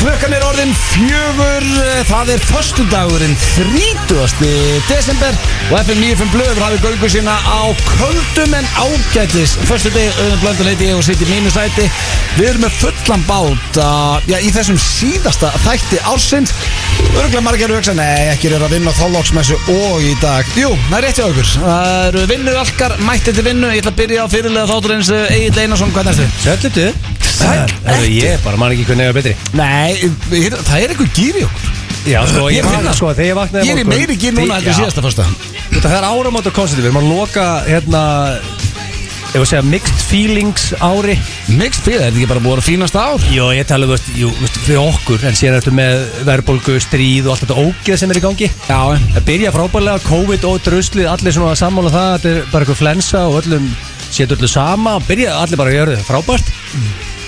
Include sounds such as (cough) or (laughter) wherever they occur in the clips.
Klukkan er orðin fjögur, eh, það er föstudagurinn 30. desember og FM 95 Blöður hafið göngu sína á köldum en ágætis Föstudegi auðvitað blöndan heiti ég og sitt í mínu sæti Við erum með fullan bát uh, já, í þessum síðasta þætti ársins Örgulega margir eru að hugsa, nei, ekki er að vinna á þállóksmessu og í dag Jú, það er rétt hjá okkur Það eru vinnur alkar, mættið til vinnu Ég ætla að byrja á fyrirlega þátturins Egil Einarsson, hvað er þetta? Söllutu Sæl Ég bara man ekki hvernig ég var betri Nei, ég- það er eitthvað gýri okkur Já, sko, Ég ég finn man það. sko, þegar ég vaknaði Ég er í morgun- meiri gýr núna Þi- heldur já. síðasta fyrsta Þetta það er áramót og konserti, við erum að loka, hérna Ef við segja mixed feelings ári Mixed fyrir, þetta er ekki bara búið að fínast ár Jó, ég tala, þú veist, jú, veist, fyrir okkur En síðan ertu með verðbólgu, stríð og allt þetta ógeð sem er í gangi Já, Það byrja frábælega, COVID og druslið, allir svona að sammála um það Þetta er bara eitthvað flensa og öllum setur öllu sama og Byrja allir bara að gjöra þetta frábært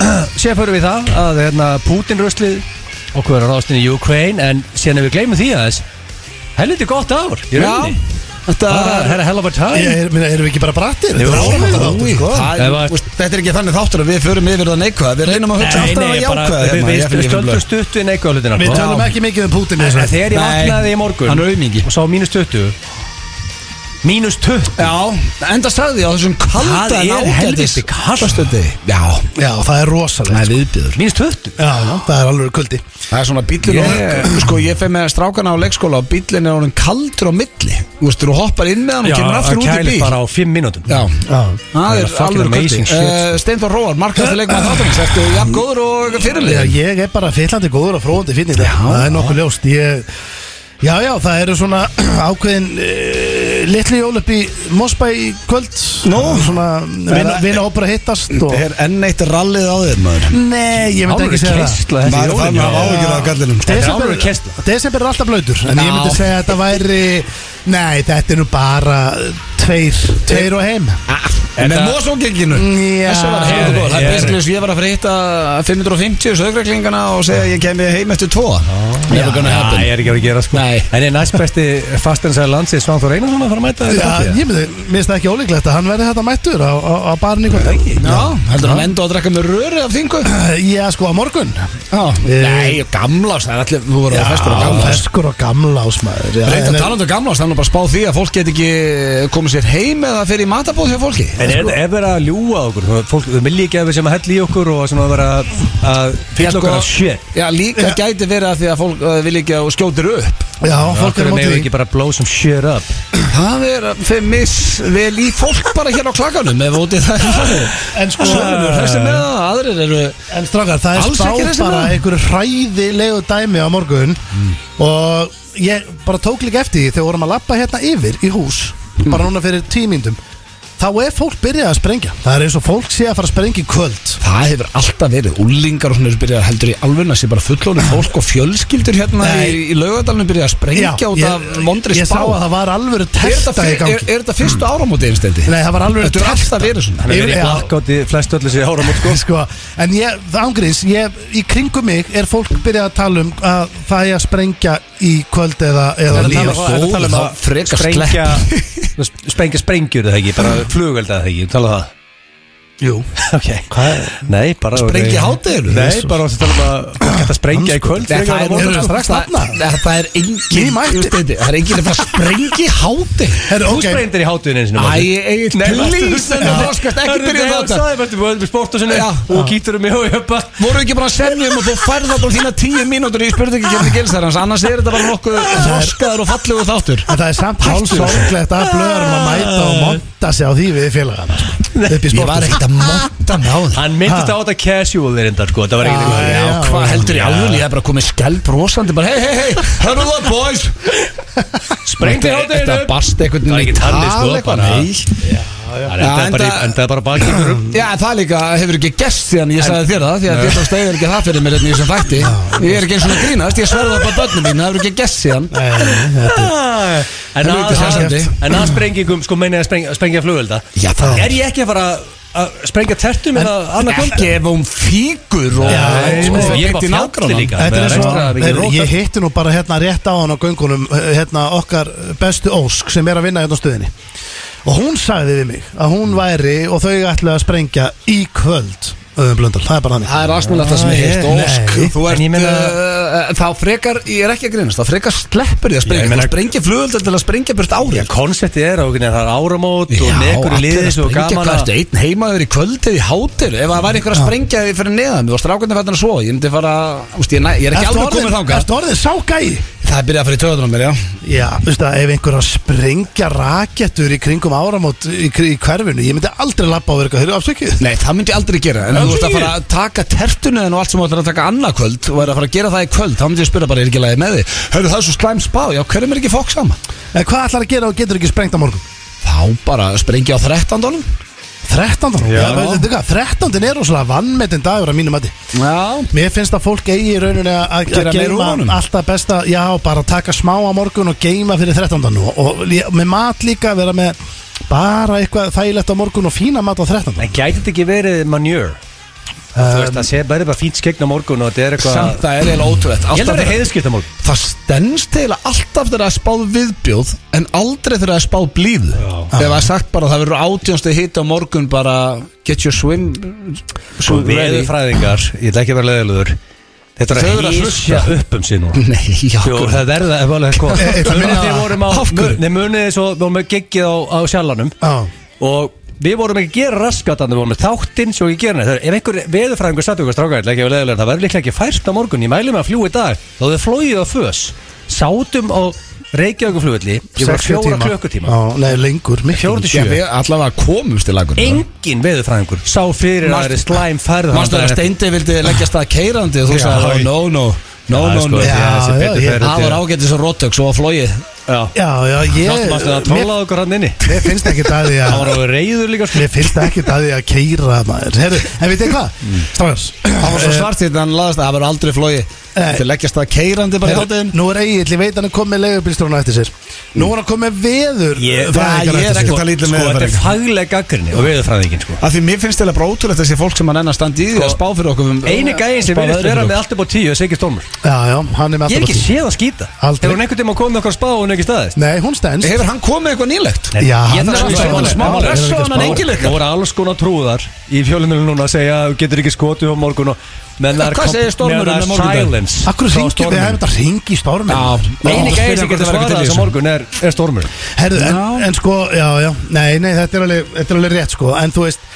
(clears throat) Sér fyrir við það að hérna, Putin ruslið okkur er að ráðast inn í Ukraine En síðan ef við gleymum því aðeins Helviti gott ár, í rauninni Þetta Það er hell of a time Ég meina, erum við ekki bara brattir? Þetta er Jú. áramönda Úi, sko það- Ef að- þú veist, Þetta er ekki þannig þáttur að við förum yfir það neikvæða Við reynum að hugsa Nei, alltaf nei, að ég bara, jákvæða við, hérna, við, ég við finn stöldum blöð. stutt við neikvæða hlutina Við sko. tölum ekki mikið um Putin í þessu En Þegar ég Nei. vaknaði í morgun Hann er aumingi og sá mínus 20 Mínus 20 Já, enda sagði ég á þessum Það kalda en er ágætis helviti kalt. föstudegi. Já, Já, það er rosalegt sko. það er viðbjöður Mínus 20 Já, það er alveg kuldi Það er svona bíllinn Ég- og Sko, ég feg með strákana á leikskóla og bíllinn er honum kaldur á milli Þú veist, þú hoppar inn með hann og kemur aftur út í kælir bíl bara á 5 mínútum Já, það er er fucking alveg amazing kvöldi shit. uh, Steindor Róar, markastu leikmann þáttanins Ertu jafn góður og Já, fyrirlið ég er bara fyllandi góður og fróðandi fínni þetta Það er nokkuð ljóst ég, Já, já, það eru svona (clears throat) ákveðin uh, litli jól upp í Mosbæ í kvöld Nú. Svona vina, vina hópur að hittast og... er enn eitt rallið á þér maður Nei, ég myndi Alveg ekki segja það keistla þessi Maður þarf jólin að hafa áhyggjur af gallinum. Þetta er alveg keistla Desember er alltaf blöytur En ég Já. myndi segja að þetta væri Nei, þetta er nú bara Tveir, tveir og heim En með Þetta- mósógenginu Já. Þessu var það Ég- góð Það ég- er basically eins og ég var að fara að hitta 550 sögreglingana og segja að ég kemi heim eftir tvo Never gonna Það happen er ekki að gera sko Nei. En er næst besti fastarinsæði landsið Svanþór Einarsson að fara að mæta þér í Já, framtíðina? ég myndi, minnst það ekki ólíklegt að hann verði þetta mættur á, á, á barni kvöld ekki Já, heldur hann enda að drekka með röri af þingu Já, sko, á morgun Nei, gamlás, Eh. það er allir, þú voru að festur á gamlás feskur og gamla ásmaður Reynda talandu gamlás, þannig bara spá því að fólk get ekki komið sér heim eða fyrir matabóð hjá fólki En er, er verið að ljúa að okkur? Þú- Fólk, þau vilja ekki að við sem að hella í okkur og sem að vera að fylla okkur af shit Sko, Já, líka gæti verið að því að fólk uh, vil ekki að þú skjótir upp Já, fólk Okkur er á meðum móti ekki því bara blow some shit up Það er uh, þeim misvel í fólk bara hér á klakanum ef úti (laughs) það er farið En sko, Sjöfnir, þessi með það, aðrir eru en strákar, það er Alls ekki spáð þessi bara maður. Mm. einhverju hræðilegu dæmi á morgun Og ég bara tók líka eftir því þegar við vorum að lappa hérna yfir í hús Mm. Bara núna fyrir tímyndum Þá er fólk byrjað að sprengja Það er eins og fólk sé að fara að sprengja í kvöld Það hefur alltaf verið, úlingar og svona eru byrjað að heldur í alvöna sé bara fullónu fólk og fjölskyldur hérna Nei. í, í laugadalunum byrjað að sprengja út af vondri ég sá spá að það var alvöru Er þetta testa í fyr- gangi Mm. er- er þetta fyrstu áramóti einstendi? Nei, það var alveg Þetta er alltaf verið svona Þannig að vera í Já. blackouti flest öllu sér áramót sko sko, En ég, það ángriðs ég, Í kringum mig er fólk byrjað að tala um að það er að sprengja í kvöld eða, Það eða er líka að tala- það er að tala um góð, að þá frekar sprengja (laughs) sprengja sprengjur eða ekki, bara flugvelda eða ekki, tala um það Jú Ok, nei, bara Sprengja í hádeginu? Nei, bara að tala um að fólk ætti að sprengja í kvöld Nei, frekar en á það, morgun, er, sko. strax, það, það, það er Í engin mætti. Einsteindi, Það er engin að fara að sprengja í háti Herru, Þú ok, sprengdir í hádeginu einu Æ, sinni Matti. Egill, Nei, please, Matti, þetta þú- þroskast, ekki Hörðu, byrja nei, þetta. þú sagði, Matti, Þú erum við sportasinu Já. og gítur um í hói uppa Voru ekki bara að semja um að þú færð það bara þína tíu mínútur í spurningi kemur gilsarans annars er þetta bara nokkuð þroskaður og fallegur þáttur En það er samt hálfsólglegt að blöðurum að mæta og monta sig á því við félagana sko, upp í Ég var sportið. ekkert að monta mig á það Hann myndist á þetta casual erindar sko, það var ekkert Já, eitthvað Já, já, hvað heldur ég já. alveg, ég er bara komið skelb brosandi bara hei, hei, hei, hörðu það boys Sprengdi í hádeginu. Þetta barst einhvern Það er ekki í talið, tal sko, eitthvað, bara. nei. Það Já, endaði enda- bara í- endaði bara bakið í rúm. Já, en það líka hefur ekki gerst síðan ég sagði þér það því að þér tókst eiginlega ekki það fyrir mér hérna í þessum þætti Ég er ekki eins og að grínast, ég sverða bara börnum mín, það hefur ekki gerst síðan Ah, En Helviti að- hressandi. en að sprengingum, sko, meina ég að sprengja- sprengja flugvelda Já, það Er ég ekki að fara að sprengja tertum eða annað kvöld? Ekki ef hún fíkur og Já, og- sko, og- ég er bara beint í fjalli nágrannan. líka. Þetta er Með eins og, ekstra mikið heyrðu, rót. ég hitti nú bara hérna rétt á hann á göngunum hérna okkar bestu Ósk sem er að vinna hérna á stöðinni og hún sagði við mig að hún væri og þau ætlaði að sprengja í kvöld öðum blöndal, það er bara þannig Það er asmjöld það sem Ah, ég heilt ég- Ósk, nei. þú En ert ég meina- uh, Þá frekar, ég er ekki að grínast Þá frekar sleppur því að Já, sprengja ég meina- Þú sprengja flugöldar til að sprengja burt Já, árið konseptið er ákveðin að það er áramót og nekur í allir að liðis og sprengja gaman hvað að ertu, einn heimaður í kvöld eða í hátir Ef það væri einhver að sprengja því fyrir neðan og strákarnir fættan að svo, ég myndi fara úst, ég, næ- ég er ekki alveg komið þangað Ertu orðið ságæði? Það er byrjað að fara í töðunum mér, já Já, veistu það, ef einhver að sprengja rakettur í kringum áramót í, í hverfinu, ég myndi aldrei lappa á verka, þeir eru afsökið Nei, það myndi ég aldrei gera En Já, ef þú ert að segir. fara að taka tertunin og allt sem þú ætlar að taka annað kvöld og er að fara að gera það í kvöld, þá myndi ég spyrja bara er ekki lagi með þig Hörðu það er svo slæm spá, já, hverjum er ekki fokk saman? En hvað ætlar að gera og getur ekki sprengt á morgun? Þá bara sprengja á 13. 13. Já. Já, veistu hvað, 13. er rosalega vannmetinn dagur að mínum mati Já, Mér finnst að fólk eigi í rauninni að- að Gera gera meira úr honum? alltaf besta, já, bara taka smá á morgun og geima fyrir 13. og, og lí- með mat líka vera með bara eitthvað þægilegt á morgun og fína mat á 13. En gæti þetta ekki verið manjör? Þú veist, það sé bara bara fínt skegna morgun og þetta er eitthvað samt það er eiginlega ótrúlegt Ég held að Alltaf það er þegar- heiðskipta morgun Það stendst til að alltaf þegar það er spáð viðbjóð en aldrei þegar það er spáð blíð Ef það er sagt bara að það verður átjónstu hitt á morgun bara get your swim Svo veðurfræðingar, ég ætla ekki að vera leðilegur Þetta Þau er eru að að hýsja upp um sín núna (laughs) Nei, já, Jó, okkur það verða ef alveg sko Ég- ég ætla að minna Við það. vorum á, Af hverju? nei munið þið svo, við vorum með giggið á, á sjallanum Já. Og við vorum ekki að gera raskat Þannig við vorum með þáttinn svo ekki að gera neitt Það er- Ef einhver veðurfræðingur satt okkur strákar ætla ekki að vera leiðilegur, Það verður líklega ekki fært á morgun, ég mæli mig að fljúa í dag Þá þau flóið á fös Sátum á Reykjavíkuflugulli Ég var 60 fjóra tíma. klukkutíma Já, nei, lengur, miklu Fjóra til sjö Já, við allavega komumst til lagun Engin veðurfræðingur Sá fyrir að Manstu- það er slæm færð Mástu að steindi vildi leggja stað keirandi og þú Já, sagði já. sko, "Oh, no, no, no, no, no Já, já, ég- Það var ágættis og róttök svo að flóið ágætt Já, já, ég Mástu að mér, tróla okkur hann inni mér finnst ekki það (laughs) því Það var að alveg reyður líka sko Mér finnst ekki það því að keira maður Heru, En veit þið hvað? Mm. Strákars Það Eh. var svo svart hérna, hann laðast að það verður aldrei flóið Nei. Til leggja stað keirandi Eh. bara í Heru, hátinn Nú er Egil, ég veit hann er komið leigubílstrónu eftir sér Nú er hann komið veður Ég- fræðingar Já, ég er eftir sér. ekkert að lítið Sko, með þetta er þetta fagleg gaggrinni og veðurfræðingin sko Af því mér finnst þetta bara ótrúlegt þessi fólk sem hann enn að standa í því að spá fyrir okkur um Einu gæðin sem spá virðist veðri vera fyrir með okkur. allt upp á tíu er Siggi Stormur Já, já, hann er með Ég hef alltaf ekki á tíu. séð að skýta Aldrei. Hefur hún einhvern tíma komið með okkar spá og hún er ekki staðist Nei, hún stendst Hefur hann komið eitthvað nýlegt? Nei, Já, ég hann þarf að er alveg segja sammála. smá Hann er alveg pressa á ekki hann að spá. engilega Það voru alls konar trúðar í fjölunum núna að segja að þú getur ekki skotið á morgun og menn það er Hvað kom- segir Stormurinn meðan það er um morgundaginn? silence Akkur frá ringi, við Storminum. hefum þetta ringi í stormin Já. Einu Já, spyrja gæði sem hvort getur það væri til í svarað þess að þessu. morgun er, er stormur Herðu, en, Já. en sko, já, já Nei, nei, þetta er alveg, þetta er alveg rétt sko En þú veist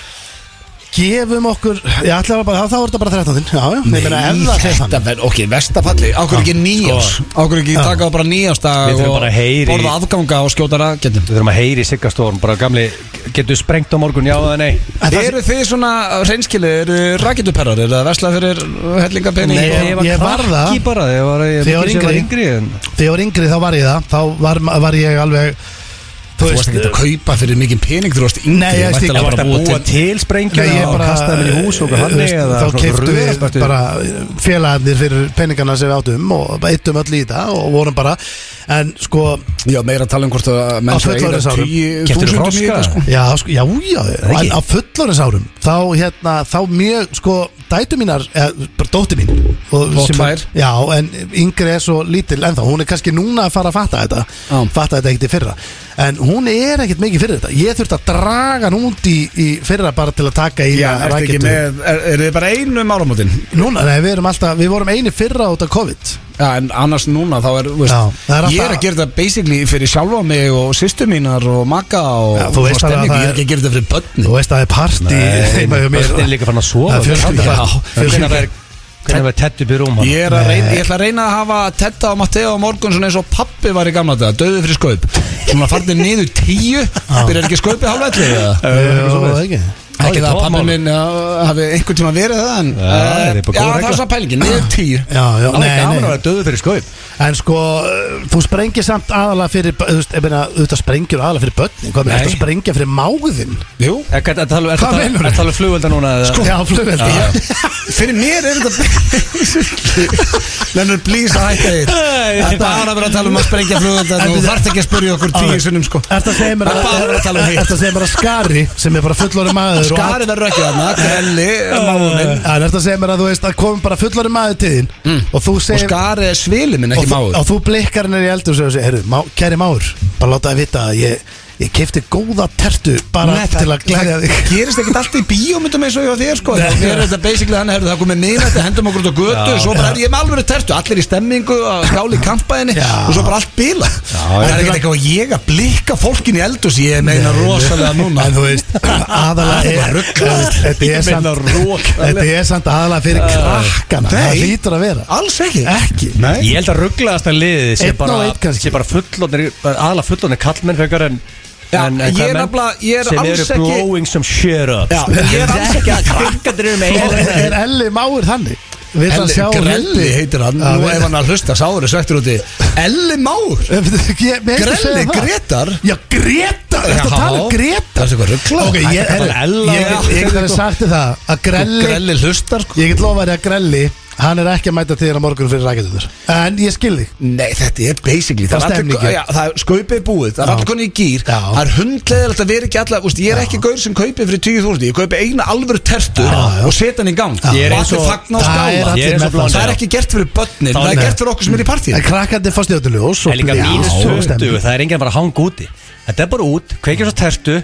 Gefum okkur, ég ætla að bara, þá er þetta bara 13 Já, já, nei, meina, ef það segir þannig verð, ok, vestafalli Ákveður Ah, ekki nýjárs sko. Ákveður ekki taka það bara nýjársdag Við þurfum og bara að heyri- Borða afganga og skjóta raketum Við þurfum að heyri Sigga Storm, bara gamli, getur sprengt á morgun, já eða nei En það Eru þið svona reynskili, eru raketuperrar Eru það veslað fyrir hellingapenning Nei, og- ég- ég var krakki það. bara, ég var, ég, Þegar ég var mikið sem yngri. en Þegar ég var yngri þá var ég það Þá var, var ég alveg Þú varst ekki að kaupa fyrir mikinn pening Þú varst yngri Nei, ég veist ekki, væntanlega ég Bara bara að búa til- til Nei, sprengjuna ég og bara, kastaði mér í hús og hann þú veist, Þá keiptu við bara félagarnir fyrir peningana sem við áttum og eittum öll í það og vorum bara En sko, Já, meira að tala um hvort að menn Á fullorðinsárum. Keyptirðu þúsundum í froska? þetta sko já, sko, já, já ekki? en Á fullorins árum, þá hérna, þá mjög, sko, dætu mínar, eða bara dóttir mín Og, Og sem er- tvær. Já, en yngri er svo lítil ennþá, hún er kannski núna að fara að fatta þetta Já. Fatta þetta ekkert í fyrra En hún er ekkert mikið fyrir þetta Ég þurfti að draga hann út í, í fyrra bara til að taka í Já, ertu ekki með- er- Eru þið bara einu um áramótin? Núna, nei, við erum alltaf, við vorum eini fyrra út af COVID Já, en annars núna þá er, þú veist, Já, það er alltaf- ég er að gera þetta basically fyrir sjálfa mig og sýstu mínar og makka og, Já, og þú veist svona alveg að stemningu. það ég er ekki að gera þetta fyrir börni Þú veist að það er partí (laughs) heima hjá mér Börnin er líka fann að sofa Það er fjölskylda. Já, Fjölskylda. Hvernig verður Hvernig verður tett upp í rúm hann? Ég, er að reyna, ég ætla að reyna að hafa Tetta og Matteo á morgun svona eins og pappi var í gamla þetta, döðu fyrir skaup Svona farnir niður tíu, byrjar ekki skaupið hálfvelli eða? Jú, ekki Ekki það að tómál. pappi minn já, hafi einhvern tíma verið það en, Já, það er eh, bara góð Já, það regla. er svo pælingin, niður tíu Já, já, Það nei, er gaman að nei vera döðu fyrir skaup En sko, uh, þú sprengir samt aðalega fyrir bö- Þú veist, ég meina, auðvitað sprengjur aðalega fyrir börnin Hvað með Nei. þetta sprengja fyrir máðin? Jú Er það að tala Hvað meinarðu? um tala um flugvelda núna? eða? Sko, Já, flugveldi Já. Fyrir mér er (laughs) þetta Lennart, please að hætta þig Þetta er að vera að tala um að (laughs) sprengja flugöldan og þú þarft ekki að spurja okkur tíu sinnum sko Ertu að segja mér Það er bara að vera að tala um hitt. Ertu að segja mér að Skari sem er bara fullori maður og Skari verður ekki þarna, Grelli, máðurinn En ertu að segja mér að þú veist að komum bara fullori maður til þín og Mm. þú Og segir Skari er svili minn, og ekki þú, máður og þú blikkar hennar í eldur og segir, heyrðu, má, kæri máur bara láta það vita að ég, Ég kefti góða tertu bara Nei, til að glæðja þig það gerist ekkert allt í bíómyndum eins og ég á þér sko Þá er þetta basically þannig að það komið minnætti hendum okkur út á götu og svo bara er ég með alveg tertu allir í stemmingu að skála í kampæðinni og svo bara allt bila það er ekkert eitthvað að ég að blikka fólkin í eldus ég meina rosalega núna En þú (laughs) veist, aðalega Það var er- ruglað. Þetta er Ég meina samt- rokalegt. þetta er samt aðalega fyrir krakkana Það Nei. hlýtur að vera alls ekki Ekki Nei. Ég held að rugglaðast að liðið sé Einn bara, og einn kannski. sé bara fullonir aðla fullonir kallmenn frekar en Já, en, ég er kvenmenn nefnilega- ég er sem alls eru ekki- blowing some shit up Já, en ég er alls ekki að krakkandir eru Er, er Elli Máur þannig? Vill hann sjá Grelli Hildi? heitir hann Já, Nú við- ef hann að hlusta sáður er svektur úti Elli Már Ég- ég- mér heyrðist að Grelli segja það. Gretar Já, Gretar, þetta Já. tala um Gretar Það er svo eitthvað ruggla Ok, ég, er, Ella ég, og- ég, ég get alveg sagt þér það að Grelli, Grelli hlustar sko ég get lofað þér að Grelli hann er ekki að mæta til þér á morgun fyrir rækjöldunar en ég skil þig Nei, þetta er basically Það Það, er stemningin. allir, já, það er skaupið búið, það er Já. allir konni í gýr Já. Það er hundleðilegt að vera ekki allar úst, Ég er ekki gaur sem kaupið fyrir 20.000 Ég kaupið eina alvöru tertu Já, já. og setja hann í gang Ég er Og eins allir og- fagna og Það er skála allir Ég er eins og með blóðin. Það er ekki gert fyrir börnin, Þá- það er Nei. gert fyrir okkur sem er í partíð en krakkandi fá stjóðuljós En líka mínus 20, það er enginn bara að hanga úti Þetta er bara út, kveikja svo tertu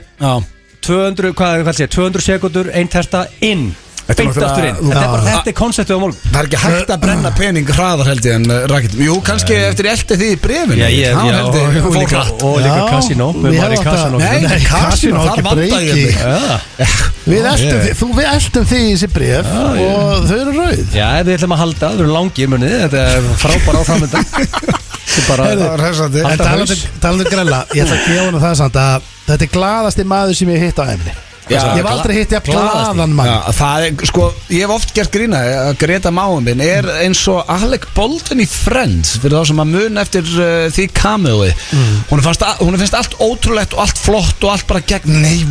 200, hvað er það að segja, 200 sekundur ein terta inn, Þetta er beint náttúrulega- aftur inn Þetta er bara, Já. þetta er konceptið á morgun Það er ekki hægt að brenna pening hraðar held ég en uh, rakett Jú, kannski eftir ég eldi því í brefin Já, ég, já, held og, ég og fór líka, hratt og líka Já, kasino ég Við varum hef í átt að- kasino Nei, Nei, kasinu, kasínó, þar ekki vanda ég breiki. mig hérna. Já, við eltum ég- þig, þú við eltum þig í þessi bref og þau eru rauð já, við ætlum að halda, það eru langir munið Þetta er frábær á framönda Þetta er Það bara var hressandi Alltaf en talandi haus. talandi um Grella, ég ætla að gefa hann það samt að þetta er glaðasti maður sem ég hef hitt á emni Já, ég hef aldrei hitt ég að glaðasti. glaðan mann Já, það er, sko, ég hef oft gert grína að Greta máum minn er Mm. eins og Alec Bolton í Friends fyrir þá sem að mun eftir uh, því kameoi mm. hún, fannst a- hún finnst allt ótrúlegt og allt flott og allt bara gegn nei,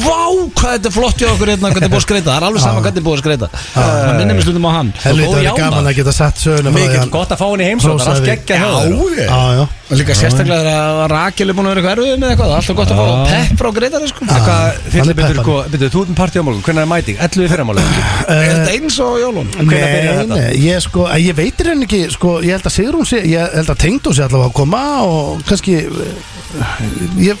vá, hvað þetta er flott hjá okkur hérna, hvernig er búið að skreita, það er alveg sama hvernig er búið að skreita það minnir mér stundum á hann helvita, góð það er jána. gaman að geta sett söguna frá því Mikið hann- gott að fá henni heimsótt, það er allt Hrósaði. geggja hjá þér. ég Já, já. Og líka sérstaklega þegar að Rakel er búin að vera eitthvað erfið með eitthvað, það er alltaf gott að fá Já. pepp frá Gretari sko. Hvað, Hann fyrir er betur, peppan. sko, betur, þú ert um partí á morgun, hvernig er mæting? 11 fyrramálið Er Eh, þetta eins og jólun? Hvenær byrjar Nei, þetta? nei, ég sko, að ég veitir henni ekki sko, ég held að Sigrún sé, ég held að tengd hún sé allavega að koma og kannski eh, ég,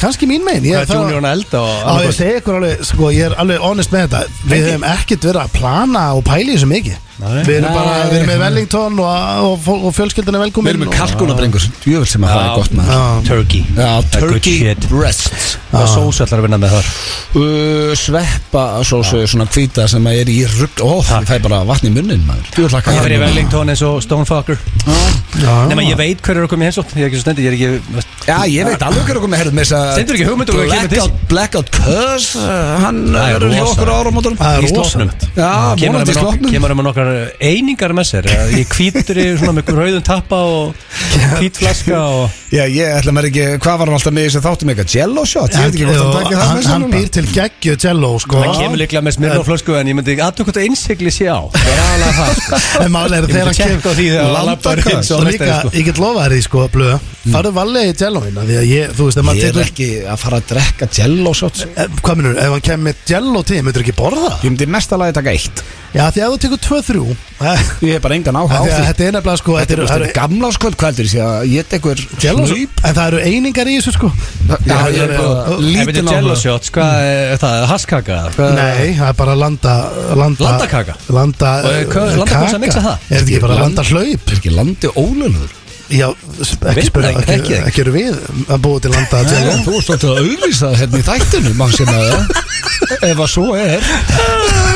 kannski mín megin ég, Hvað er juniorna elda og Á, ég segi ykkur alveg, sko, ég er alveg honest með þetta Við hefum ekkert verið að plana og pæla í þessu mikið Nei. Við erum bara, Nei. við erum með Wellington og, og, fól- og fjölskyldan er Við velkomin erum með kalkunabrengur, djöfell sem að það er gott maður Já. Turkey Já, Það er good turkey shit. breasts Hvað sós ætlar að vinna með þar? uh, Sveppa, svo svo svona hvíta sem að er í rugg Ó, það fæ bara vatn í munnin maður Þú ætla Ég fer í Wellington eins og Stonefucker Já. Nei, menn ég veit hver er að koma í heimsótt Ég er ekki svo stendur, ég er ekki Já, ég veit alveg hverju komið herrð með þess að Stendur ekki hugmynd um hvað kemur til Blackout, Blackout Curse, uh, hann Það er er hjá rosa. okkur á áramótunum Það er Í slóknum rosalegt. Já, Kemur hann vonandi í með nok- sloppnum Kemur hann með nokkar einingar með sér Eh, Ég hvítur í svona með rauðum tappa og hvít flaska og Já, ég ætla mér ekki, hvað var hann alltaf með í þessu þáttum eitthvað? Jello shot, ég veit Hann, ekki hvort hann hann, takir það með hann, sér hann núna býr til geggju jello sko Það kemur líklega með smirna og flösku En ég myndi ekki aðtöku hvort að innsigli sé á Það er aðalega það sko. En málega Ég er þegar myndi hann kemur tjekka á því þegar hann lappar Landakast. inn svo Og næsta, líka, sko. Mm. ég get lofað þér í sko, blöða Farðu valega í jelloina Því að ég, þú veist, ef maður Ég er tekur ekki að fara að drekka jello shots Eh, Hvað minnur, ef hann kemur með jello til, myndur ekki borða það? Ég myndi mest að laga taka eitt Já, því að þú tekur (laughs) 2-3 eh, Ég hef bara engan áhuga á af því að því Þetta er nefnilega sko Þetta er- þetta þetta eru- er gamláskvöld, hvað heldur því að ég tekur Jello, sko. snaup? en það eru einingar í þessu sko Já, Það ég er- er bara Nei, En lítinn veitir jello shots, hvað er það? Haskaka? Hvað- Nei, það er bara landa, landa Uh, Landakaka? Landa Og er hvað- landakaka sem mixa það? Er þetta ekki bara landa hlaup? Er ekki landi ólöluður? Já, s- ekki Veit spura, það ekki, ekki, þekki það ekki eru við að búa til landa (laughs) jello Þú ert svolítið að auðvisa það hérna í þættinum mann sem að ef að svo er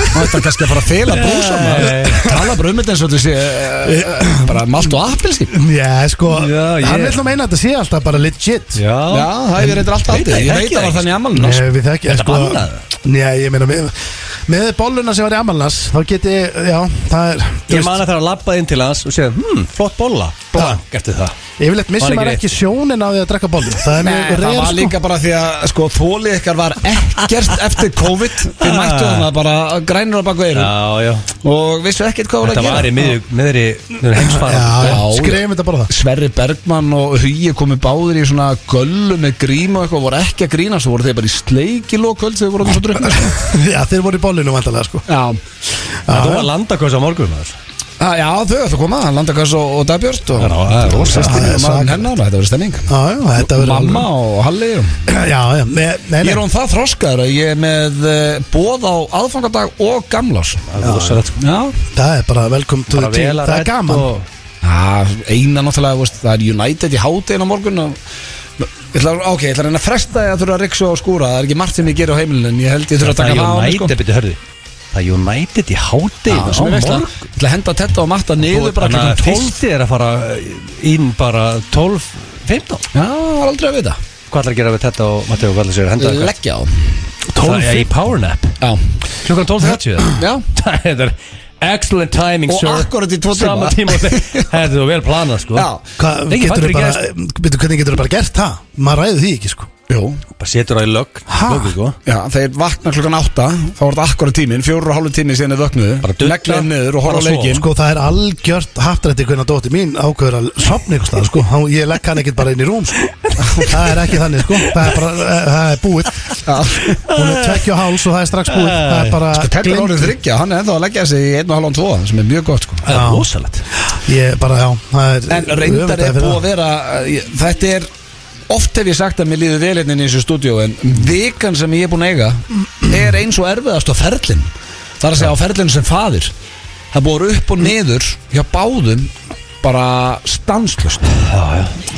Þú ert að kannski að fara að fela brúsa maður Tala bara um þetta eins og þetta sé eh, bara malt og appelsi Já, sko, Já, hann ég- vil nú meina að þetta sé alltaf bara legit Já, Já það hefur reyndar allt aldrei Ég veit að það var þannig amalinn Nei, við þekki, Þetta bannað? Já, ég meina, með, með bolluna sem var í Amalnas Þá geti, já, það er þú Ég veist, man að það er að labba inn til hans og segja hmm, flott bolla Blank eftir það Yfirleitt Var missir ekki maður rétt. ekki sjónin á því að drekka bollu Það er mjög það reyð var sko líka bara því að sko þólið ykkar var ekkert eftir COVID Þið mættu þarna bara grænur á baku eirum Já, já og vissu ekkert hvað voru Þetta að var í gera miðri- miðri miðri heimsfara Já, Já, já. skrifum þetta bara það (laughs) Sverri Bergmann og Hugi komu báðir í svona göllu með grím og eitthvað voru ekki að grína svo voru þeir bara í sleikilók kvöld þegar voru orðnir svo drukna Já, þeir voru í bollinu vantarlega sko Já, Þú var landakos á morgun maður. Ah, já, þau ætla að koma, Landakass og, og Dagbjörn og, Já, það er rosa og, stemning. og maður hennar og þetta verður stemning Já, já, þetta verður Mamma og Halli og. alveg- (clears throat) Já, já, með, með, Ég er hún það þroskaður að ég er með uh, bóð á aðfangadag og gamlás Það er rosalegt sko. Já það er bara velkom til Bara vel að Það er rædd gaman og- Já, eina náttúrulega, veist, það er United í hátinn á morgun og Ég ætla, ok, ég ætla að reyna að fresta ég að þurfa að riksu á skúra Það er ekki margt sem ég ger á heimilinu En ég held ég þurfa að Það taka er það á mig, sko. United, betur hörðu Það er United í Já, hátið á sem er veistla. morgun Ég ætla að henda tetta og matta niður bara Þannig að klukkan 12 fyrsti er að fara eh, inn bara 12, 15 Já, það er aldrei að vita Hvað ætlar að gera við þetta og Matteo, hvað ætlar að segja henda eitthvað? Leggja á Það er í powernap Já, Klukkan 12.30 (laughs) eða? já Það er excellent timing, Og sir akkúrat í tvo tíma. Sama tíma (laughs) og þeir- Það er þú vel planað, sko Já. Hvað, Nei, ég fattar getur þú ekki bara Býtu, hvernig getur þú bara gert það? Maður ræði því ekki, sko Jú, Bara setur það í lögg Ha? löggu, sko. já, þeir vakna klukkan 8 Þá var þetta akkora tíminn, fjóru og hálfu tími síðan þeir Bara vöknuðu dutta. Leggja niður og horfa á Bara sofa, leikinn Sko, það er algjört haftrætti hvernig að dótti mín ákveður að sopna ykkur stað, sko Há- Ég legg hann ekkert bara inn í rúm, sko Það er ekki þannig, sko Það er bara, eh, það er búið Já. Hún er tvekkja og háls og það er strax búið Það er bara Sko, Teddy er gleymd. orðið þryggja, hann er ennþá að leggja sig í 1,5-2 sem er mjög gott sko. Það Já. er rosalegt Ég bara, já það er- En reyndar öfundaði er fyrir búið það. að vera eh, ég- Þetta er, oft hef ég sagt að mér líður vel hérna inni í þessu stúdíó en vikan sem ég er búin að eiga er eins og erfiðast á ferlin Það er að segja á ferlin sem faðir Það búið upp og niður hjá báðum bara stanslust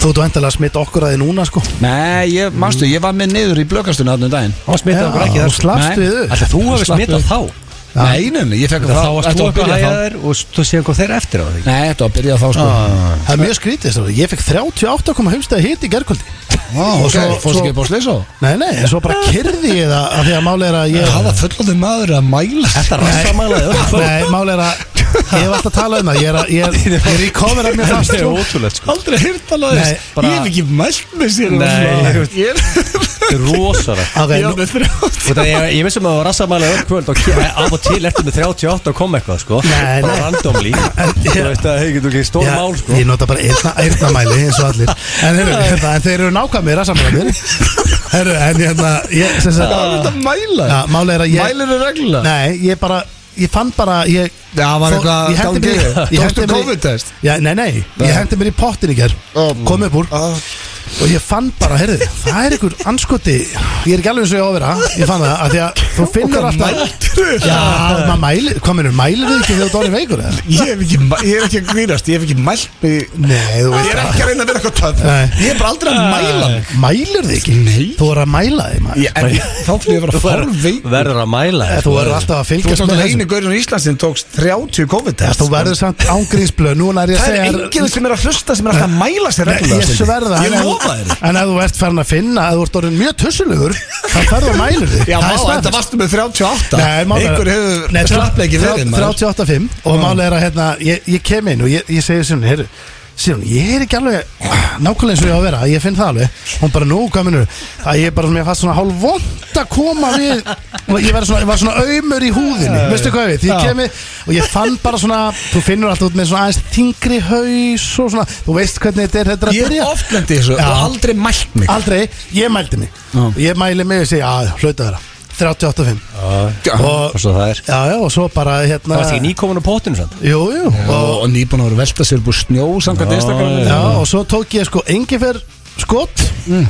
Þú ert endalega að smita okkur að þið núna sko Nei, ég, manstu, ég var með niður í blökastunni þarna um daginn Hann smittaði okkur ekki Já, þar og slappst Nei. við þau Alltaf þú hefur Slappu. smittað þá Nei, nefnir, ég fekk Þá varst þetta þú var að að byrja byrja þá þær og þú séu hvað þeir eftir á því Nei, þetta var að byrja þá sko Ah. Það er mjög skrítið strákar. Ég fekk 38,5 stæði hit í gerkvöldi Ó, Og ok, svo- fórstu svo- ekki upp á slysó? Nei, nei, en svo bara kyrði ég það af Því að máli er að ég Hvaða fullandi maður er að mæla Þetta er rassamælaði Nei, máli er að Ég hef alltaf talað um það Ég er að Ég er, ég er í kofur af mér fast Þetta er sko. ótrúlegt sko Aldrei hýrt alveg Nei, þess bara- Ég hef ekki mælt með sér um Nei, svona. ég- Ég er Þetta er rosalegt Ok, ég er nú, með þrjátt Þú veit að Ég, ég vissum að það var rassamælaði öll kvöld og ke- af og til ertu með 38 og kom eitthvað sko Nei, Bara nei. (laughs) randomly Þú veist að hei, getur ekki stór já, mál sko Ég nota bara einna, einna mæli eins og allir En, heyrðu, (laughs) hérna, en þeir eru nákvæmir að samanlega Herru, en hérna ég, sem sagt, Það er þetta mæla ja, Máli er að ég Mælir er reglulega Nei, ég bara Ég fann bara Ég Já, það var Fó- eitthvað ég hendi gangi. mér í- ég hendi Tókstu mér í- COVID-test Já, nei, nei, Nei. ah. ég hendi mér í pottin í ger kom upp úr og ég fann bara, heyrðu, það er einhver anskoti ég er ekki alveg eins og ég á að vera ég fann það, að því að þú finnur alltaf Já, maður mælir, hvað minnur, mælir þið ekki þegar þú dórið veikur eða? Ég hef ekki, mæ- ég hef ekki að grínast Ég hef ekki mælt með Nei, þú Ég veist er það ekki að reyna að vera eitthvað töf Nei. Ég hef bara aldrei að mæla mig Mælir þið ekki? Nei. Þú voru að mæla þig, maður Ég- en ég- Þá fyrir ég að vera Þú verður- forveik verður að mæla þér, Þú sko. verður alltaf Þú að veist fylgjast með náttúrulega þessu einu gaurinn í Íslands sem tókst 30 Já, COVID-test Þú verður samt ángrínsblöð, núna er ég að Það segja er enginn sem er að hlusta sem er alltaf að mæla sér Nei, reglulega Ég sverða Ég en- lofa þér En ef þú ert farin að finna að þú ert orðin mjög tussulugur þá ferðu að mælu þig Já, Það má, er staðfest. þetta varstu með 38 Nei, málið er- Einhver hefur Nei, slapplega ekki þrjá- verið maður. 38.5 og málið er að hérna, ég, ég kem inn og ég, ég segi Sjónu, heyrðu Sjónu, ég er ekki alveg nákvæmlega eins og ég á að vera ég finn það alveg, hún bara nú, hvað minnur að ég er bara, mér fannst svona hálf vond að koma við, og ég var svona, var svona aumur í húðinni, veistu hvað við því ég kemi og ég fann bara svona þú finnur alltaf út með svona aðeins þingri haus og svona, þú veist hvernig þetta er þetta er að Ég byrja hef oft lendi þessu Já. og aldrei mælt mig aldrei, ég mældi mig Já. ég mæli mig og segja, að hlauta þeirra 38.5 Já. og, Og svo það er Já, já, og svo bara hérna Það varst ekki nýkomin á potinu sann Jú, jú og, Og nýbúin að vera að velta sér búið snjó samkvæmt Já, Instagraminu Já, og svo tók ég sko engifer skot Mm.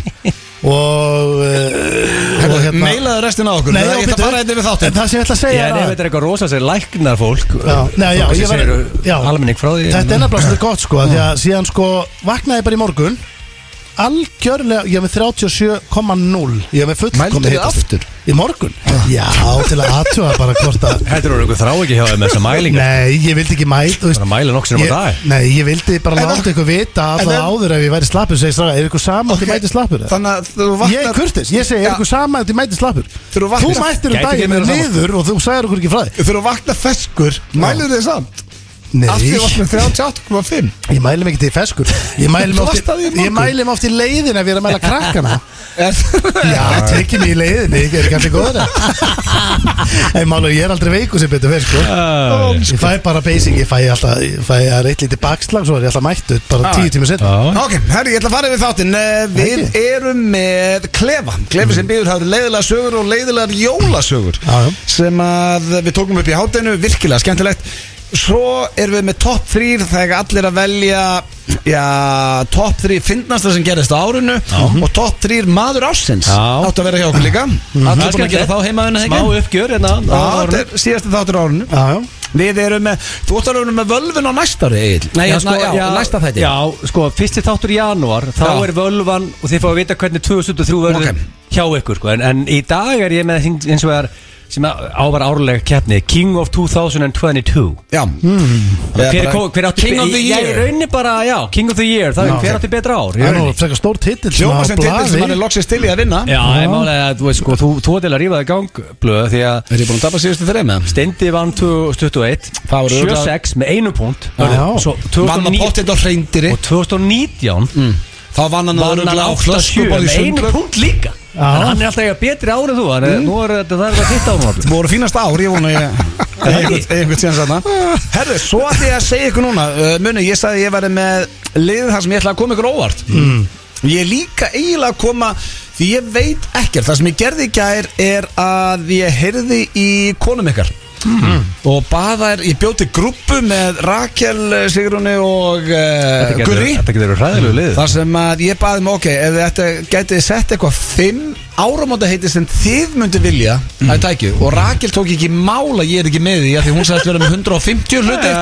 Og uh, Og Hérna- Mailaðu restina á okkur Nei, Það- já, Ég ætla að bíddu. fara hérna yfir En þáttin það sem ég ætla að Já, segja en ef er þetta er eitthvað rosa sem læknar fólk Já, nei, já, fólk sem ég var- segir, já. Almenning frá því Þetta er nefnilega svolítið gott sko af Því að síðan sko vaknaði ég bara í morgun Algjörlega, ég hef með 37,0 Ég hef með Mældu fullkomni þið aftur Í morgun? Já, til að aðtúa bara hvort að Þetta eru eitthvað þrá ekki hjá þeim með þessa mælinga Nei, ég vildi ekki mæta þú veist, Bara mæla nokk sinnum á dag. ég, Nei, ég vildi bara En láta það- ykkur vita að en það það- áður ef ég væri slappur segi strafa, er ykkur sama að þið mæti slappur? eða? Þannig að þú Ég er vaknar kurtis, ég segi, er Já. ykkur sama að þið mæti slappur? Þegar þú Þú vaknar- mættir um Gæti ekki daginn með verið sama. niður og þú sagðir okkur ekki frá því Þegar þú vaknar feskur Mælir þið samt Af því þú Nei, vaknar 38,5 ég mæli mig ekki til feskur Ég mæli mig Þú oft varst að því í í- morgun. ég mæli mig oft í leiðin ef ég er að mæla krakkana Já, Já, tekið mig í leiðinni, ég er ekki allir góður En málur, ég er aldrei veiku sem betur fyrir sko Æ, Ég fæ bara basic, ég fæ alltaf, ég fæ það er eitt lítið bakslag Svo er ég alltaf mættur, bara Ah. Já. tíu tíma setna já. Ok, herri, ég ætla að fara yfir þáttinn Eh, Við Ekki. erum með Klefa Klefa sem býður hafður leiðilega sögur og leiðilegar jólasögur Já, já. sem að við tókum upp í hátinu virkilega skemmtilegt Svo erum við með topp 3 Þegar allir að velja já, Topp 3 fyndnasta sem gerist á árinu Og topp 3 maður ásins Já. Átt að vera hjá okkur líka Það Allir er búin að gera skemmtilegt. þá heimaðuna Smá uppgjör hérna á Það árinu. er síðasti þáttur á árinu Já, já Við erum með, þú ætti að vera með völvun á næsta ári Egil Nei, hérna, já, næsta þætti sko, Já, sko, fyrsti þáttur í janúar Þá Já. er völvan og þið fáið að vita hvernig 2023 verður Ok. hjá ykkur sko. en, en í dag er ég með hins- eins og er sem ávar árlega keppni King of 2022 Já. Eða Hver, bara- hver, hver átti King of the Ég Year raunni bara, já, King of the Year Það Já. er hver átti betra ár í Það er nú rauninni. frekar stór titill Hljóma sem svona á titill sem hann blaði. er loksins til í að vinna Já, ég málega að þú veist sko, þú, þú til að rífa þig gangblöð því að Er ég búin að tapa síðustu þreim með hann? Stendi vann 2021 Það voru örugglega- 76 með einu punkt Já. Svo Vann að 2019 pottet á hreindiri og 2019 Þá vann hann vann hann örugglega á 8-7 flöskuborði með einu sundlaug. punkt líka Þannig að hann er alltaf eitthvað betri árið þú Þannig að nú er þetta það er að hitta á hann voru fínast ár, ég vona ég Eða einhvern- eða einhvern síðan sann Herðu, svo ætti ég að segja ykkur núna uh, Muni, ég sagði að ég væri með liðið þar sem ég ætla að koma ykkur á óvart mm. Ég er líka eiginlega að koma Því ég veit ekkert, það sem ég gerði í gær er að ég heyrði í konum ykkar Mm. og baða er, ég bjóti grúpu með Rakel, Sigrunni og uh, Gurri Þetta getur verið hræðilegu lið Þar sem að ég baði mig, ok, ef þetta getið þið sett eitthvað fimm áramóta heiti sem þið myndu vilja að Mm. þið tækju og Rakel tók ekki mála ég er ekki með því af því hún sagðist vera með 150 hluti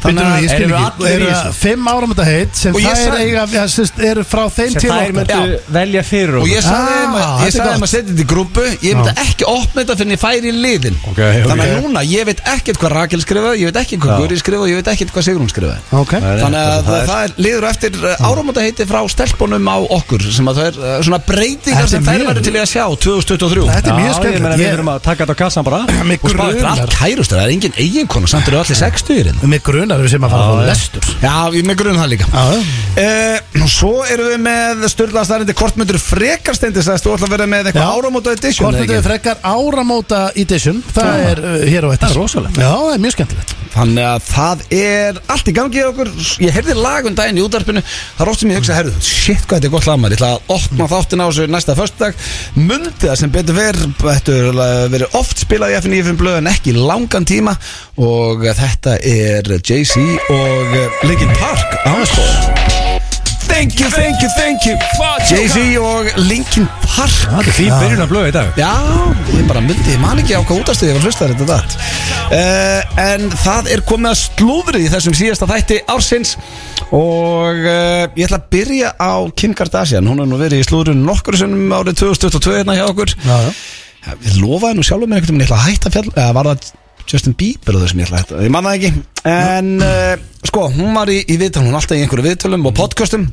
Þannig að ég skil Eru ekki allir í Eru þessu? fimm árum þetta heit sem Og ég þær sagði- eiga ja, sérst, eru frá þeim Sem til þær okkar myndu velja fyrir og okkur ég sagði Ah, þeim að, ég þetta er sagði þeim gott. að setja þetta í grúpu ég myndi ekki opna þetta fyrir en ég færi í liðin Ok, ok. þannig að núna, ég veit ekkert hvað Rakel skrifaði ég veit ekkert Já. hvað Guri skrifaði, ég veit ekkert hvað Sigrun skrifaði Ok Nei, nei, Þannig að það það, er- það er liður eftir áramóta heiti frá stelpunum á okkur sem að það er uh, svona Þetta er breytingar sem þær mjög- verður til í að sjá 2023 Þetta Já, ég er mjög meina við skemmtilegt verum að taka þetta á kassan bara Mig Og spá grunar. eftir allt. Allt kærustur, það er engin eiginkona Samt eru allir 60 hérna Ég- Mig grunar við sem að fara Já, að fá já. lestur Já, ég með grunn það líka Já. uh, Svo erum við með Sturla starrindi Hvort myndur frekar stendi Sæðist þú ætla að vera með eitthvað áramóta edition Hvort eða þetta ekki? er frekar áramóta edition Það er uh, hér á Það eftir er rosalegt. Já, það er mjög skemmtilegt Þannig að það er allt í gangi hjá okkur Ég heyrði lag um daginn í útarpinu Það er oft sem ég hugsa, herðu, shit hvað þetta er gott lag maður Ég ætla að opna þáttin á þessu næsta föstudag Mundi það sem betur ver Þetta er verið oft spilað í FNF blöð En ekki í langan tíma Og þetta er Jay-Z og eh, Linkin Park Ánskóð Thank you, thank you, thank you Jay-Z og Linkin Park Þetta er fín byrjun að blöða í dag Já, ég bara myndi, ég man ekki á hvað útastuði ég var hlustar þetta datt uh, En það er komið að slúðrið í þessum síðasta þætti ársins Og uh, ég ætla að byrja á Kim Kardashian Hún er nú verið í slúðrun nokkur sinnum árið 2022 hérna hjá okkur Já, já. Ja, Við lofaði nú sjálfum mér einhvern veginn Ég ætla að hætta að fjall Eða var það Justin Bieber og þessum ég ætla að hætta Ég man það ekki En uh, sko, hún var í, í viðtal Hún er alltaf í einhverju viðtölum og podcastum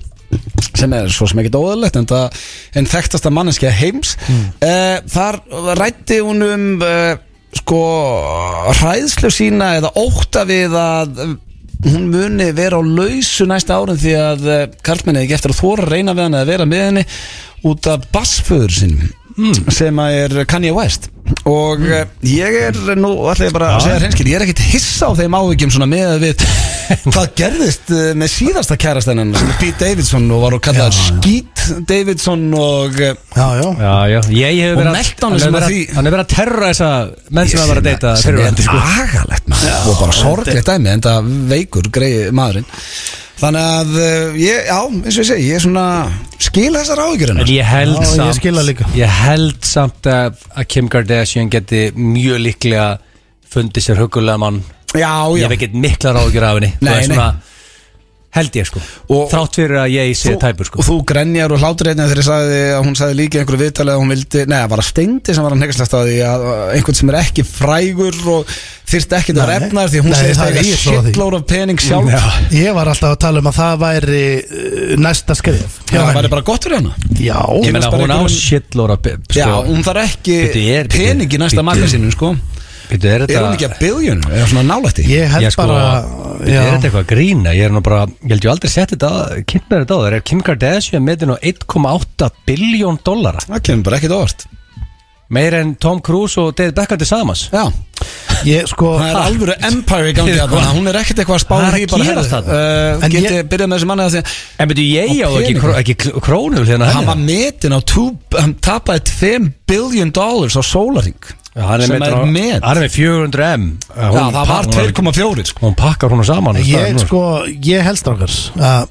sem er svo sem ekkert óðurlegt en, það- en þekktasta manneskja heims mm. þar rætti hún um uh, sko hræðslu sína eða ótta við að eh, hún muni vera á lausu næsta árin því að uh, Karlmenni ekki eftir að þóra reyna við hann að vera með henni út af bassföður sinum sem að er Kanye West og mm. ég er nú ætla ég bara að segja hreinskil, ég er ekkit hissa á þeim áhyggjum svona með að við (laughs) hvað gerðist eh, með síðasta kærastennan sem er Pete Davidson og var og kallað Skeet Davidson og eh, Já, já Já, já, ég hef Og verið að Meltdown hann sem hefur að verið því- að- hann hefur verið að terra þessa menn sem hann var að deyta sem er sko. agalegt maður og bara sorglegt dæmi en það veikur greið maðurinn þannig að eh, ég, já, eins og ég segi ég er svona skil þessar áhyggjur En hennar ég held Já, ég samt skil það líka. ég held samt að, að Kim Kardashian geti mjög líklega fundið sér hugulega mann já, já, Ég hef ekkert miklar ágjur af henni Nei, Það er svona- Held ég sko Og- Þrátt fyrir að ég sé Þú- tæpur sko og þú grenjar og hlátur einnig þegar ég sagði að hún sagði líka í einhverju viðtalið að hún vildi, neða, bara steindi sem var hann hegslast að því að að einhvern sem er ekki frægur og þyrst ekki að Nei. refna því að hún Nei, segist það er að ég svo því. shitload af pening sjálf Ég var alltaf að tala um að það væri uh, næsta skrif Já, það væri bara gott fyrir hana Já finnst Ég meina bara hún á einhverjum- shitlóra sko. Já, hún þarf ekki Bíddu, ég er- peningi næsta bíddu. makka sinum, sko Býtu, er Er hún þetta ekki að billion? Er hún svona nálætti? Ég held Ég sko, bara býtu, er þetta eitthvað að grína? Ég er nú bara, ég held ég aldrei sett þetta Kynnt mér þetta á þér, er Kim Kardashian metin á 1,8 biljón dollara Það kemur bara ekkert óvart Meir en Tom Cruise og David Beckham til samans Já, Ég sko það er alvöru empire í gangi Fyrir að það Hún er ekkert eitthvað að spáða Það er því að bara gerast herðu, þarna. uh, En Geti ég- byrjað með þessi manni að segja En betur ég á Og ekki, peninga. kró, ekki kl- krónul hérna Hann var metin á 2 Hann tapaði 5 billion dollars á sólaring Já, hann er Sem með, er met. hann er með 400 M Já, Já, það var 2,4 sko. Hún pakkar hún saman á Ég, staðnum. sko, ég helst okkar að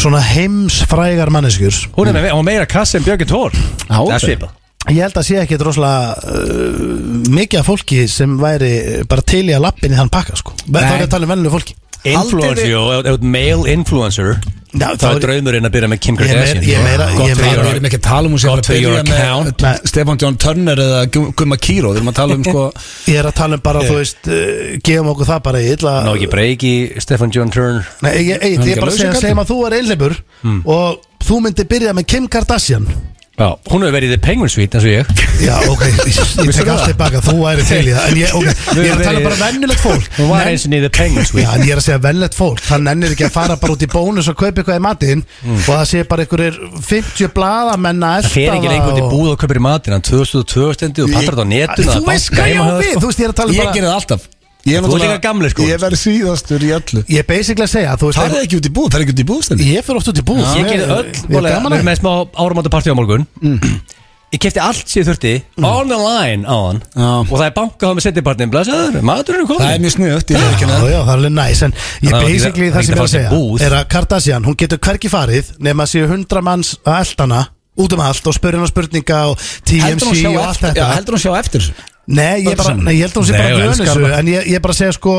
svona heimsfrægar manneskjur Hún er með hún er meira kassi en Björgin Tór Já, Það ok. er svipað Ég held að sé ekkit rosalega uh, mikið af fólki sem væri bara til í að lappin í þann pakka sko. Þá er ég að tala um vennlu fólki Influencer, jú, ef þú ert male influencer Já, þá er draumurinn að byrja með Kim Kardashian Ég er meira- ég er Gott meira- fyrir, við erum ekki að tala um hún sem Gott að fyrir byrja your account. með Stefán John Turner eða Gu- Gumma Kíró Við erum að tala um sko Ég er að tala um bara, þú veist, uh, gefum okkur það bara í illa Ná ekki breyki, Stefan John Turner Nei, ég, ég, ég, Hmm. Hann ég er bara að ekki segja, lausagaldurinn? segjum að þú er einleipur og þú myndi byrja með Kim Kardashian Já, hún hefur verið í The Penguin Suite eins og ég Já, (laughs) ok, ég, ég tek allt tilbaka, þú væri til í það En ég, okay, (laughs) ég er að tala um bara vennulegt fólk Hún var Nenn- eins og niður The Penguin Já, Suite en ég er að segja vennlegt fólk Það nennir ekki að fara bara út í bónus og kaupa eitthvað í matinn Og það sé bara einhverjir 50 blaðamenn að Það fer ekki lengur til búð og kaupir í matinn hann 2002 stendi og patrar þetta á netuna Þú veist hvað ég á við, sko. þú veist, ég er að tala um Ég bara gerði það alltaf Ég Þú ert náttúrulega- líka gamli, sko. Ég verði síðastur í öllu Ég er basically að segja, þú veist Það er ekki út í búð, það er ekki út í búðstendur Ég fyrir oft út í búð Ah, sko. Ég gerði öll, Ég er bólega, gaman við að erum með smá áramáttapartí á morgun Mm. Ég kefti allt sem ég þurfti On the line á hann Já. Og það er bankað á með setjapartnin Blessaður, maturinn er Það komin er mjög sniðut, ég er ekki Já, neða já, það er alveg næs En ég Það var ekki- basically það það sem ég var er að ekki að fara til búð. segja Er að Kardashian, hún getur hvergi farið Nefn að séu hundra manns að eldana Út um allt og spurðina spurninga og Heldur TMC hún sjá og allt eftir- já, þetta heldur hún sjá eftir þessu? Nei, ég, bara, Kardashian? nei, ég held að hún sé bara Nei, að hún vöna elskar þessu hana. En ég, ég bara segja sko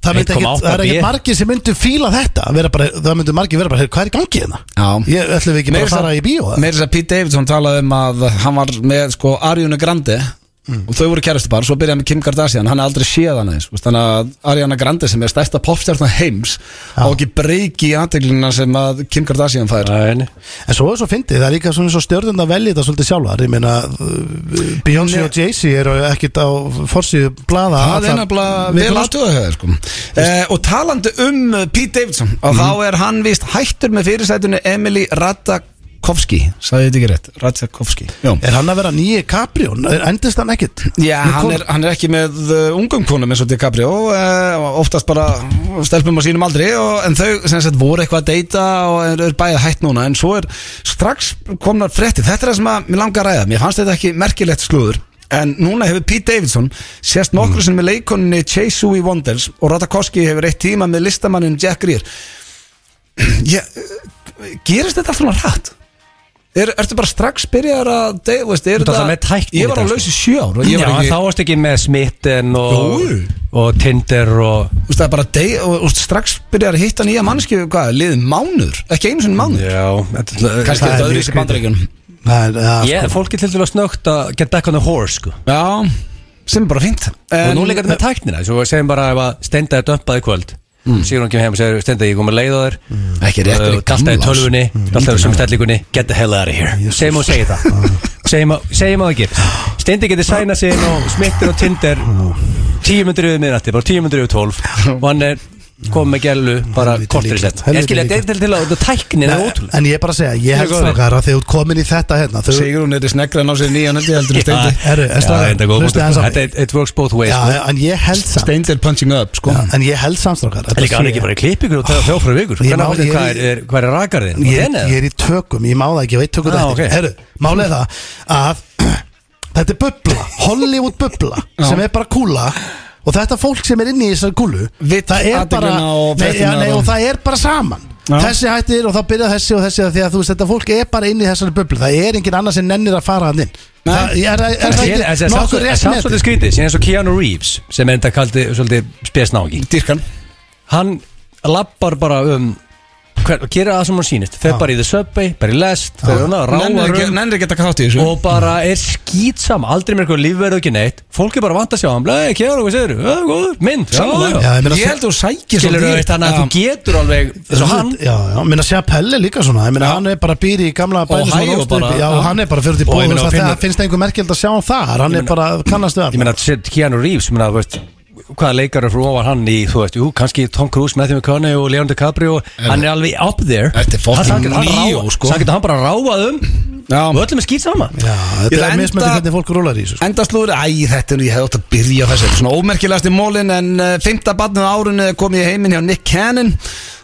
Það, myndi ekki, 1,8 það er B. ekki margir sem myndu fíla þetta vera bara, Það myndu margir vera bara, "Heyrðu, hvað er í gangi hérna? Já. Ég ætlum við ekki bara að fara í bíó það? Meir þess að Pete Davidson talaði um að hann var með sko Ariana Grande Mm. og þau voru kærastu bara, svo byrjaði hann með Kim Kardashian hann er aldrei séð hann eins, veist, þannig að Ariana Grande sem er stærsta popstjarnan heims á ekki breyki í aðteglina sem að Kim Kardashian fær Nei, En svo er svo fyndið, það er líka svona svo stjörnund að velja þetta svolítið sjálfar Ég meina, uh, Beyoncé og Jay-Z eru ekkit á forsíðu blaða Það er allar- nefnilega við vel blað- að stöða höfðu sko. eh, Og talandi um eh, Pete Davidson Mhm. og þá er hann vist hættur með fyrirsætunni Emily Ratajkowski Sæði þetta ekki rétt? Ratajkowski Já, Er hann að vera nýji Caprión? Endist hann ekkit? Já hann, Nicole- er, hann er ekki með uh, ungum konum eins og DiCaprio uh, oftast bara stelpum á sínum aldri og, en þau sem sagt voru eitthvað að deyta og er, er bæðið hætt núna en svo er strax komnar frétti þetta er það sem að mér langar að ræða mér fannst þetta ekki merkilegt slúður en núna hefur Pete Davidson sést nokkru sem með leikoninni Chasui Wonders og Ratajkowski hefur eitt tíma með listamannin Jack Greer (clears throat) Ég, eh, gerist þetta alltaf svona rætt? Er, ertu bara strax byrjar að dey, veist, er Þú ert alltaf með tækni í ég var á dag, sko. lausi sjö ár og ég Já, var þá ekki, varst ekki með smitten og, Jú. og Tinder og þú veist það er bara dey, og, og strax byrjar að hitta nýja mannski hvað, liðið mánuður, ekki einu sinni mánuður Já, kannski það er er þetta sko. mjög öðru í skrítið. bandaríkjunum Það er, að, ég, Fólk er til dæla snögt að get back on the horse sko. já, sem er bara fínt Og En- nú leikar þetta með tæknina Svo við segjum bara ef að stenda þetta ömpaði kvöld mm. Sigur hún kemur heim og segir Stenda ég kom að leiða þér Ekki rétt, er í Alltaf í gamla, tölvunni, Mm. alltaf í sumstællingunni Get the hell out of here Segjum og segi það Ah. Segjum og segjum að það ekki Stendi getur sæna sig inn og smittir og Tinder Ah. Tíu myndir yfir miðnætti, bara tíu myndir yfir tólf Og hann er komið með gælu bara Helvíti kortur í líka. sett Ég skilja, Helvíti þetta er til að þetta tæknin er Nei, ótrúlega En ég er bara að segja, ég held Mjög góður. strákar að þegar þú ert komin í þetta hérna þau, Sigrún er í sneggra að ná sér nýjan heldur heldur en Já, Steindi Herru, en Ah. já, strákar, þetta er góð hlustið punktur. aðeins á- Þetta er- it works both ways Já, sko. en ég held samt Steindi er punching up sko. Já, En ég held samt strákar En líka hann er ekki bara í klippingur og það þjófra vikur Ég Hvernig má- áttið ég- hvað er- er- hvað er rakarðin? ég, ég er í tökum, ég má það ekki, ég veit Ah, tökum þetta ok. okay. Herru, málið er það að (clears throat) þetta er bubla, Hollywood bubla sem er bara kúla og þetta fólk sem er inni í þessari kúlu Vill það er bara, athyglina og nei, já, fréttirnar nei, og- og það er bara saman Já. þessi hættir og þá byrja þessi og þessi því að þú veist, þetta fólk er bara inni í þessari bublu það er engin annar sem nennir að fara hann inn Nei. það er, er, er En það ég- en ekki það nokkur er rétt samt með svolítið skrítið síðan eins og Keanu Reeves sem er enda kaldi svolítið spesnáki Dýrkan hann lappar bara um hver, gera það sem hann sýnist fer Já. bara í the subway, bara í lest fer hann að ráða Nennir ekki- rum nennir ekki að taka þátt í þessu og bara er skýtsam aldrei með eitthvað lífverð og ekki neitt fólk er bara vant að sjá hann blei, Keanu, hvað segir þú? mynd, já, Sammála. já Já, ég meina, Ég held að þú sækir skilur svolítið þú í- veist þannig að Já. þú getur alveg eins og hann Já, já, minna Chappelle er líka svona Ég meina, Já. hann er bara býr í gamla bænum sem Ohio hann ólst upp í. bara, Já, já. hann er bara Og 40 ég búið meina, Það og finnur- það finnst einhver merkjöld að sjá hann þar Hann er bara, kannast við ég allt meina, set Keanu Reeves ég meina, þú veist, hvaða leikar er frá ofan hann í, þú veist, jú, kannski Tom Cruise, Matthew McConaughey og Leon DiCaprio hann er alveg up there Þetta er fucking Hann- hann Neo, ráð- sko. það getur hann bara ráðað um Já. og öllum er skýt sama Já, Ég þetta ætla er að mismöndi enda- hvernig fólk rúlar í þessu sko. Enda slúður, æ, þetta er, ég hefði átt að byrja á þessu Þetta er Svona ómerkilegast í mólin En uh, fymta barnið á árunni kom ég heiminn hjá Nick Cannon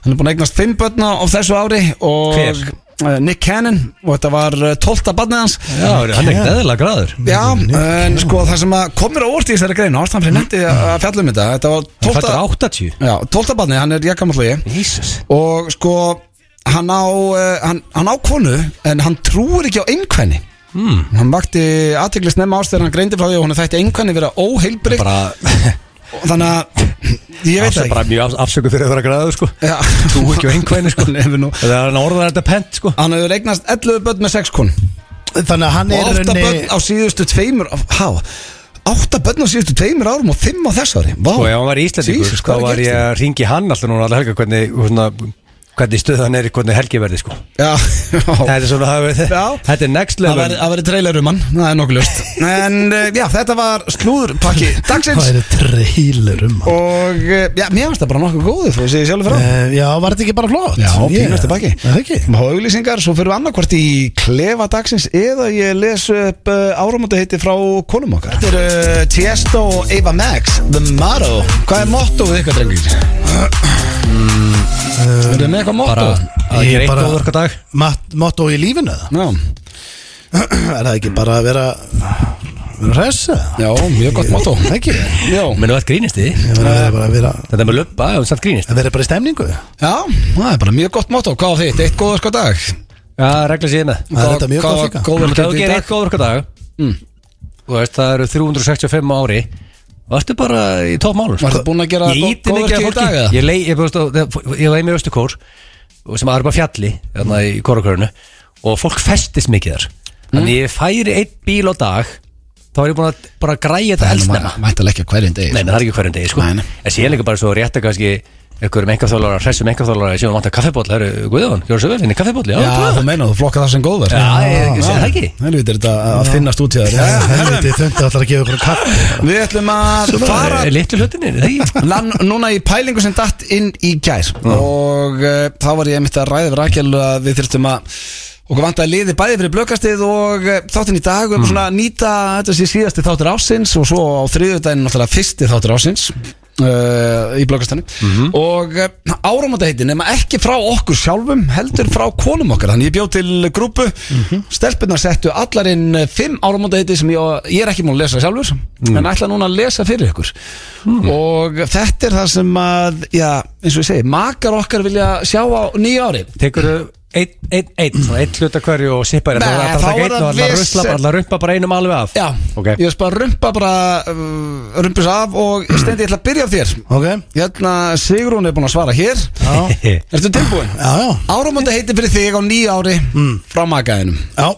Hann er búin að eignast fimm börna á þessu ári og Hver? eh, Nick Cannon og þetta var eh, 12. barnið hans Já, hann er ekkert eðla græður Já, en sko það sem að komur á orði í þessari grein, ástæðan fyrir nefndi að fjalla um þetta Þetta var Hann 12. fættur 80 Já, 12. barnið, hann er jakkamall og ég Jesus og sko hann á, eh, hann, hann á konu en hann trúir ekki á einhverni mm. Hmm. hann vakti aðtegli snemma ást þegar hann greindi frá því og hann þætti einhverni vera óheilbrið Bara, þannig að ég (laughs) veit það bara ekki mjög afsöku fyrir að vera græður sko Já. Trú ekki á (laughs) einhverjum sko Hann hefur nú- Það er hann orðar þetta pent sko hann hefur eignast 11 börn með 6 kon sko. Þannig að hann og er í 8 rauninni- börn á síðustu tveimur há, 8 börn á síðustu tveimur árum og 5 á þessari Vá. Og ef hann var í Íslandingur Jesus, þá hvað er var gert ég þér? að ringi hann alltaf núna alltaf helga hvernig, svona, hvernig stöðan er í hvernig helgi verði sko já, Þetta er svona, það er- Já. þetta er next Það level væri- það væri trailer um hann, það er nokkuð ljóst (laughs) En eh, já, þetta var slúðurpakki dagsins Það eru trailer um hann Og eh, já, mér finnst það bara nokkuð góðu Þú sé ég sjálfur frá Eh, Já, var þetta ekki bara flott? Já, Ég- pínast tilbaki Er Það ekki Má auglýsingar, svo fyrir við annarkvart í klefa dagsins Eða ég les upp uh, áramöndu heiti frá konum okkar Þetta er uh, Tiesto og Eva Max The Motto Hvað er mottoð ykkar, drengir? Uh, Erum með eitthvað bara motto? að Ég gera eitt bara- góður okkar dag Matt- Motto í lífinu eða? Já, Er það ekki bara að vera Vera hressa já, mjög gott motto Ekki Já, Menni var grínist í því Ég meina, Það er bara að vera Þetta er með löpa og samt grínist Það verður bara í stemningu Það já, það er bara mjög gott motto Hvað á þitt? Eitt góður sko dag Já, regla sér hérna. með er þetta mjög gott líka Góður í Ef þú gerir dag eitt góður okkar dag Mm. Þú veist, það eru 365 á ári Varstu bara í sko? toppmálum Varstu búin að gera Ég íti gó- góðverkið mikið að í dag, fólki eða? Ég lei, ég búist að Ég leið mér östu kór og sem aðra bara fjalli Þannig í kórakörinu Og fólk festist mikið þar Mm. Þannig ég færi eitt bíl á dag Þá er ég búin að bara græja þetta elsnema Mættal ekki á hverjum degi Nei, menn, það er ekki hverjum degi, sko Nei, nei. En síðan líka bara svo rétt að kannski einhverjum einhverþólara, hressum einhverþólara sem vantar kaffibóll, það eru Guðjón, Jóra Söfell henni kaffibóll, já, Já, þú já, meinar, þú flokkar það sem góðverk já, ég segi það ekki Helviti er þetta að finnast út í er það helviti þöndi allar að gefa okkur kaffi Við ætlum að fara er litlu hlutinni, það (laughs) ekki Lan, núna í pælingu sem datt inn í gær og uh, þá var ég einmitt að ræða við Rakel að við þurftum að okkur vantaði liði bæði fyrir blökastið og uh, þáttinn í dag um svona að nýta þetta sé síðasti þáttur ásins og svo á þriðjudaginn náttúrulega fyrsti þáttur ásins uh, í blökastinu og uh, áramótaheitin nema ekki frá okkur sjálfum heldur frá konum okkar þannig ég bjóð til grúpu mm stelpunar settu allar inn eh, fimm áramótaheiti sem ég, ég er ekki múin að lesa sjálfur en ætla núna að lesa fyrir ykkur og þetta er það sem að já, eins og ég segi, makar okkar vilja sjá á nýja ári Tekur einn, einn, einn, svona einn hluta hverju og sippar Nei, þetta, það er þá alltaf er einn það og allar vesen. rusla, allar rumpa bara einum alveg af já, Ok. ég veist bara rumpa bara uh, rumpus af og stendi ég ætla að byrja á þér Ok hérna Sigrún er búin að svara hér Já (laughs) ertu tilbúin? Já, já Áramönda heiti fyrir þig á nýja ári frá makaðinum Já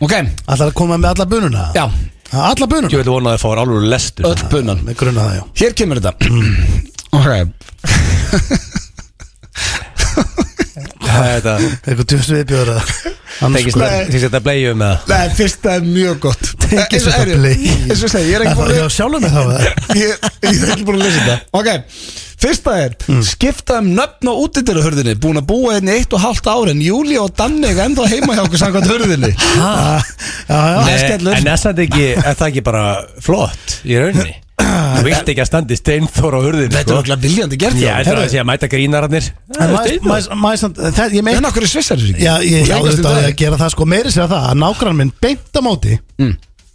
ok, Allar að koma með alla bununa já, Alla bununa Ég veit vona að það fór alveg lestur öll bunan Með gruna það, já hér kemur þetta (clears throat) ok, Þetta, Eitthvað djúst viðbjóður (laughs) að sko. tekist sko- þetta bleið með um það Nei, fyrst það er mjög gott (laughs) Eh, Tengist Eins og- þetta bleið eins og segi, ég er (laughs) ekki búin að að Já, sjálfum með það var (laughs) það ég, ég er ekki búin að lesa þetta Ok, fyrsta er Skipta um nöfn á útidyrahörðinni Búin að búa henni eitt og hálft ári En Júli og Danni er ennþá heima hjá okkur Samkvæmt (laughs) hörðinni Já, já Nei, skellur. En þess að ekki, er það ekki bara flott í rauninni Þú vilt ekki að standi steinþór á hurðin Þetta er okkur viljandi gert Já, þetta er Herru, að sé að mæta grínararnir En Það er mæ- steinþór. mæ- mæ- samt- það- Ég meina En okkur er svissar Já, ég Og já, eignast um auðvitað á ég daginn. að gera það sko meiri sér það að nágrann minn beint á móti Hmm.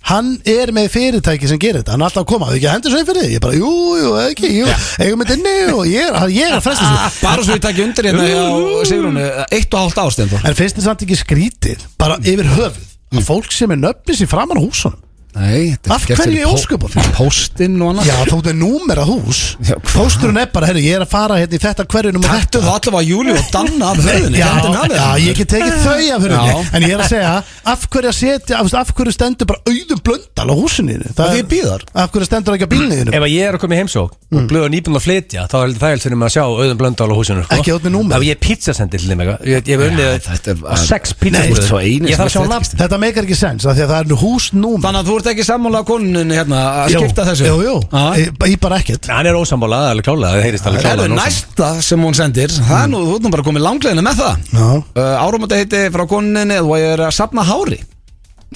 hann er með fyrirtæki sem gerir þetta hann er alltaf að koma, þú ekki að hendur svo fyrir því ég bara, jú, jú, ekki, jú, eigum þetta inni og ég er, ég er að (laughs) fresta þessu Ah, Bara svo ég takk undir hérna hjá Sigrúnu eh, Eitt og hálft ári stendur en finnst þið samt ekki skrítið, bara yfir höfuð að fólk sem er nöfnis í framan á húsunum Nei, þetta er Af gert hverju fyrir í pó- ósköpunum? fyrir Póstinn og annars já, þóttu er númerað hús Já, hvað? pósturinn er bara, herru, ég er að fara hérna í þetta hverju númer Þetta er allavega Júli og Danna af hörðinni Já, hendin af já, þeim. ég get tekið þau af Já. hörðinni En ég er að segja, af hverju að setja Af, af hverju stendur bara auðum blöndal á húsinni þínu? Af Það því ég bíð þar. Af hverju stendur ekki á bílni þínu? Ef að ég er að koma í heimsók Mm. og blöða nýbúin að flytja þá er það heldur um að sjá auðum blöndal á húsinu sko. Ekki át með númer. Ef ég er pizzasendir til þeim eitthvað Ég ég hef þetta er unnið bara- að sex Nei, þú ert svo eini pizzabúðum sem Ég þarf að sjá ert nafn Þetta meikar ekki sens af Því að það er nú húsnúmer Þannig að þú ert ekki sammála konunni hérna að Jú, skipta þessu Jú, jú, Já. Ég- ég bara ekkert Hann er ósammála, það er alveg klálega Það heyrist alveg Herðu, klálega næsta sem hún sendir Það er nú, þú ert nú bara komið langleginu með það Já. uh, Áramönda heiti frá koninni Þú er að sapna hári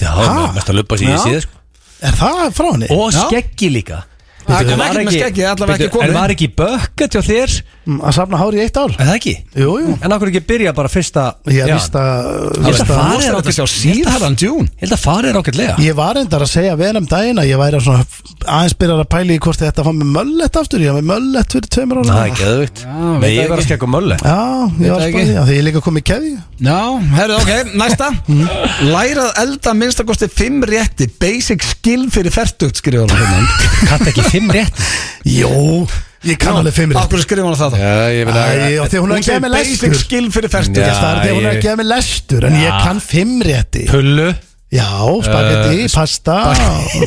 Já, Ha? mest að lupa sér í Já. síð sko. Er það frá henni? Og Já. skeggi líka Það En kom var ekki með skeggið, allavega Bíddu, ekki komið. En var ekki bökkett hjá þér? Mm, Að safna hár í eitt ár Er það ekki? Jú, jú En akkur ekki byrja bara fyrsta Ég Já. vist að Ég Það held er að farið er rosalegt að ákveð sjá síðharðan djún Ég held að farið er ákveðlega Ég var endar að segja vel um daginn að ég væri svona aðeins byrjar að pæla í hvort ég ætti að fá mig möllett aftur Ég hafa mig möllett fyrir tveimur ára Það er geðvikt veit Nei, það ég var að ekki. skegg og möllu Já, ég var það spæðið ekki. Þegar ég er líka komið í keði Já, herru, ok, næsta (laughs) Lærað elda minnstakosti 5 rétti Basic skill fyrir fertugt skrifur hann hérna. Katt ekki fimm rétt Jó, ég kann alveg fimm Af hverju skrifur hann það þá? Já, ég Æ, og Þegar Hún hún er að gefa segir mig basic lestur skill fyrir fertugt Já. Já, Það er þegar hún er ég- að gefa mig lestur En ég kann fimm rétti Pullu Já, Uh, spagetti, pasta,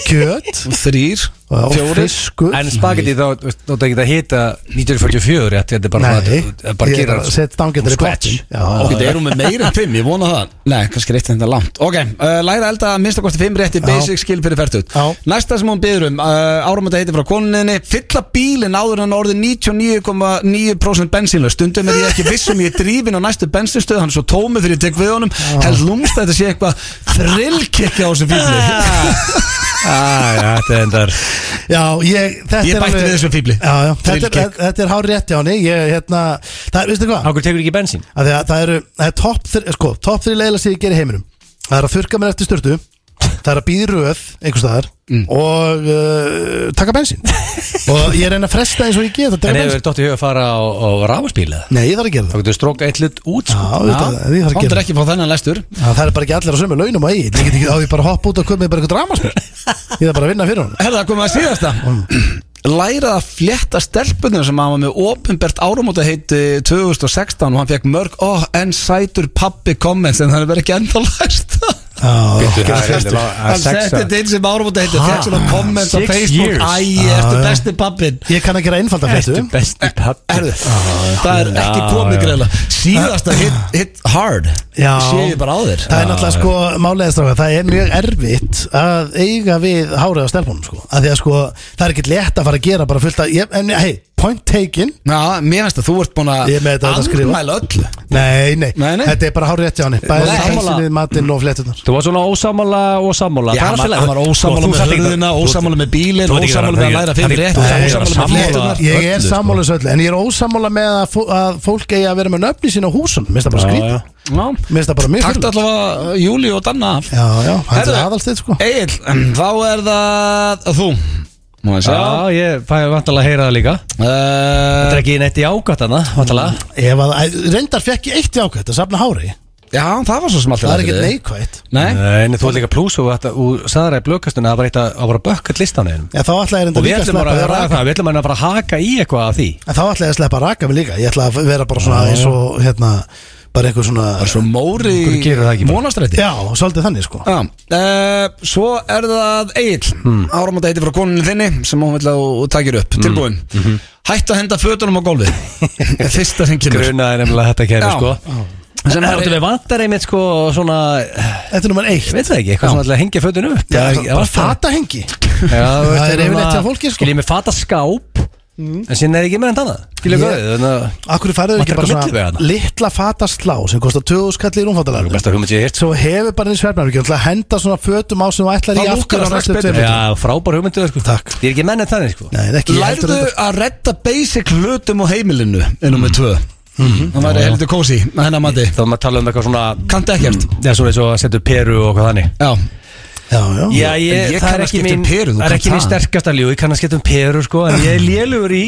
kjöt Þrýr, og fjórir fiskur En spagetti þá þú veist, Nóta ekki að hita 1944 rétt Þetta er bara Nei, svona að- Bara ég gera er að setja stangendur í pottin Ok, Já, það erum við meira en 5, ég vona það Nei, kannski reytti þetta langt Ok, uh, læra elda minnstakosti 5 rétti Basic skill fyrir fertugt Já. Næsta sem hún byður um, uh, árumönda heiti frá koninni Fylla bílinn áður en orðið 99,9% bensínlaus Stundum er ég ekki viss um ég er drífin á næstu bensinstöð Hann er svo tómið þegar ég tek við honum Held lúmst að þetta sé eitthvað Thrillkikki á Ah, þessum fíli (laughs) Ah. Æ, þetta er endar já ég, þetta Ég bætti er alveg- við þessum fíbli. Já, já, þetta er, Drillkick. þetta er hár rétti á henni Ég, hérna, það, veistu hvað? Akkur tekur ekki bensín að því að það eru það er topp þri, sko, top 3 leila sem ég gerir heiminum það er að þurka mér eftir styrtu það er að býði röð einhvers staðar Mm. og uh, taka bensin og ég reyna að fresta eins og ég get að En taka hefur bensin þér dótt í huga að fara á, á ráfaspíla nei, ég þarf að gera Þá það getur stróka eitt hlut út Já, sko. auðvitað, því þarf að Hóndur gera ekki frá þennan lestur Já, það er bara ekki allir á sömu launum að ég ég get ekki á því bara að hoppa út og koma með bara eitthvað dramaspil ég þarf bara að vinna fyrir hann Herða, komum við að (clears throat) síðasta Lærað að flétta stelpunum sem hafa með ofinbert árumóta heiti 2016 og hann fekk mörg oh, en sætur pappi comments en það er verið ekki enda læst Já, Það er gerðu eiginlega það. að Hann sexa. setti þetta inn sem árumóta heiti Ha? fekk svona comments á Six Facebook years. Æ, Ah, ertu já. besti pappin ég kann að gera einfalda fréttu Ertu besti pappi Herðu, það er ekki Já, komið já. greiðlega Síðasta hit, hit hard Já. Sé ég bara á þér Það er náttúrulega sko málega stráka Það er mjög erfitt að eiga við hárið á stelpunum sko að Því að sko það er ekkert létt að fara að gera bara fullt að ég, En hei, point taken Já, mér finnst að þú ert búin að Ég er með þetta að skrifa. andmæla öllu Nei, nei, Nei, nei. þetta er bara hárið rétt hjá henni Bæði Nei. kalsinni, matinn og flettunar Þú var svona ósamála og sammála Já, hann hann var Sko, ósammála með hörðina, ósammála með bílinn, þú ert ekki ósammála að vera- með að læra fimm hann er- rétt, þú ert ekki að vera ósammála með sammála- fléttunar. Ég öllu, er sko. sammála þessu öllu En ég er ósammála með að, fó, að fólk eigi að vera með nöfni sín á húsum Mér finnst það bara skrýt Já, Mér finnst það bara mjög Takk furðulegt. allavega Júli og Danna af Já, já, hann Herðu. er aðalstið sko Egil, þá er það þú Má ég segja Já, ég fæði vantalega að heyra það líka Það uh, er ekki neitt í ágatana, vantalega Ef að, æ, Reyndar fekk ég eitt jákvæmt að safna hári Já, það var svo sem alltaf Það er ekkert Eh, neikvægt Nei, En þú er líka pluss og þetta Þú sagði það í blökkastunni að það var eitt að- að bara bökkall listan einum En þá ætla ég Og reyndar við líka að ætlum bara sleppa að því vera að það, við ætlum að bara haka í eitthvað af því En þá ætla ég að sleppa að raka mig líka Ég ætla að vera bara svona eins og hérna Bara einhver svona það er svo móri Af hverju gerir það ekki bara? Mónastræti Já, svolítið þannig sko Já, uh, svo er það Egil, hmm. áramönda heiti frá konunni þinni sem hún vil að þú takir upp, Hmm. tilbúin Mhm. Hættu að henda fötunum á gólfi (laughs) Það er Fyrsta sem kemur Grunaði nefnilega þetta kæri Já. sko Sem En er- það er við vantar einmitt sko svona Þetta er nummer eitt Ég veit það ekki, eitthvað svona til að hengja fötun upp Já, Það- það bara vantar- fata hengi Já, þú veist, Það er svona- yfirleitt hjá fólki, sko. Mm. Skiljið með fata skáp En síðan er ekki með þetta annað Skiljið Ég- með þetta Þannig að Akkur færðu Vantar ekki bara eitthvað milliveg svona þarna? Litla fata slá sem kostar 20 skalli í rúmfattalærum Besta hugmynd ég heirt Svo hefur bara eins verðmæður ekki ætla að henda svona fötum á sem þú ætlar í Þá lúkkar aftur á það strax næstu betur. tveimur Já, frábær hugmyndu sko. Takk. Ég er ekki mennið þannig sko. Nei, ekki ég Lærðu heldur þetta. að redda basic hlutum á heimilinu ennum með tvö Það væri heldur kósi, með hennar mati Þá er maður að tala um eitthvað svona Kanntu ekkert Já, svo eins og að setja upp peru og hvað þannig Já, Já, já Já, ég, ég það kann er að ekki skipta um mín peru, þú Það er kannt ekki mín það. sterkasta ljú Ég kann að skipta um peru sko En ég er lélugur í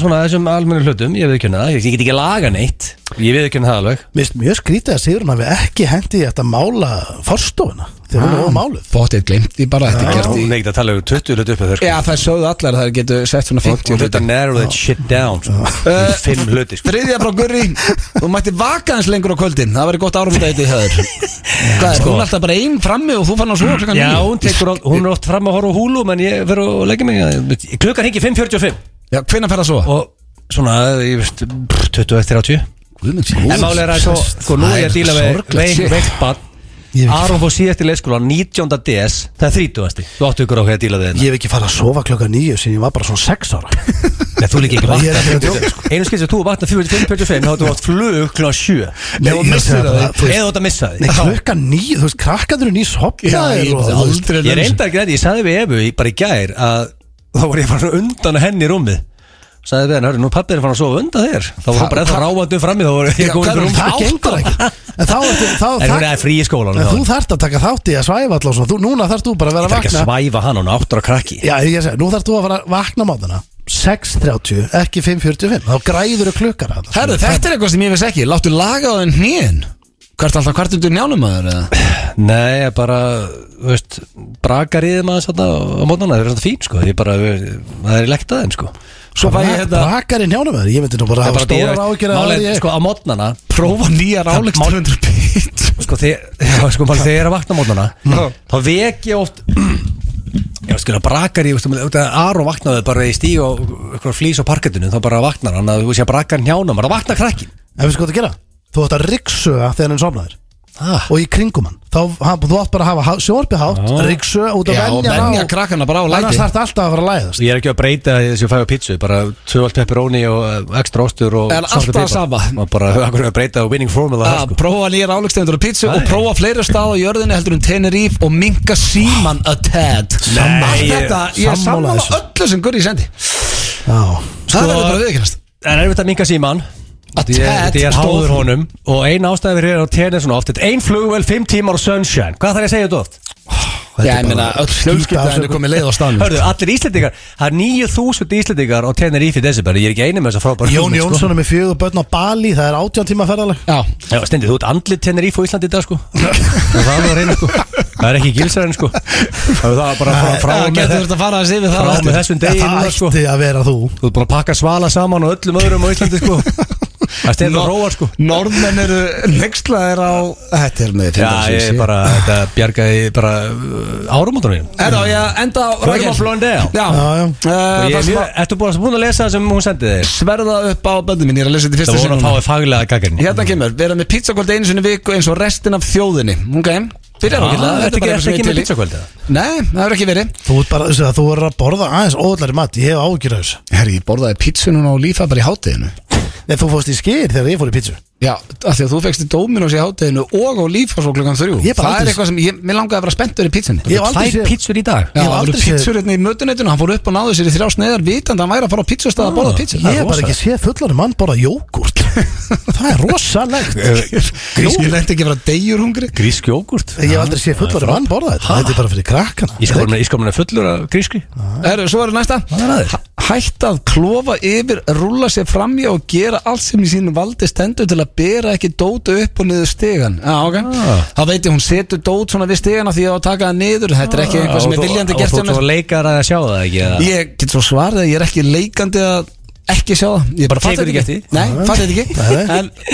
svona þessum almennu hlutum Ég viðkjönda það, ég, ég get ekki laga neitt Ég viðkjönda það alveg Mér finnst mjög skrítið að Sigurinn hafi ekki hendi í þetta mála forstofuna Þegar hún er Ah. of máluð bóttið glimt, ég bara þetta er Ég gert í er ekki að tala um 20 hlut upp Já, það sögðu allar að það getur sett svona 50 Þetta hlutum narrow that shit down sko. Í Eh, Fimm hluti sko. Þriðja frá Gurri, þú mætti vaka hans lengur á kvöldin Það væri gott árum þetta í höður Hvað er, hún er alltaf bara einn frammi og þú fann hann svo klukkan Já, níu. hún, tekur, oft- hún er oft fram að horfa á húlu En ég verður að leggja mig að- Klukkan hengi 5.45 Já, hvenær fer það svo? Og svona, ég veist, 21-30 En máli er að svo, sko, nú er ég að díla við veik, veikt Ég bann hef ekki- Aron fór síðast í leikskóla 19. DS, það er 30. Þú áttu ykkur á hvað að díla við hérna. Ég þetta hef ekki farið að sofa klokka nýju Sýn ég var bara svona sex ára Nei, þú líka ekki Ég er ekki að vakna djóka, sko. Einu skil sem þú vakna 45.45 Þá áttu átt flug kl. 7 Nei, Ef þú ég missir segi það, bara, þú veist- eða þú átt að missa Nei, því klukka nýju, þú veist, krakkandur er nýs Já, ég myndi hopnaðir og þú veist aldrei Ég reyndar ekki þetta, ég sagði við Efu í- bara í gær að (laughs) og þá var ég bara undan henni í rúmið sagði við hann, hörru, nú pappið er fann að sofa undan þér þá var hún bara eða ráfandi frammi þá var ég komin upp í rúm það klukkan gengur átta. ekki En þá ertu þá, en hún er frí í skólan En þú þarft að taka þátt í að svæfa allavega svona Þú, núna þarft þú bara að vera það að er ekki að vakna svæfa hann, hún er áttur á krakki Já, ég segi, nú þarft þú að vera að vakna mátana 6.30, ekki 5.45 Þá græður þau klukkar að Herðu, þetta er eitthvað sem ég veist ekki Láttu laga á þenn hnýðin Hvert alltaf hvert undir njánum að þeir Nei, ég bara, þú veist, brakar í þeim aðeins þarna á mótnana, það er svona fín sko, ég bara, það er í lekt aðeim sko. Svo fæ ég hérna, Rakar í njánum að þér, ég myndi nú það bara er hafa bara stórar ágjur að málið, ég sko, á mótnana, Prófa nýjar álegst 200 bit sko, þegar, (laughs) já, sko, maður þegar ég er að vakna á mótnana, þá vek ég oft, (clears throat) ég veist, skilja, brakar í, þú veist, Aron vaknaði bara í stíg og eitthvað flýs á parkettinu, þá bara vaknar hann, að þú veist, ég brakar hjánum, það vaknar krakkin. En við sko að gera Þú átt að riksuga þegar hann sofnaður Ah. Og í kringum hann Þá, ha- þú átt bara að hafa sjónarpi hátt Já. Riksuga út Já, að og venja menja hann á krakkana bara á læti Annars þarf alltaf að fara að læðast Ég er ekki að breyta þessu fæðu pítsu Bara tvöld pepperoni og eh, ekstra ostur og En alltaf saltur pipar. sama. Maður Bara akkur er að breyta winning formula þar, að sko. prófa nýjar álugstegundur á pítsu og Nei. prófa fleiri stað á jörðinni heldur en Tenerife og minka síman a tad Nei, Allt ég- þetta, ég er sammála sammála þessu. öllu sem Gurri sendi Já það verður bara viðkynast En er Sko, þetta minga síman Að Ég, Ted ég er stóð- háður honum Og ein ástæði fyrir hér á tenni svona oft Þetta er ein flugvel, fimm tímar og sunshine Hvað þarf ég að segja þetta oft? Já, ég meina, öll skýta fjölskylda afsökun. henni komið leið á staðnum Hörðu, allir íslendingar Það er 9000 íslendingar á tenni í desember Ég er ekki einu með þess að frábæra Jón Jónsson er með fjögur börn á Bali Það er átján tíma ferðaleg Já, Já, Stendi, þú ert andlit tenni í Íslandi í dag sko Það var það reyna sko Það er ekki gilsarinn sko Það var bara frá, frá, Já, og með, getur þetta að fara að sýfi frá og það með þessum Það degi núna, sko. ætti að vera þú Þú ert búin að pakka svala saman og öllum öðrum á Íslandi sko Það stefnir að róa sko Norðmenn eru nexlaðir á Þetta er með Já, ég er bara, þetta bjargaði bara árumóttunum mínum Herra, á ég að enda á Förum á Blondell. Já, Já, já. Eh, Og ég það er sem mjög- að Ertu búin að búin að lesa það sem hún sendi þér? Sverða upp á böndum mín, ég er að lesa þetta í fyrsta Það voru sinni að núna. fáið faglega gaggarni Hérna kemur, vera með pizzakvöld einu sinni í viku eins og restin af þjóðinni Ok, byrjar okkur Þetta er ekki ekki með pizzakvöld eða? Nei, það hefur ekki verið Þú ert bara, þessi að þú er að borða aðeins óðlari mat Ég hef ágjur af þessu Herri, ég borðaði pizzunum á lífa bara í hátíðinu Nei, þú fórst í skýr þegar ég fór í pítsu Já, af því að þú fegst í Dominos í hátíðinu og á lífa svo klukkan þrjú Ég bara Það er aldrei- eitthvað sem, ég, mér langaði að vera spenntur í pizzunni Ég hef aldrei Tvær séð- pizzur í dag Já, hef það voru aldrei séð- pizzur hérna í mötuneytinu Hann fór upp og náði sér í þrjá sneiðar vitandi að hann væri að fara á pizzastað að borða pizza Ég hef bara ekki séð fullanum mann borða (laughs) jógurt Það er rosalegt Ég lendi ekki að vera degjur hungri Grísk jógurt Ég hef aldrei séð fullanum mann borða þetta Þetta er bara fyrir krakkana Ég sko mér fullur af gríski Herru, svo er næsta Hvað Ah, er að þér? Hæ- Hætta að klofa yfir, rúla sér framjá og gera allt sem í sínum valdi stendur til að bera ekki dótu upp og niður stegan Já, ok Ah. Þá veit ég, hún setur dót svona við stegana því að á að taka það niður Þetta Ah. er ekki eitthvað sem er viljandi gert hjá Og þú mér. leikar að sjá það ekki eða? Ég get svo svarið að ég er ekki leikandi að ekki sjá það Ég bara fatta þetta Tekur ekki eftir því? Nei, fatta þetta ekki Nei.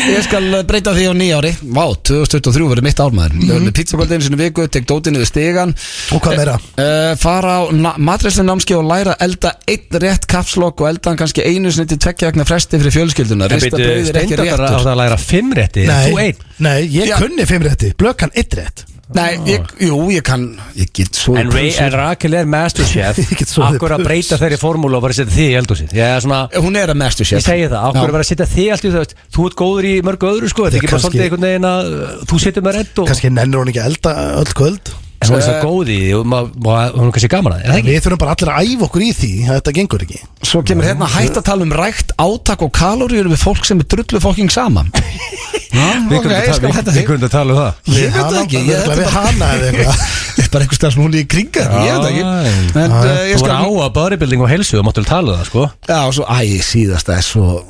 En ég skal eh, breyta því á nýja ári Vá, 2023 verður mitt ármaður mm -hmm. Pizzakvöldin sinni viku, tek dótið niður stegan Og hvað meira? Uh, fara á matræslinámski og læra að elda einn rétt kapslokk og elda hann kannski einu sinni til tveggja vegna fresti fyrir fjölskylduna En Rista byrju, brauðir ekki Steindór bara átti réttur að læra fimm rétti Þú Nei, einn nei, ég Já. kunni fimm rétti Blökan eitt rétt Nei, ég, jú, ég kann, ég get svo En, Ray, en Rakel er masterchef Ég get soðið Akkur að pulsu. breyta þeirri formúlu og bara setja þig í eldhúsið Ég er svona Hún er að mestu sér Ég segi það, Já. akkur að bara setja þig allt í það Þú ert góður í mörgu öðru sko Þetta er Já, ekki bara kannski- svolítið einhvern veginn að uh, Þú setjum með redd og Kannski nennir hún ekki að elda öll kvöld En hún er svo góð í því og ma- ma- Hún er kannski gaman að það, er það ekki? Við þurfum bara allir að æfa okkur í því Þetta gengur ekki Svo kemur hérna hægt að tala um rækt átak og kalóriur við fólk sem er drullu fokking (laughs) saman Já, ok, ég skal hætta því kunnum að tala um það Ég veit það ekki, ég Við þetta er bara hana eða (laughs) eitthvað (laughs) Ég er bara einhver stað sem hún er í kringa Ég veit það Já, ekki En já. uh, ég Þú er skal á að bodybuilding og helsu Þú máttu vel tala um það sko Já, og svo, æ, síðasta er svo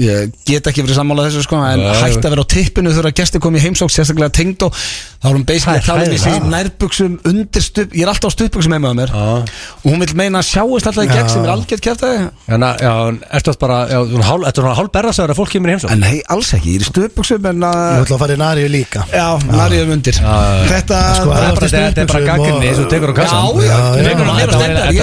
Ég get ekki verið sammála þessu sko En Nei. hætt að vera á tippinu þegar gæsti kom í heimsók Sérstaklega tengd og þá er hún basically Það er talað í hræðilegt. sín nærbuksum undir stup Ég er alltaf á stupuksum heima á mér Já. Og hún vil meina að sjáist alltaf í gegn sem er algjört kjartaði En að- Hérna, já, en ertu oft bara já, þú er hálf- Þetta er hálf berðasagur að fólk kemur í heimsókn En nei, alls ekki, ég er í stupuksum en Ég að ætla að fara í Naríu líka Já, nærjum undir Þetta Sko, Það er bara- Þú ert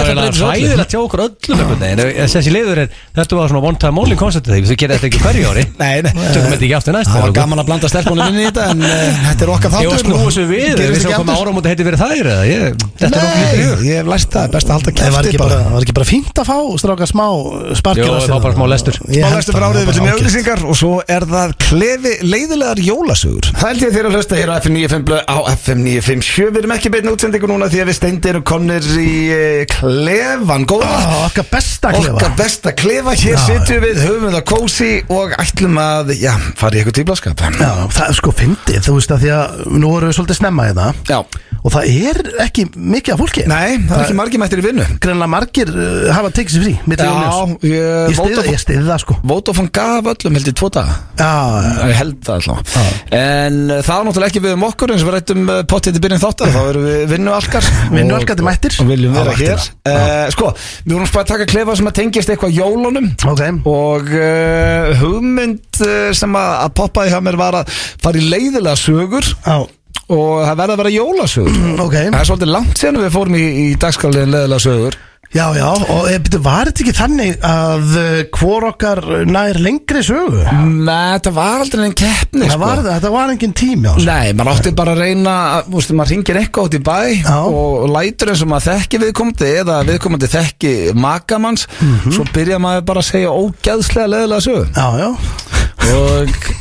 Þetta í er Já, já, tekur á mér og Steindar, ég ætla að breyta þessu bara gagginni Þú tekur á kassan Þetta var eiginlega stuðningsum og- Já, já. öllu. hræðilegt hjá okkur öllum einhvern veginn. En Þessi liður er, þetta var svona one time only konceptið þegar Þú við gerum þetta ekki hverju ári (laughs) Nei, nei Tökum þetta ekki aftur næst Það var gaman að blanda stelpunum inn í þetta En uh, þetta er okkar þáttur Ég var sko snúið svo við Við Gerist erum ekki komið aftur áramóti heiti verið þær eða ég Þetta er okkur lítið Nei, ég hef læst það Best að halda Það var kæfti ekki bara, var ekki bara fínt að fá stráka smá sparkir Jó, að sér það var bara smá lestur. Ég held Málæstu það, frá áriðið það var Við bara erum ágætt. auðlýsingar Og svo er það klefi leiðilegar jólasögur Það held ég þeirra að hlusta hér á FM 95 blöð Á FM 957 Við erum ekki beinu útsendingu núna Því að við steindir og konir í eh, klefan Góða Á, Okkar besta Ah, klefa Ah. Okkar besta klefa, hér Já. sitjum við, höfum það kósi og ætlum að, já, fara í eitthvað tíblaskap Já, það er sko fyndið, þú veist að því að nú erum við svolítið snemma í það Já. Og það er ekki mikið af fólki Nei, það er ekki margir mættir í vinnu Greinlega margir uh, hafa tekið sér frí milli Já, jóla og ég- ljós. ég stiði Vodafone- ég stiði það sko Vótafón gaf öllum heldur tvo daga Já, Ég held það allavega Ah. En uh, það er náttúrulega ekki við um okkur eins og við rættum uh, pottið í byrjun þáttar þá erum við vinnualkar Vinnualkarnir Og- mættir. Og viljum Á vera hér vaktina. uh, Sko, við vorum spæð að taka klefa sem að tengist eitthvað jólunum ok Og uh, hugmynd uh, sem að, að poppaði hjá mér var að fara í leiðilega sögur Já, Og það verða að vera jólasögur Mm, ok Það er svolítið langt síðan við fórum í, í dagskáliðin leiðilega sögur Já, já, og eh, byrju, var þetta ekki þannig að eh, hvor okkar nær lengri sögu? Nei, þetta var aldrei en keppni Það sko. var, þetta var engin tími á þessu Nei, maður átti bara að reyna að, Þú veist, maður ringir eitthvað út í bæ Já. og lætur eins og maður þekki viðkomandi eða viðkomandi þekki makamanns Mhm. svo byrja maður bara að segja ógæðslega leðilega sögur Já, já, og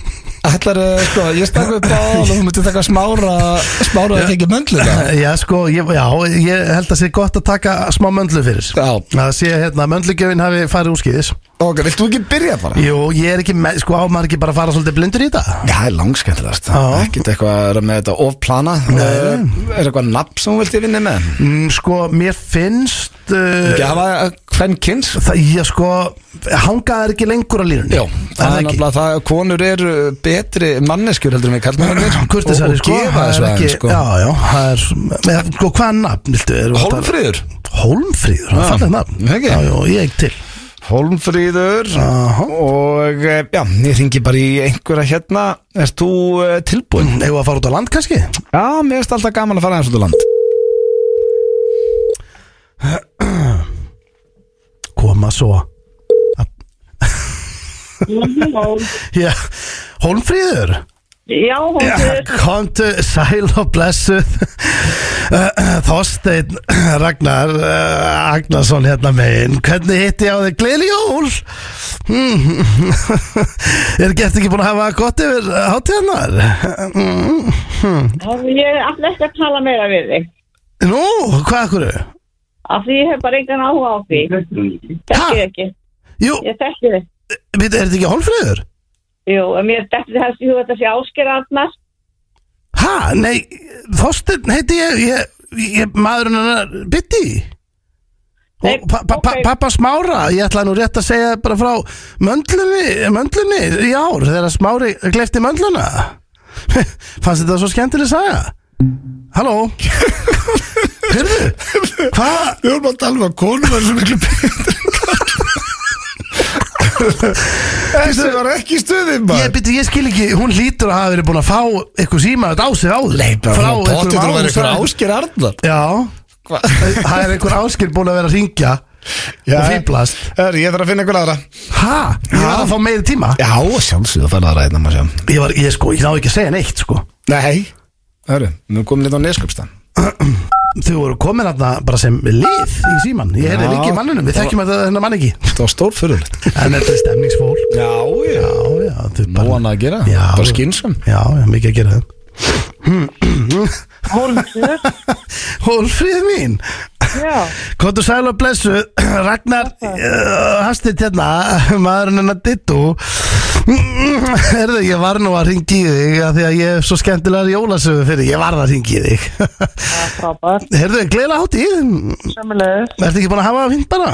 ætlar, eh, sko, ég stakk upp á og þú myndir taka smára smára að þekki möndlina já, sko, ég, já, ég held að sé gott að taka smá möndlu fyrir Sko, Já, Það sé hérna, möndlugjöfin hafi farið úr skýðis ok, viltu ekki byrja bara? Jú, ég er ekki, með, sko á maður ekki bara að fara svolítið blindur í þetta Já, það er langskemmtilegast Já. Ekkert eitthvað að vera með þetta ofplana Eh, Er eitthvað nafn sem þú vilt ég vinni með? mm, Sko, mér finnst uh, Gjafa hvern kynns? Það, ég sko, hangað er ekki lengur á lírunni Já, það er nefnilega það að konur eru betri manneskjur heldur en við kallmennir og, Kurtisari, og sko, gefa það þessu er aðeins sko. Já, já, það er, með, sko, hvaða nafn, viltu? erum við að tala- Hólmfríður Hólmfríður, það er Já. fallið nafn Ekki? Já, já, ég ekki til Hólmfríður Aha. og eh, já, ég ringi bara í einhverja hérna Erst þú eh, tilbúin? Eða að fara út á land kannski? Já, mér erst alltaf gaman að fara aðeins út á land Koma svo Halló. Já, Hólmfríður Já, hún Já, fyrir Komdu sæl og blessuð Eh, Þorsteinn Ragnar uh, Agnarsson hérna megin Hvernig hitti ég á þig? Gleili jól (laughs) Mm. Er gert ekki búin að hafa gott yfir eh, hátíðanar? Eh, mm, hm. Ég er alltaf ekki að tala meira við þig Nú, hvað akkur? Af því ég hef bara engan áhuga á því Þekki þig ekki Jú, Ég þekki þig við, er þetta ekki Hólmfríður? Jú, en mér dætti helst í huga þetta sé ásker Arnar Ha, nei, Þorsteinn heiti ég, ég, ég maðurinn hennar Bitti Nei, og pa pa pa ok. pappa Smára ég ætla nú rétt að segja bara frá möndlunni, möndlunni í ár þegar Smári glefti möndluna (laughs) fannst þetta svo skemmtileg saga (laughs) Halló Hörðu, hvað Við vorum að tala um að konur er svo miklu betri Þessi var ekki stuðið Ég, byrju, ég skil ekki, hún hlýtur að hafa verið búin að fá eitthvað síma þetta á sig áður Frá einhverjum Pottitur var eitthvað ástæðum. ásker Arnar Já, það er einhver áskil búin að vera að ringja Já. og fýblast Herri, Ég þarf að finna einhver aðra Hæ? Ég var að fá meiri tíma Já, sjálfsögðu að fara aðra einna maður sjá Ég var, ég sko, ég náðu ekki að segja neitt sko Nei Hörru, nú komum við þetta á neskjöpstan Þau voru komin aðna bara sem lið í síman Ég heyrði Já. líki í manninum, við þekkjum að það hennar mann ekki Það var stór fyrirlitt (laughs) En þetta er stemningsfól Já, já Já, já, þau bara Nóan að gera, Já. bara skynsum Já, já, mikið að gera það (laughs) Hólmsur Hólfríð mín Já, Kondur sæl og blessu (clears throat) Ragnar uh, Hastit hérna (laughs) Maðurinn hennar Dittu (clears throat) Herðu, ég var nú að ringi í þig af Því að ég er svo skemmtilegar jólasöfu fyrir Ég var að ringi í þig (laughs) það er frábært Herðu, gleila hátíð Sömmulegis, Ertu ekki búin að hafa það fínt bara?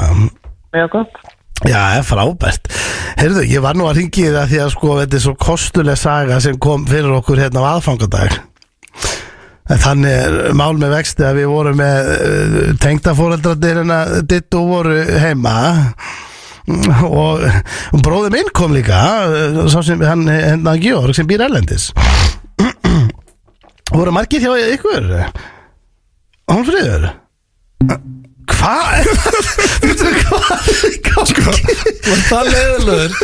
mjög gott Já, það er frábært Herðu, ég var nú að ringi það því að sko þetta er svo kostuleg saga sem kom fyrir okkur hérna á aðfangadag En þannig er mál með vexti að við vorum með uh, tengdafóreldradir en að dittu voru heima Mm, og og bróðir minn kom líka uh, sá sem hann hérna Georg sem býr erlendis voru margir hjá ykkur Hólfríður Hva- Hvað? Veitu (laughs) hvað? Sko Þú ert það leiðilegur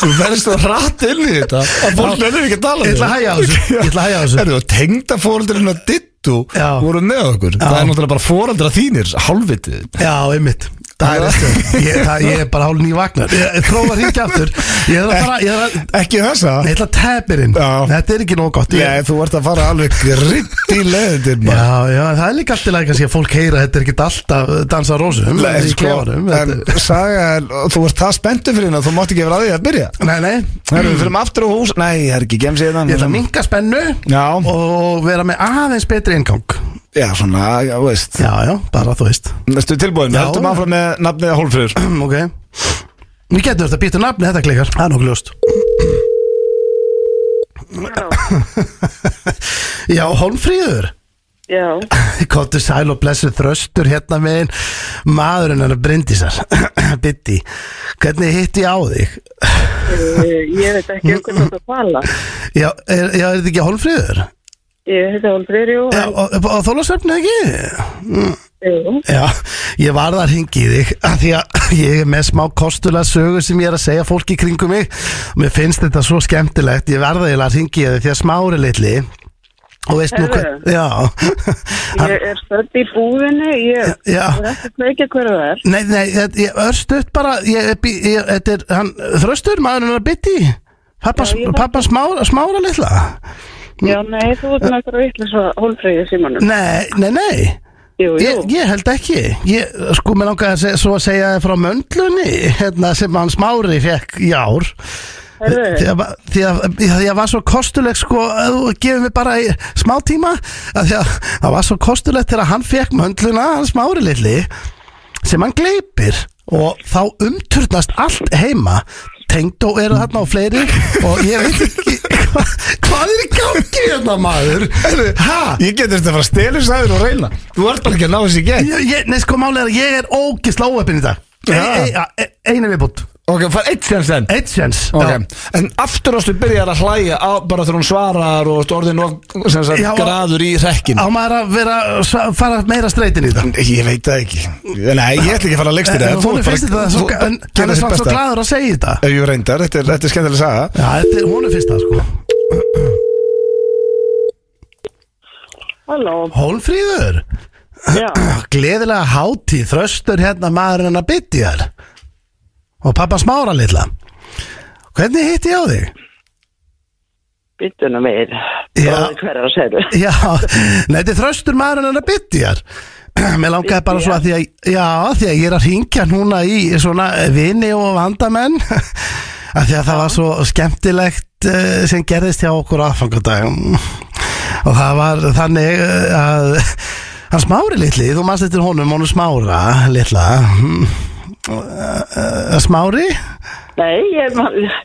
Þú verðist það rætt inn í þetta að fólk verður ekki að tala um Ég ætla að hægja á þessu Ég ætla að hægja á þessu Erðu, tengda fóreldrarinn að dittu Já. voru með okkur Það er náttúrulega bara fóreldra þínir, halvvitið Já, einmitt Það er eftir ég, það- ég er bara hálf ný vagnar Ég, ég prófa að hringja aftur Ég er að fara Ég er að Ekki þessa Ég ætla að tepir inn Já. Þetta er ekki nóg gott ég, Nei, þú ert að fara alveg gritt í leiðindir Já, já, það er líka alltaf kannski að fólk heyra að Þetta er ekki alltaf uh, dansa á rósum Nei, í sko, klefanum, en þetta- saga er, þú ert það spenntu fyrir hérna, þú mátt ekki vera að því að byrja Nei, nei Það eru við fyrir aftur á hús, nei, það er ekki hérna, gemsið Ég ætla að þannig minka spennu Já. Og vera með aðeins betri inngang Já, svona, já, þú veist Já, já, bara þú veist Næstu tilbúin, Já. við höldum áfram með nafnið Hólfröður Ok Við getum þetta að býta nafni, þetta klikkar Það er nokkuð ljóst Já, Holmfríður Já, (laughs) Kottu sæl og blessu þröstur hérna megin Maðurinn hennar Bryndísar (clears throat) Bitti Hvernig hitti ég á þig? eh, ég veit ekki um hvernig það tala. Já, er, já, er þetta ekki Holmfríður? Ég heiti Olfrýr, jú, Já, en, og, og, og þólasöfni ekki? jú, Já, ég var það að ringi í þig af því að (laughs) ég er með smá kostulega sögu sem ég er að segja fólki í kringum mig og mér finnst þetta svo skemmtilegt ég verða eiginlega að ringi í þig því að smári litli og veist nú hvað Heyrðu. Já, (laughs) hann, ég er stödd í búðinni, ég já er ekki að kveikja hverju það er. Nei, nei, þetta- ég örstuðt bara ég, ég, ég, þetta er, hann, þröstur maðurinn er að bytti pappa, Já, ég veit pappa smára, smára litla Já, nei, þú ert með eitthvað vittlisa Olfrýr í símanum. Nei, nei, nei Jú, jú, Ég, ég held ekki ég, Sko, mér langaði að segja, svo að segja þér frá möndlunni hérna, sem hann smári fekk í ár því herðu, að, því, að, því að var svo kostuleg sko, að þú gefur mér bara í smá tíma að því að það var svo kostulegt þegar hann fekk möndluna, hann smári litli sem hann gleipir og þá umturnast allt heima tengd og eru þarna á fleiri og ég veit ekki hva, hvað er í gangi hérna maður hæ? Ég getur þetta að fara að stelu sæður og reyna Þú ert bara ekki að ná þessi í gegn Ég, ég, nei sko málið er að ég er ógisla óöppin í dag e, Ja. e, e, Einu viðbútt Ok, fara eitt sem sem Eitt sjens Okay. En aftur ástu byrjar að hlæja á, bara þegar hún svarar og ertu orðin og sem sagt, Já, og- graður í rekkin Á maður að vera sva- fara meira streitin í dag Ég veit það ekki Nei, ég ætla ekki að fara að leggst En þetta Hún Eh, finnst þetta svo ga- En hann er samt svo glaður að segja þetta Ef ég reyndar, þetta er, þetta er skemmtilega saga (laughs) Já, þetta er hún finnst það sko halló, Hólfríður já, Gleðilega hátíð Þröstur hérna maðurinn hennar bytti þér Og pappa smára litla Hvernig hitti ég á þig? byttuna meir, Já. hverjar að segja þú. Já, nei, þetta er þröstur maðurinn hennar byttjar Mér langaði bara svo að því að Já, því að ég er að hringja núna í svona vini og vandamenn að því að það var svo skemmtilegt eh, sem gerðist hjá okkur aðfangadagum og það var þannig eh, að hann smári litli, þú manst eftir honum honum smára litla Mm, eh, eh, Smári? Nei, ég,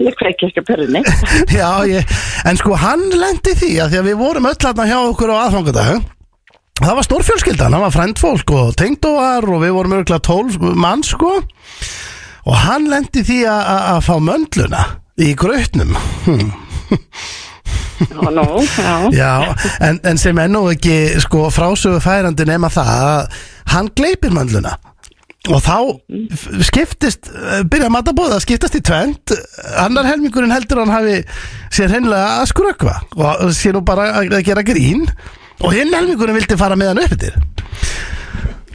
ég kveikja ekki að perðinni. (laughs) Já, ég, en sko hann lendi því að því að við vorum öll aðna hjá okkur á aðfangadag Það var stórfjölskyldan, það var frendfólk og tengdóar og við vorum örgulega tólf mann sko Og hann lendi því að- að að fá möndluna í grötnum hm. Já, nú, já, Já, en, en sem er nú ekki sko frásögu færandi nema það að hann gleipir möndluna Og þá f- skiptist, eh, byrja að matabóða, skiptast í tvend, annar helmingurinn heldur hann hafi sér hreinlega að skrökva og sé nú bara að að gera grín og hinn helmingurinn vildi fara með hann upp yfir.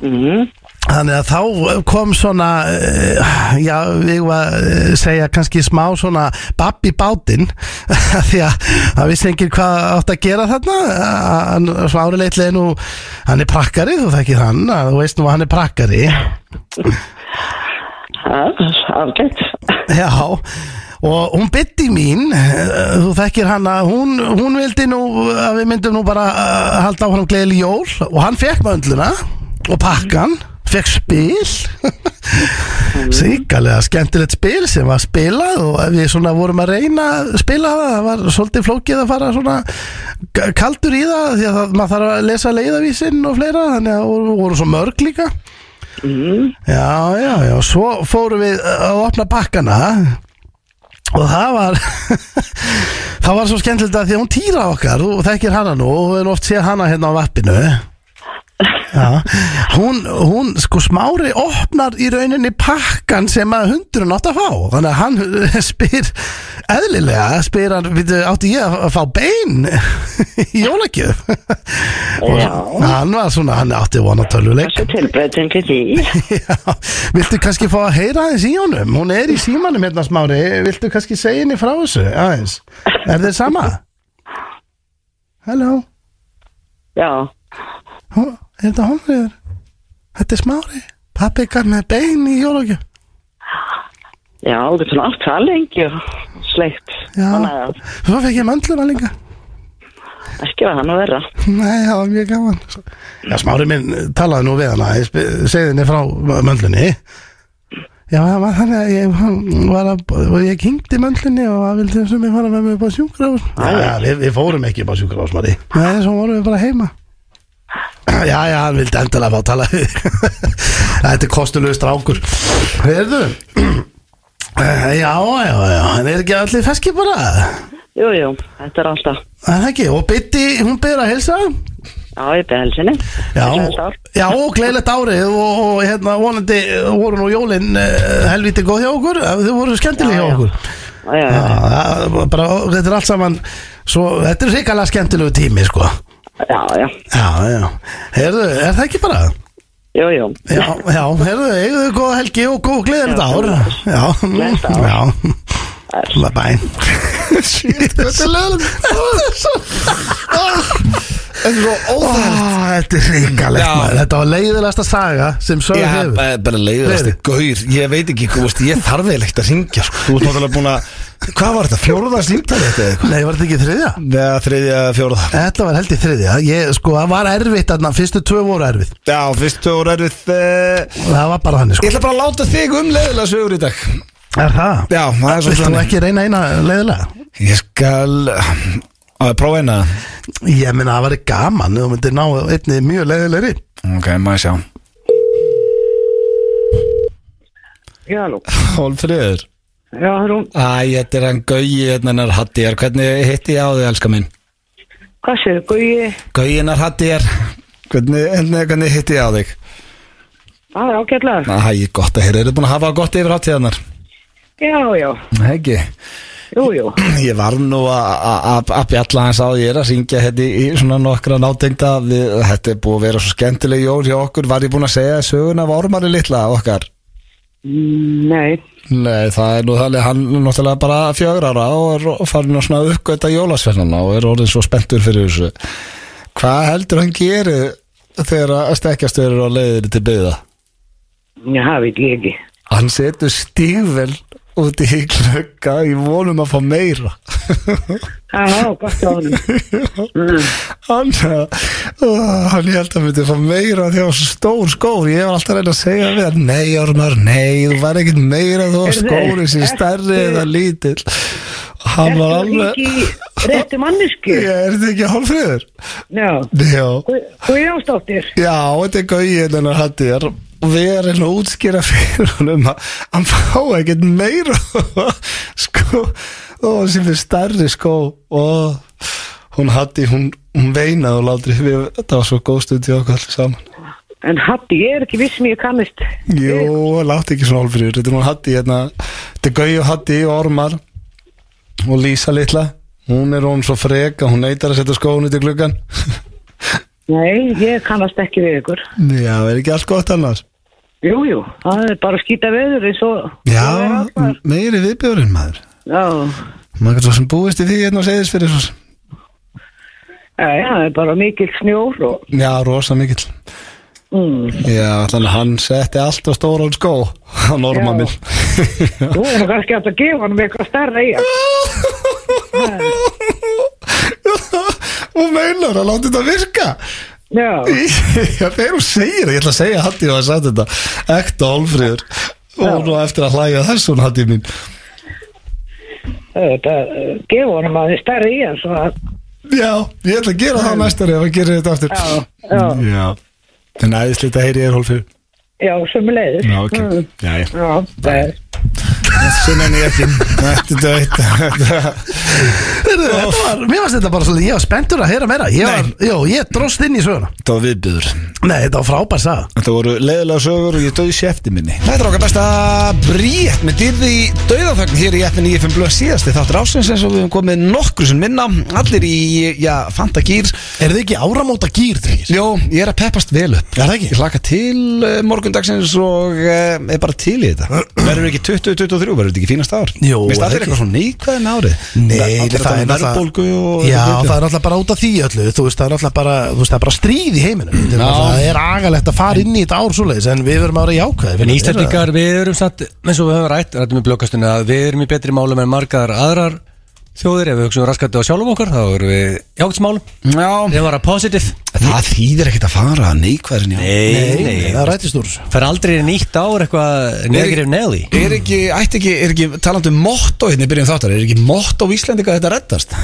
mhm. Þannig að þá kom svona, eh, já, við var að segja kannski smá svona babb í bátinn (laughs) því að það vissi enginn hvað átt að gera þarna, hann svári leitlega nú, hann er prakkari, þú þekkir hann, að þú veist nú að hann er prakkari. Já, ágætt. Já, og hún bytti mín, eh, þú þekkir hana, hún, hún vildi nú að við myndum nú bara eh, halda á hann gleðil jól og hann fekk möndluna og pakkan, fekk spil, (laughs) síkalega skemmtilegt spil sem var spilað og við svona vorum að reyna að spila það, það var svolítið flókið að fara svona k- kaldur í það því að það, maður þarf að lesa leiðavísinn og fleira þannig að voru, voru svo mörg líka. Já, já, já, svo fórum við eh, að opna pakkana og það var (laughs) það var svo skemmtilegt að því að hún týra okkar og þekkir hana nú og við erum oft séð hana hérna á vappinu Já, hún, hún, sko smári opnar í rauninni pakkan sem að hundurinn átt að fá þannig að hann (laughs) spyr eðlilega, spyr hann, veitu, átti ég að fá bein í jólagjöf og Já. hann var svona, hann átti vona tölvuleik Þessu tilbreytin til því Já, viltu kannski fá að heyra aðeins í honum hún er í símanum hérna smári viltu kannski segja henni frá þessu aðeins er þið sama? Hello Já, Hó, er þetta Hólmfríður? Þetta er smári. Pappi gaf með bein í jólagjöf. já, þetta er svona allt það lengi og sleikt Já. Þannig að Svo fekk ég möndluna líka. ekki var hann að vera Nei, það var mjög gaman. Já, smári minn eh, talaði nú við hana. Ég sp- segði henni frá möndlunni. Já, það var þannig að ég hann var að, og ég kynkti möndlunni og það vildi sem ég fara með mig upp á sjúkrafus. Já, já, við, við fórum ekki upp á sjúkrafus, Mari. Nei, svo vorum við bara heima. Já, já, hann vildi endilega fá að tala við. þig. (laughs) Þetta er kostulegur strákur. Heyrðu, Eh, Já, já, já, en er ekki allir feski bara? Jú, jú, þetta er alltaf Það er ekki, og Bitti, hún byrði að hilsa Já, ég beði helsinni Já, já, og gleðilegt árið og, og hérna vonandi voru nú jólin uh, helviti góð hjá okkur eh, þau voru skemmtileg hjá okkur Já, já, Já, það var bara, þetta er allt saman svo, þetta er hrikalega skemmtilegu tími sko. já, já, Já, já, heyrðu, er það ekki bara? jú, jú Já, já, heyrðu, eigðu þau góða helgi og góð gleðilegt ár Já, Gleðilegt ár. já Bye bye Þetta er (laughs) Þetta er svo Ah, Þetta er ríkalegt Já. maður Þetta var leiðilegasta saga sem sögur Já, hefur bara, bara leiðast Leiðir. Gaur, ég veit ekki, þú veist, ég þarf eða ekkert að syngja sko. Þú veist náttúrulega búin að Hvað var þetta, fjóruða símtali þetta eða eitthvað? Nei, var þetta ekki þriðja? Neða, þriðja, fjóruða Þetta var held í þriðja Ég, sko, það var erfitt þarna Fyrstu tvö voru erfitt Já, fyrstu og ræður eh, Það var bara þannig, Ég ætla bara að láta þig um leiðilega sögur í dag sko Er það? Já, það er svo Vilt þú þannig. ekki reyna eina leiðilega? Ég skal að prófa eina Ég meina, það var gaman Þú myndir ná einni mjög leiðilegri Ok, maður sjá Já, nú Hólfröður Já, Rún, Æ, þetta er hann Gauji, hérna hennar Hattiðar Hvernig hitti ég á þig, elska minn? hvað séu, Guði? Gauji hennar Hattiðar Hvernig, hvernig, hvernig hitti ég á þig? Það er ágætlega Æ, gott að heyra, eru búin að hafa gott yfir hátíðarnar? Já, já, Heggi, jú, jú ég var nú að- að að- að bjalla hans á því ég er að syngja hérna í í svona nokkra nátengda við, þetta er búið að vera svo skemmtileg jól hjá okkur, var ég búin að segja söguna af ormari litla okkar? Mm, Nei, Nei, það er nú þannig, hann er náttúrulega bara fjögur ára og er ro- farinn að svona uppgöta jólasvennana og er orðin svo spenntur fyrir þessu. Hvað heldur hann gerir þegar að stekkjast eru á leiðir til byggða? já, það veit ég ekki Hann setur stífvel út í klukka í vonum að fá meira. Já, já, gott á (laughs) honum Mm, hann, uh, hann ég held að myndi fá meira því að það var svo stór skór ég var alltaf að reyna að segja við hann nei Ormar, nei, þú væri ekkert meira þó að Heyrðu, skóri sér ertu- stærri eða lítill Og hann Ertu var alveg ekki í rétti mannesku? ég er þetta ekki hálfriður Já, já, Guði Ástóttir já, þetta er gauðin hennar hattir og við erum hérna að útskýra fyrir honum að hann fá ekkert meira (laughs) sko og sem er stærri skó og hún hatti, hún, hún veinaði og látri, við, þetta var svo góð stund til okkur allir saman En Hatti, ég er ekki viss sem ég kannist Jú, látt ekki svona hálfrýður Þetta er hún Hatti hérna Þetta er Gau og Hatti og Ormar Og Lísa litla Hún er hún svo frek að hún neytar að setja skóðun út í (laughs) gluggan Nei, ég kannast ekki við ykkur Já, er ekki allt gott annars Jú, jú, það er bara að skýta veður eins og og er Já, allt þar. meiri viðbjörinn maður Já, Maður getur svo sem búist í því hérna og segðis fyrir svo sem. já, já, það er bara mikill snjór og Já, rosa mikill mm, Já, þannig að hann setti allt á stóran skó Hann Ormar Já. minn Þú er nú kannski hægt að gefa hann eitthvað stærra í hann Hún meinar að láta þetta virka Já, Já, þegar hún segir það, ég ætla að segja Hatti og að sagt þetta, ekta Olfríður og nú eftir að hlæja þess hún Hatti mín þetta, eh, gefa hann maður stærra í hann svo að Já, ég ætla að gera það næstari ef að gera þetta aftur Já, já, Já En æðislegt að heyri ég er Olfríður Mm. já, sömuleiðis Já, ok, Mm, já, já Já, það er sem enn ég ekki Þetta er þetta Heyrðu, þetta var, mér varst þetta bara svolítið, ég var spenntur að heyra meira Ég var, jó, ég dróst inn í söguna Þetta var viðbyður Nei, þetta var frábær saga Þetta voru leiðilega sögur og ég döði sér eftir minni Þetta er okkar besta bríett með dýrði í dauðafögn hér í FN í FN Blöð síðasti þáttur ásins eins og við höfum komið nokkru sem minna allir í, já, fanta gýr Er þið ekki áramóta gýr, drengir? Jó, ég er að peppast vel upp Er það ekki? Ég hlaka til uh, morgundagsins og uh, er bara til í þetta Verður ekki 2023, verður þetta ekki fínast ár? Jó, Vist er allir ekki? eitthvað svona neikvæðin árið Nei, það, það er um verðbólgu og Já, það er alltaf bara út af því öllu Þú veist, það er alltaf bara, þú veist, það er bara stríð í heiminu Þetta er náttúrulega- Það er agalegt að fara inn í þetta ár svoleiðis En við verum ára jákvæð En Íslandingar, við erum satt, eins og við höfum rætt, rættum við blökkastunni að við erum í betri málum en margar aðrar þjóðir, ef við hugsaum raskandi á sjálfum okkar, þá erum við jákvæmsmálum. Já, Við varum positive. það þýðir ekkert að fara neikvæðin já Nei, nei, það rættist úr þessu Fer aldrei í nýtt ár eitthvað negative Nelly. Er ekki, ætti ekki, er ekki talandi um motto hérna í byrjun þáttar, er ekki motto Íslendinga að þetta reddast?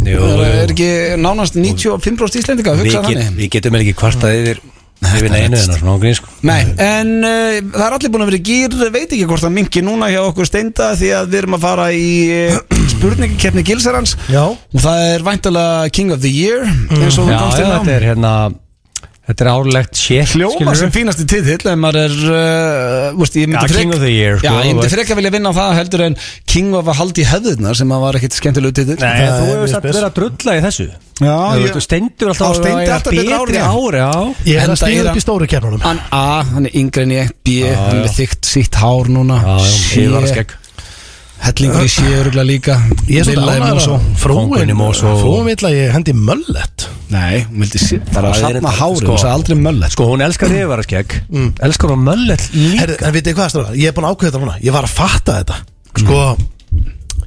Jú, Það er ekki nánast 95% Íslendinga að Við, hugsa get, þannig Mm. við getum vel ekki kvartað yfir yfir neinu en svona á grín, sko. Nei, en uh, það er allir búin að vera í gýr veit ekki hvort það mingi núna hjá okkur steinda því að við erum að fara í uh, spurningakeppni Gilsarans Já. og það er væntalega King of the Year eins og Já, hún já, komst inn á þetta er hérna, þetta er árlegt shit, Hljóma sem skilurðu. fínasti titill ef maður er, uh, veist, ég myndi Já, King of the Year, sko, Já, ég myndi þú freka vilja vinna á það heldur en King of að haldi í höfðunar sem að var ekkit skemmtileg titill Nei, Það þú er mjög hefur satt spes. verið að drulla í þessu. Já, Þú ég- veist, þú stendur Á alltaf að Steindi vera alltaf betra ár, betri já. ári, já. Ég er Enda að stíða er upp hann- í stóru kefnunum Hann A, hann er yngri en ég B, hann er með þygt sítt hár núna C, ég var að skegg. Hellingur í sé öruglega líka Ég er Lilla svona í ánægður Mosó. að Kóngurinn frúin í Mosó. Frúin vill að ég hendi möllet Nei, hún vildi sé Það er að Það er safna þetta, hári, sko. hún sagði aldrei möllet Sko hún elskar yfirvara skegg Mm. Elskar hún möllet líka Herðu, en vitið hvað stráðar, ég er búin að ákveða þetta núna Ég var að fatta þetta Sko,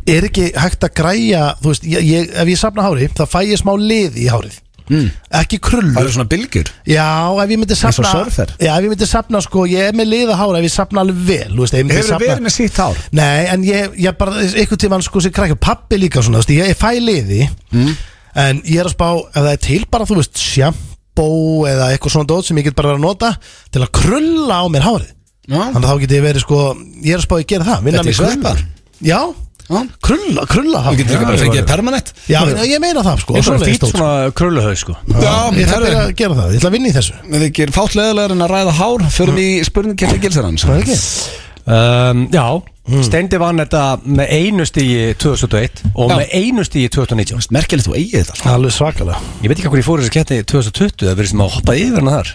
er ekki hægt að græja Þú veist, ég, ég, ef ég safna hári þá fæ ég smá lið í hárið mm. Ekki Það krullur eru svona bylgjur Já, ef ég myndi Eins og safna surfer. Já, ef ég myndi safna, sko, ég er með liða hári Ef ég safna alveg vel, þú veist, ef ég myndi Hefur verið safna með sítt hár? Nei, en ég, ég bara, einhvern tímann sko sem krakka pappi líka svona, þú veist, ég, ég fæ liði Mm. En ég er að spá, ef það er til bara, þú veist, sjampó Eða eitthvað svona dót sem ég get bara verið að nota Til að krulla á mér hárið Já, Þannig að þá geti ég verið sko Ég er að spá að gera það vinna Þetta mig er sveppar. krullur. Já, Já. krulla, krulla Þú getur já, líka bara fengið permanent já, já, ég meina það sko Ég er svoleiðis fýtt dót, sko. svona krulluhau sko Já, Ég það ætla er að gera það, ég ætla að vinna í þessu Við ekki er fátt leðilegar en að ræða hár Förum í spurningkjæfti gilsarans Það er ekki? Mm. um, Já, Steindi vann þetta með einu stígi 2001 Og Já. með einu stígi 2019 Merkilegt, þú eigið þetta alltaf Alveg svakalega Ég veit ekki hvað ég fór í þessu ketti 2020 Það verið sem að hoppa yfir hana þar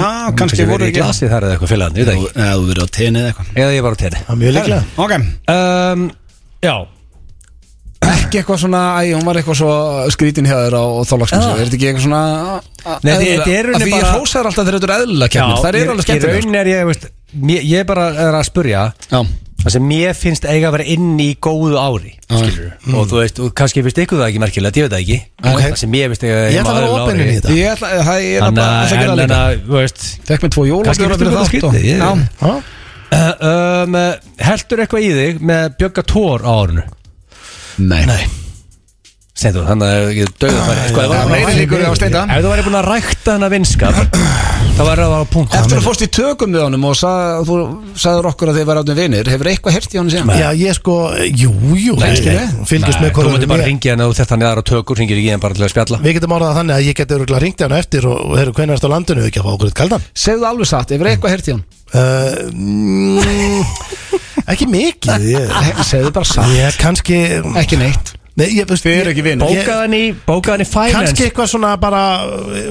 Já, kannski voru verið í ekki Eða glasið þar eða eitthvað félagann, ég veit það ekki þú verið á tenið eða Eða ég var á tenni Það er mjög líklega eitthvað Ok um, Já, Ekki eitthvað svona, æ, hún var eitthvað svo skrítin hjá þér á þólagsmessu, Já. er þetta ekki eitthvað svona a- Nei, þið- eðlilega- þið eru Af henni Því ég bara- hrósar alltaf þegar þetta eru eðlilega já keppnir, það ég- eru Í alveg skemmtilega raunin er ég, veist mér- Ég bara er að spurja Já, Það sem mér finnst eiga að vera inn í góðu ári Já. skilur Mm. og þú veist, og kannski finnst ykkur það ekki merkilegt, ég veit það ekki Ok. það sem mér finnst eiga Ég ætla að vera opinn inn í þetta ég ætla, það er Þannig bara að, alltaf að gera en- en líka að, þú veist Fekk mér Kannski tvo jólabjóra finnst fyrir ykkur það það sko. skrítið, ég- Já, Já. uh, um, uh, heldur eitthvað í þig með Bjögga Tór á árinu nei Nei, segðu þú, þannig að ég döðu færi sko, ef Það þú var væri- meiri líkur á steinda ef þú væri búin að rækta hennar vinskap (clears throat) þá væri það á punkt Eftir að fórst í tökum við honum og sag, þú sagður okkur að þið verið áttum vinir Hefur eitthvað hert í honum síðan? já ég sko, jú, jú Nei, ég- skilja. Fylgist með þú hvort mútti bara ringja henni og þetta hann er aðra tökur ringir ekki henni bara til að spjalla Við getum orðað það þannig að ég geti öruglega ringt hérna eftir og, og heyrðu hvernig erst á landinu ekki að fá okkur eitt kaldan Segðu alveg satt, hefur eitthvað hert í honum? uh, mm, Ekki mikið ég, Segðu bara satt, ég kannski ekki neitt Nei, ég, veist, Þið eru ekki vinir. ég- bókaði henni, í- bókaði henni í finance kannski eitthvað svona bara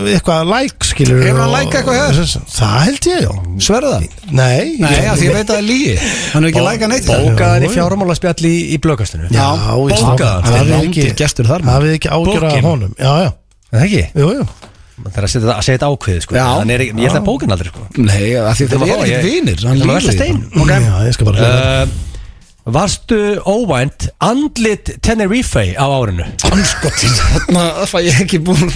eitthvað like skilur Hefur hann like eitthvað hjá þér? það held ég já Sverðu það? nei, Nei, ég, af því ég veit að það er lígi Hann er ekki læka neitt bókaði henni fjármála spjalli í, í blöggastinu já, ég- bókaði það Þetta hann er er langur ekki- gestur þar, maður. það er ekki ágjörða Bókin. honum já, já, það ekki? jú, jú Það er að setja, að setja ákveðið sko Já. Þannig er, ekki- Ég ætla að bóka hann aldrei sko Nei, af því Þetta það var er fá, ekki ég- vinir Þetta var versta stein. Ok. Eh, já, ég skal bara uh, uh, Varstu óvænt andlit Tenerife á árinu? Anskotin, sko þarna fæ ég ekki búin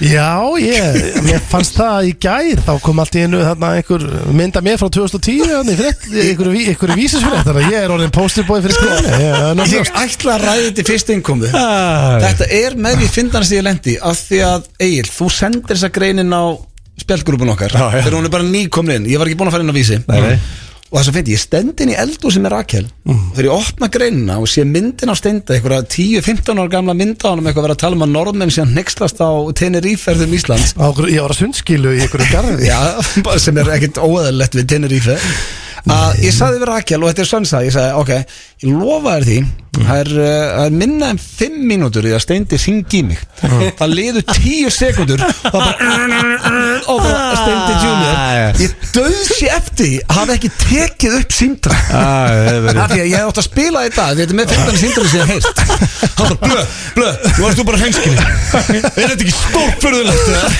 já, ég, ég fannst það í gær þá kom allt í einu þarna einhver mynda mér frá 2010 þarna í frétt- einhverju ví- einhverju vísisfrétt þannig að ég er orðin posterbóði fyrir skrifinu ég, það er nokkuð Ég ljóst. ætla að ræði til fyrst einkomu Þetta Þetta er með því finnast ég lendi af því að, Egil, þú sendir þessa greinin á spjaldgrúpun okkar Já, já. þegar hún er bara nýkomin inn, ég var ekki búin að fara inn á vísi nei. Mm. og það sem finnst ég stend inn í eldu sem er Rakel og þegar ég opna greinina og sé myndin á steinda einhverja 10-15 ára gamla mynda honum eitthvað verið að tala um að norðmenn sé að neykslast á Teneríferðum Íslands Á okkur- Ég var að sundskilu í einhverju garði Já, bara (laughs) sem er ekkert óæðalegt við Tenerife að ég saði við Rakel og þetta er sönsa ég saði, ok, ég lofa þér því það er, uh, það er minna en 5 mínútur í að steindi syngi í mig það liðu 10 sekundur og það bara, og bara steindi Ah, junior ég döðs ég eftir því að hafa ekki tekið upp síndra af því að ég hef átt að spila þetta því þetta er með 15 síndra sem ég hef heist hann bara, blö, blö, þú varst þú bara hreinskilin er þetta ekki stórfurðulegt eða?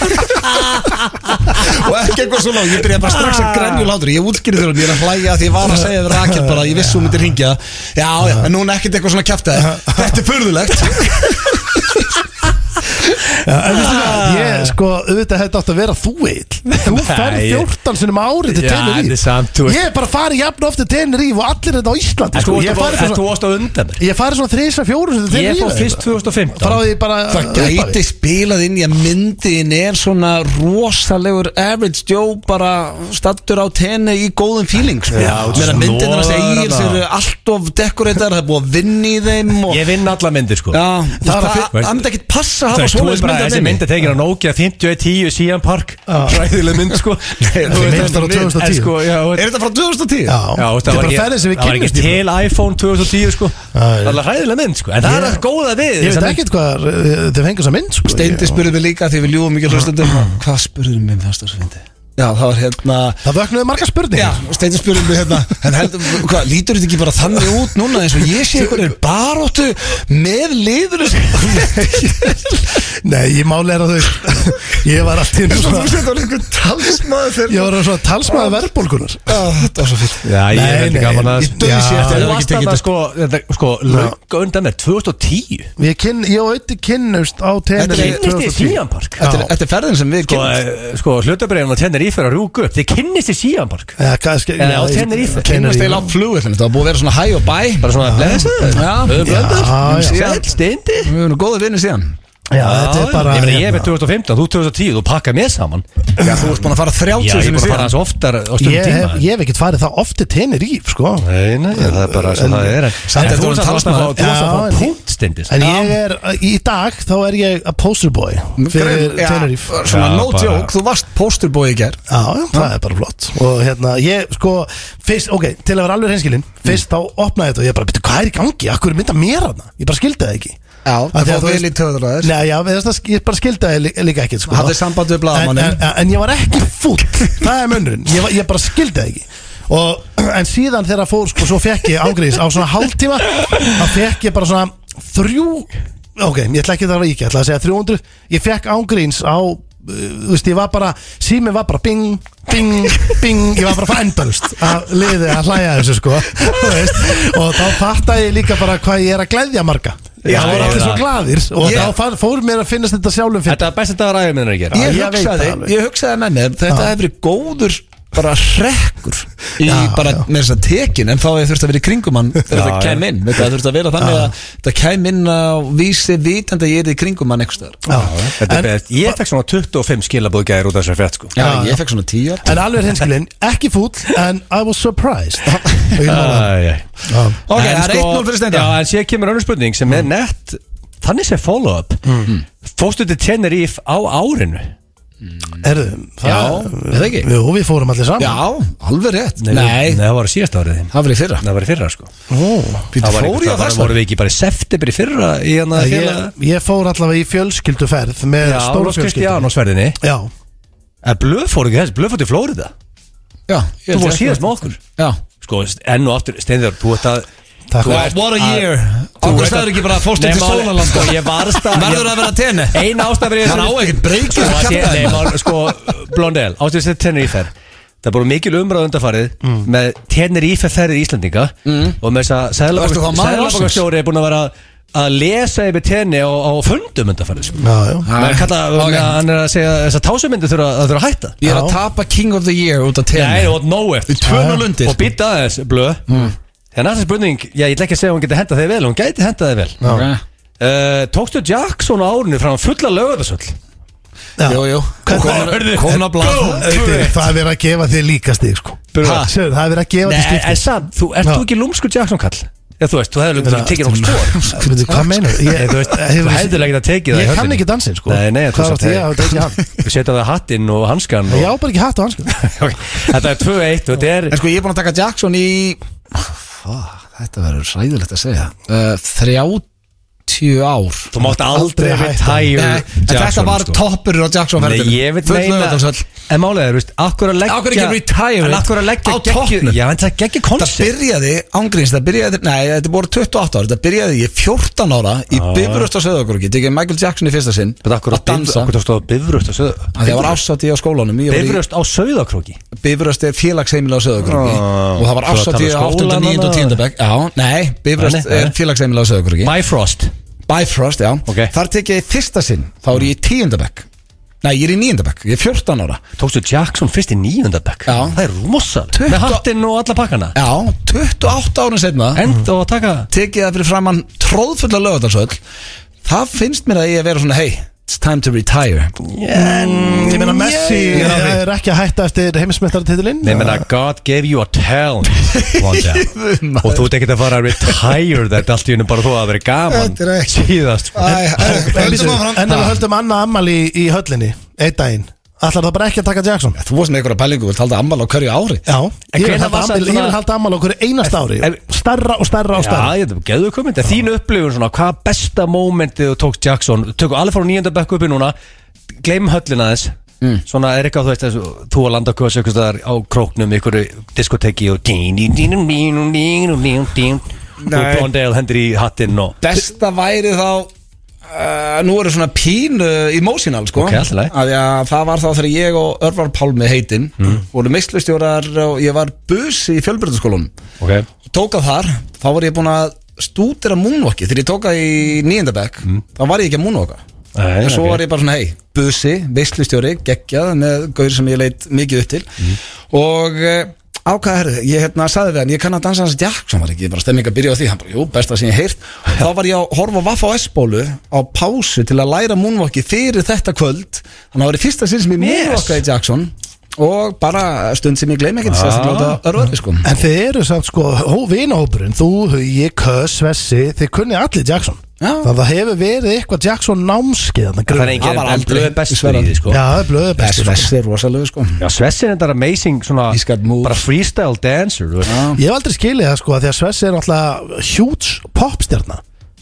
og ekki eitthvað svo lág ég byrja bara strax að grenju látur ég útskýrði þér og ég er að hlæja því ég var að segja við Rakel bara ég vissi hún myndir hringja já, já, en núna ekkert eitthvað svona kjæft þetta er furðulegt Já, en veistu hvað, Ég sko, auðvitað hefði átt að vera þú eill Þú ferð ég- 14 sinum ári til Já, en Teneríf er samt, þú- Ég er bara farið jafn ofta til Teneríf og allir þetta á Íslandi sko. Þú Ég varst farið bara- en svona, þú varst á undan mér ég farið svona þrísa fjóru til Ég fór Teneríf fyrst 2015 Frá því bara það gæti spilað inn í að myndin er svona rosalegur average Joe bara stattur á tenni í góðum feeling sko. Já, meðan myndin er að snoðar segja hana. eru allt of dekoratar það er búið að vinna í þeim og, Ég vinn alla myndir sko já, Það það var fyrst- það myndi ekkit passa að Þú hafa veist, þú veist svoleiðis bara mynd að af þessi henni. Ah. mynd er tekin á Nokia 5110 Sian Park Ræðileg mynd sko Þú þessi veist, mynd er á en 2010. sko, já, þú veist- er þetta frá 2010? Já, Já, þú veist, þetta er bara ferðin sem við það var ekki kynnumst í. til iPhone 2010 sko Það já. er alveg hræðilega mynd sko En það er Ég- að góða við Ég þessa veit mynd. ekkert hvað eh, þið fengur þess að mynd sko. Steindi Ég- spurði mig líka því við ljúum mikið hlustundum Hvað spurði mig um með fast ásvindi? Já, það var hérna Það vöknuðu margar Já, spurningar Steindi spurði mig hérna En heldur, hvað, lítur þetta ekki bara þannig út núna eins og ég sé einhverjir baróttu með liður Nei, ég máli er að þau (laughs) Ég var allt í einu svona- setja einhver talsmaður Ég var svona talsmaður verðbólkunar Þetta var svo fyrst Já, ég Nei, er nei, þetta gaman að ég dauði sér Já, eftir Þú að hafa ekki varst tekið þarna þetta. sko þetta- Sko, löngu undan mér 2010 Ég kyn- ég og auðvitað kynnust á Teneríf Kynnist þið Sian Park Já. Þetta er- þetta er ferðin sem við Sko, kynnumst. eh, Sko, hlutabriðin á Tenerife er að rúka upp Þið kynnist þið Sian Park Já, kannski Eða á Tenerife. Kynnast Teneríf eiginlega á flugvillinu Það var búið að vera svona hæ og bæ Bara svona blessaður Já, Já, já. Sæl, steindi við erum góðið vinnir síðan Já, þetta er bara Ég meina, ég er með 2015, þú 2010, þú pakkaði mér saman Já, þú ert búin að fara Já, 30 ég er sinni bara að fara síðan hans oftar á stundum ég hef, tíma ég hef ekkert farið það oft til Teneríf sko. Nei, nei, það er bara svo það er en- Samt En er þú þú varst orðinn alltaf að fá- talsmaður. þú varst að Já, fá en- punkt steindi en ég er, í dag þá er ég a poster boy fyrir Já, Teneríf já, Svona Já, no bara- joke, þú varst pósturbói í ger já, það er bara flott og hérna, ég sko fyrst, ok, til að vera alveg reynskilinn Mm. fyrst þá opnaði þetta og ég bara, betur, hvað er í gangi? Akkur er mynda mér hana? Ég bara skildi það ekki Já, Af það því að fór þú vel veist- í töður að þess Nei, já, við þess að ég bara skildi það lí- líka ekkert sko. Hafði samband við en, blaðamanninn. en, en ég var ekki fúll Það er mönnurinn, ég, var- ég bara skildi það ekki og, En síðan þegar fór sko, Svo fekk ég ágreifis á svona hálftíma Þá fekk ég bara svona Þrjú, ok, ég ætla ekki að það var ekki Ég ætla að segja 300, ég fekk ágreifins á uh, Þú veist, ég var bara Sími var bara bing, bing, bing Ég var bara að fara endalust að liði að hlæja að þessu sko þú veist. Og þá fattaði ég líka bara hvað ég er að gleðja marga Já, Það voru ég allir veit svo það. glaðir Og Ég- þá far- fór mér að finnast þetta sjálfum fyrir Þetta er best að þetta var aðeins minna að gera Ég ég veit hugsaði, það alveg. ég hugsaði með mér Þetta Já. hefur verið góður bara hrekkur í Já, bara já. með þess að tekin en þá hefur þurft að vera í kringum hann þegar Já, þetta já. kem inn þetta þurft að vera þannig að þetta kem inn á vísi vitandi að ég er í kringum hann einhvers staðar Já. Þetta En- er best Ég fekk svona 25 skilabóð gæðir út af þessu frétt sko Já, ég fekk svona tíu En alveg hinskilinn, ekki fúll En I was surprised Ég mála. Æ, æ. Já. Ok, En sko- það er 1-0 fyrir Steinda. Já, en sér kemur önnur spurning sem er nett Þannig sem follow-up Fóstu til Tenerife á árinu Herðu, það- Já, eða ekki? Jú, við fórum allir saman Já, alveg rétt Nei, Nei, það var síðast árið þinn það var í fyrra Það var í fyrra sko Ó, Býtu, Það var fór einhvers- ég á það var- þess vorum við ekki bara í september í fyrra í hana ég, ég fór allavega í fjölskylduferð Með hérna? Já, stóra Rós Kristján á fjölskyldu sverðinni Já, En blöð fór ekki þess, blöð fór til Flórida Já, Þú fór síðast með okkur Já Sko, enn og aftur, Steinður, þú ert að takk Þú fyrir. ert What a að- year Þú Okkur ert staður ekki bara að fórstu Nei, til máli- sólaland Sko, ég varst að Verður ég- að vera tenni Ein ástafrið Það á ekkert breykið Sko, að það sé- kjafta nei, þeim. mál- sko Blondel, ástæðis þetta Tenerife Það er búin mikil umræð undarfarið Mm. með Tenerife ferðir Íslandinga og með þess að Varstu þá maður Sæðalabakastjóri er búin að vera að lesa yfir tenni á, á fundum undarfarið sko. Já, já Maður er kallað- Ok. hann er að segja þess að tásumyndu þurfa að þurfa að hætta Ég er að Já. tapa King of the Year út af Nei, tenni og no Við eftir tvönu lundir og býta aðeins blöð Mm. en næsta spurning, já, ég ætla ekki að segja að hún geti hendað þig vel hún gæti hendað þig vel Ok. uh, Tókstu Jackson á árinu frá fulla lögðarsöll Já. Jú, jú Hvernig- Komin að blá Þetta er- Það er verið að gefa þig líka stig sko Burðar. Sérðu, það hefur verið að gefa til Nei, en skipti samt, þú, ert Já. þú ekki lúmskur Jackson kall? Já, þú veist, þú hefði lúmskur tekið nokkuð spór Veitu, Hvað meinar Nei, þú veist, þú hefðir ekki að tekið það í Ég kann höndinni. ekki dansinn sko Nei, nei, þú Hvað var samt því að (laughs) það ekki hann Við setja það hattinn og hanskan Ég (laughs) og... á bara ekki hatt á hans Þetta er 2-1 og þetta er En sko ég er búin að taka Jackson í Fá, Þetta verður sæðilegt að segja uh, 30 ár Þú mátt aldrei Aldrei við hætta. tæjur Nei, en Þetta var toppurinn á Jackson sko. Nei, ferðinum. ég veit Full meina Laugardalshöll. En málega er, veist, akkur að leggja Af hverju ekki retire En akkur að leggja á geggju- toppnum? Já, en það geggja Það koncept byrjaði, ángríns, það byrjaði, nei, þetta voru 28 ára, þetta byrjaði ég 14 ára í ah. Bifröst og Söðagorgi, tekið Michael Jackson í fyrsta sinn Þetta akkur að dansa, Akkur tókstu á bifröst á söðu það var ásatið á skólanum, ég var Bifröst á söðakróki í Bifröst er félagsheimil á Söðagorgi Ah. og það var Þú ert að ásatið á tala um 8. skólann 9. og þarna? 10. bekk, já, nei, Nei, Bifröst nei. er félagsheimil á Söðagorgi, Bifrost Bifrost, já, Ok. þar tekið ég í fyrsta sinn, þá er ég í 10. bekk, nei, ég er í 9. bekk, ég er 14 ára, Tókstu Jackson fyrst í nýjöndabæk Já. Það er rúmossal Með hattinn og alla pakkana já, 28 ára setna, End og að taka tekið það fyrir framann tróðfulla lögadalsöll það finnst mér að ég að vera svona hey, it's time to retire Ég meina Ég Messi er á því. Ég er ekki að hætta eftir heimismestartitilinn Nei, menna, God gave you a (laughs) talent one day. Og þú ert ekkert að fara að retire þetta Allt í hennu bara þú að vera gaman Þetta er ekki- Síðast sko. En ef við höldum annað ammali í höllinni Eitt daginn Ætlar það bara ekki að taka Jackson þú varst með einhverja pælingu, við talda ammal á hverju ári Já Ég vil hvenær halda var afmæli- samt ég vil svona- halda ammali okkur einast ári En- Starra og starra og starra Já, þetta er geðu komið En þín upplifun svona, hvað besta mómentið þú tókst Jackson Tökum alveg frá nýjönda bekku uppi núna Gleim höllina þess Mm. Svona er eitthvað, þú veist, þessu, þú að landa kvössu Eitthvað staðar á króknum, ykkur diskoteki Og Nei. Blondale hendur í hattinn og besta væri þá uh, nú eru svona pínu emotional sko Ok, allt í lagi. Af því að það var þá þegar ég og Örvar Pálmi heitin Mm. voru mislustjórar og ég var busi í fjölbyrðaskólanum okay. tók að þar, þá var ég búin að stúdera múnvokki, þegar ég tók að í nýjendabæk, þá var ég ekki að múnvokka Mm. Nei, en svo ok. var ég bara svona, hei, busi veislustjóri, geggjað með gaur sem ég leit mikið upp til Mm. og ákvaða herðu, ég hérna saði við hann, ég kann að dansa hans Jackson var ekki, ég bara stemming að byrja á því, hann bara, jú, besta sem ég heirt og þá var ég að horfa á Vaffa á S-bólu á pásu til að læra múnvokki fyrir þetta kvöld, þannig að það var í fyrsta sinn sem ég Yes. múnvokkaði Jackson og bara stund sem ég gleym ekki, Ah. sérstaklega á örvöri sko En þið eru samt sko, hó, vinahópurinn Þú, Hugi, Kös, Vessi Þið kunni allir Jackson Já. Þannig að það hefur verið eitthvað Jackson námskeið þarna Það er grunn. engin Það var en aldrei- blöð best Sverra. í því sko Já, það er blöðu Best best Vest er rosalegu sko Já, Svessi er þetta amazing svona He's got moves. bara freestyle dancer þú veist. Ég hef aldrei skilið það sko af Því að Svessi er náttúrulega huge popstjarna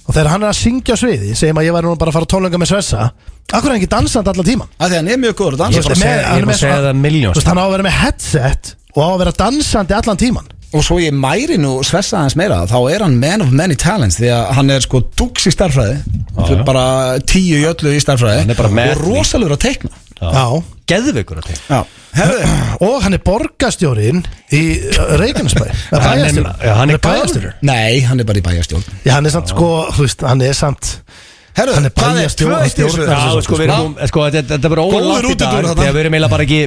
Og þegar hann er að syngja á sviði Segjum að ég væri nú bara að fara á tónleika með Svessa Akkur er hann ekki dansandi allar tíman að því hann er mjög góður að Ég er dansa bara að Með- segja- ég er bara hann að með segja svona- það milljón sko. Þú veist, hann á að vera með headset Og á að vera dansandi allan tíman og svo ég mæri nú svessa hans meira þá er hann man of many talents því að hann er sko dugs í starfræði já. bara tíu í öllu í Hann starfræði er bara með og því. rosalur að teikna Já Geðveikur að já. herðu Og hann er borgarstjórin í uh, (laughs) Reykjanesbæ Hann er- já, hann er bæjarstjóri nei, hann er bara í bæjarstjórn Já, hann er samt sko, þú veist, hann er samt herðu, Hann er bæjarstjórn, hann stjórnar Já, þessu. stjórn sko, við erum, sko, þetta- þetta er bara Góður ólangt í dag útidúr þarna. Mm. Þegar við erum eiginlega bara ekki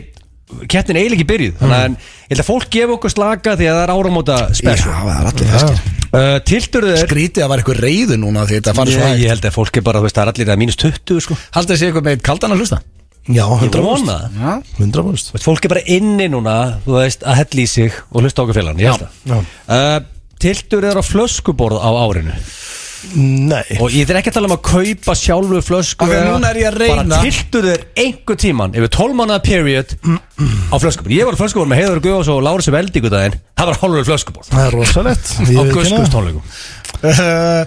Kettin eiginlega ekki byrjuð Þannig að ég held að fólk gefa okkur slaka Því að það er áramóta já, special það er allir feskir uh, Tilturðu er skrítið að var eitthvað reyðu núna því þetta farið svo ég, hægt ég held að fólk er bara, þú veist, það er allir að mínus 20 sko. haldið þessi eitthvað með eitt kaldan að hlusta Já, Ég 100% vona það 100% Þú veist, Fólk er bara inni núna, þú veist, að hella í sig Og hlusta okkur félagann, ég held Já. það uh, Tiltur er á flöskuborð á árinu Nei Og ég er ekki að tala um að kaupa sjálfu flösku Af því að eða- núna er ég að reyna- Bara tiltu þér einhver tíman Yfir 12 mánuða period Á flöskubor Ég var á flöskubor með Heiður Guðás og Lárus Veldíku daginn Það var hálfur flöskubor Það er rosalett Á Guðskustónleikum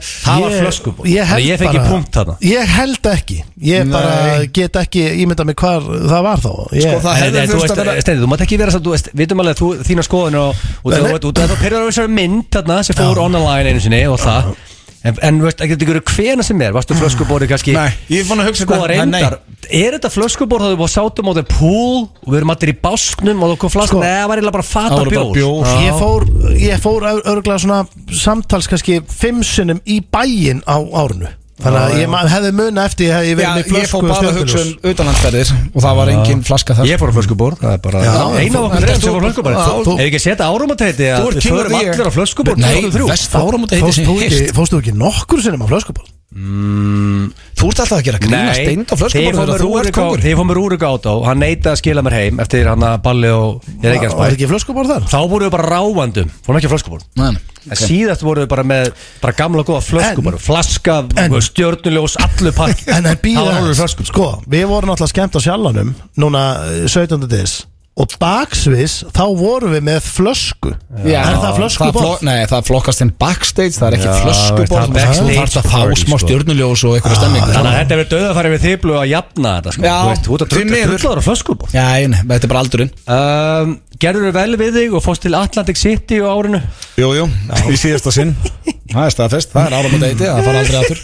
Það var flöskubor Ég held Þannig ég fengi bara- punkt þarna Ég held ekki Ég bara get ekki ímyndað mig hvar það var þá ég, Sko, það Nei, hefði nei, þú þurft veist, að vera Steini, þú mátt ekki vera samt, þú veist, vitum alveg að þú, þína skoðun og, og Nei, þú nei. veit, þú þú perjar á þessari mynd þarna sem fór online einu sinni og það En, en veist, ekki þetta ykkur hvena sem er, varstu flöskubóri kannski Mm. Nei, ég er búin að hugsa sko þetta. Nei, reyndar, er þetta flöskubór þá við búin að sátum á þeim pool og við erum allir í básknum og þú kom flask, Sko. neða, það var eiginlega bara Það fata voru bara bjór bjór. Já. ég fór, ég fór ör- örglega svona samtals kannski fimm sinnum í bæinn á árinu Þannig að ég ma- hefði muna eftir ég hefði Já, verið með ég flösku fór bara að hugsa um utanlandsferðir og það var engin flaska þar Ég fór á flöskubór, það er bara Já, eina þú- af okkur en þrejum sem þú- fór á flöskubór þú- Ef þú- við ekki setja árumatæti að Þú ert við king of förum the year. allir á flöskubór Nei, 2003. vest áramóta heiti Fórst sem þú heilt ekki, fórst þú ekki nokkur sinnum á flöskuból? Þú ert alltaf að gera grína steind á flöskum þegar ég fór mér Þú ert Rúrik á- kongur þegar ég fór mér úrug át á Hann neitaði að skila mér heim Eftir hann að balli og Ég er ekki að Var ekki flöskubor þar? Þá voru við bara ráandum Fórum ekki að flöskuborð Nei, En síðast voru við bara með Bara gamla góða flöskuborð Flaska, en- stjörnuljós, allu pakk En það Það var alveg býða flöskum Sko, við vorum alltaf skemmt á sjallanum Núna eh, 17. dis Og baksvis, þá vorum við með flösku Já, Er það flokk- flöskuborð? Nei, það flokkast sem backstage, það er ekki Já, það er flöskuborð Það backstage þarf að fá party, smá sko. stjörnuljós og einhverja stemmingu Þannig að þetta er verið döðafæri við þýblu að jafna þetta sko. Já, Þú veist, þú ert að því drulla- miður. drullaður á flöskuborð Já, ég nefn, þetta er bara aldurinn um, Gerður vel við þig og fórst til Atlantic City á árinu Jú, jú, í síðasta sinn Það er staðfest, það er áram að deiti Það fara aldrei aftur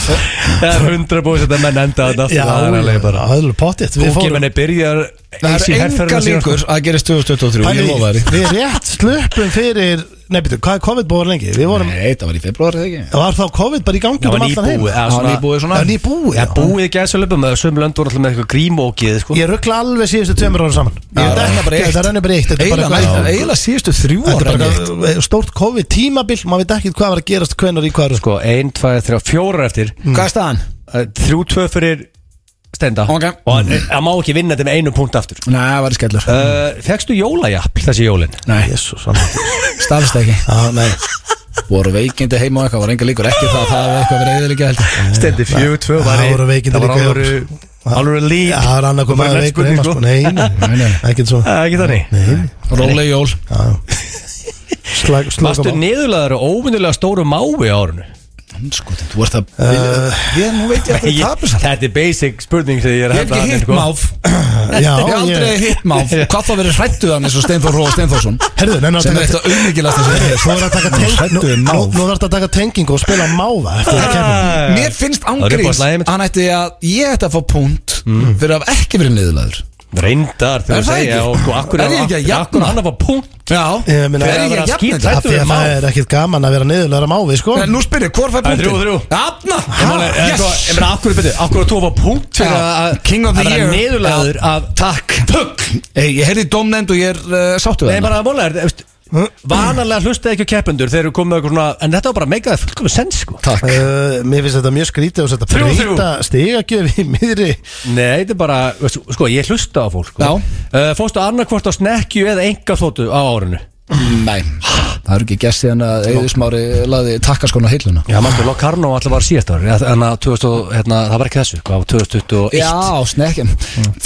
Það er hundra búið þetta menn enda þetta Já, Það er alveg bara það er pottitt Við Fólki fórum menni byrjar í Það er enga herferðina sína, sko. líkur að gerist 2023, ég Pæli, lofa þér Við rétt slöpum fyrir Nei, betur, hvað er COVID búið var lengi? Við vorum, Nei, það var í februar, eða ekki var þá COVID bara í gangi Það um var allan heim? nýbúið Það var nýbúið Það svona var nýbúið Já, búið gæðsölöpum Sum lönd voru alltaf með eitthvað grímókið sko. Ég ruggla alveg síðustu tveimur ára saman Ég Já, veit það er bara ekki, eitt. Það rennur bara eitt Þetta er bara eitthvað- Eila síðustu þrjú Þetta ára er bara eitthvað stórt COVID tímabil Maður veit ekki hvað var að gerast hvenar í hvað Sko, ein, tvær, þrjá, fjórar eftir Hvað er staðan? Uh, Þrjú, tvö fyrir stenda Ok. Og uh, það má ekki vinna þetta með einu punkt aftur Nei, það var í skellur uh, Fekstu jólajapp þessi jólin? Nei, Jésús, hann staðist ekki Já, nei Voru veikindi heima og eitthvað, var enga líkur Ekki það, það hefði eitthvað verið eða líka heldur Stendi fjú, tvö Það var í- voru veikindi Það líka var alvöru sko. Alvöru líf Já, það er annað Það komað var að veikur næst spurning, heima sko sko. Nei, nei, nei, ekkert svo Það er ekki þannig Róleg jól Slag, slagum Varstu á niðurlegaður og óvinnulega stóru mái á árunu? Sko, þú ert að Ég, nú veit (laughs) ég að Ég- það tapis Þetta er basic spurning sem ég er að Ég hef henda þarna, ekki hitt sko. (laughs) máf Já, Ég hef aldrei ég hitt máf (laughs) Hvað þá verið hrættuð hann eins og Steinþór Róa Steinþórsson Herðu, nei, nú sem þarf er eitthvað auðmikilast sem ég að taka teng- nú- hræddur um nú- máv. nú þarf að taka tengingu og spila máva eftir það kemur Ah, Mér finnst Það er upp á ángríns slagið mitt. Mm. Hann ætti að ég ætti að fá punkt Fyrir að hafa ekki verið niðurlaður Reyndar Er þegar þú það segja ekki? og sko, akkur Er ég ekki að jafna? akkur hann að fá punkt Já Ég meina- Fyrir að vera vera skít- skýrt Af því við að það máv. er ekkert gaman að vera niðurlega mávi sko Nú spyrir, hvort fær Það er punktin? þrjú og þrjú. Afna Ég meina, eh, sko, ég meina, akkur betur, akkur að þú fá punkt fyrir Já, að King of the að vera year. niðurlegaður af Takk Pugg Ei, Ég heyrði í dómnefnd og ég er uh, sáttu Nei, við hana. bara að móla er Vanalega hlustaði ekki á keppendur þegar þú komið eitthvað svona En þetta var bara meikaði fullkomið sens sko Takk Uh, Mér finnst þetta mjög skrítið og þetta Þrjú, þrjú. breyta stigagjöf í miðri Nei, þetta er bara, veist, sko, ég hlusta á fólk sko. Já. Eh, uh, Fóstu annarkvort á snekkju eða enga þóttu á árinu Nei, það er ekki gert síðan að Eður Smári laði takkaskona heiluna Já, manstu, Locarno alltaf var síðast ári En að 2000, hérna, það var ekki þessu, hvað, 2021 Já, snekkja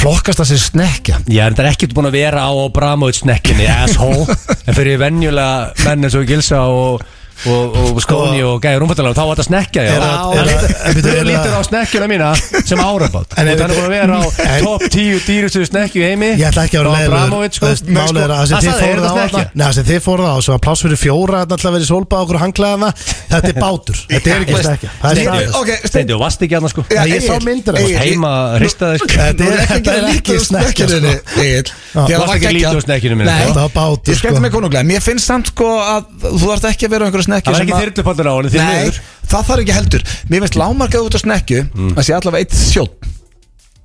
Flokkast það sem snekkja Ég er þetta ekkert búin að vera á Abramovic (laughs) snekkinni, asshole En fyrir venjulega menn eins og Gilsa og, og, og Skóni og Gæður umfattalega Þá var þetta snekkja, já Sko- Er að- er að- er að- Þú lítur á snekkjuna mína sem árabátt Og En það ef- er búin að vera á en- topp 10 dýrustu snekkju í heimi Ég ætla ekki að vera Frá Abramovic, leiðilegur sko Þú veist, Málið er að það sem þið sagði, er fóruð á þetta þarna snekkja? Nei, það sem þið fóruð á sem var pláss fyrir fjóra Þannig að verið sólbað okkur hanglaðana Þetta er bátur Þetta er ekki stekja Það er Ég- staðið Ok, Steindi Steindi og vast ekki annars sko Já, Nei, ég sá Egill. myndir af þessu. Egill, Heima ég- hristaði, sko. Nú er ekki að sko. gera Þetta er lítið ekki úr snekkja, snekkjunni, Egill. Ég varst var ekki geggjað. lítið úr snekkjunni minni, Nei, sko. Þetta var bátur, Ég skemmti sko. mig konunglega Mér finnst samt sko að þú þarf ekki að vera á einhverju snekkju Það var sem ekki að- þyrlupallur á henni, því Nei, miður. það þarf ekki heldur Mér finnst lámarkað út á snekkju Það sé allavega eitt sjótt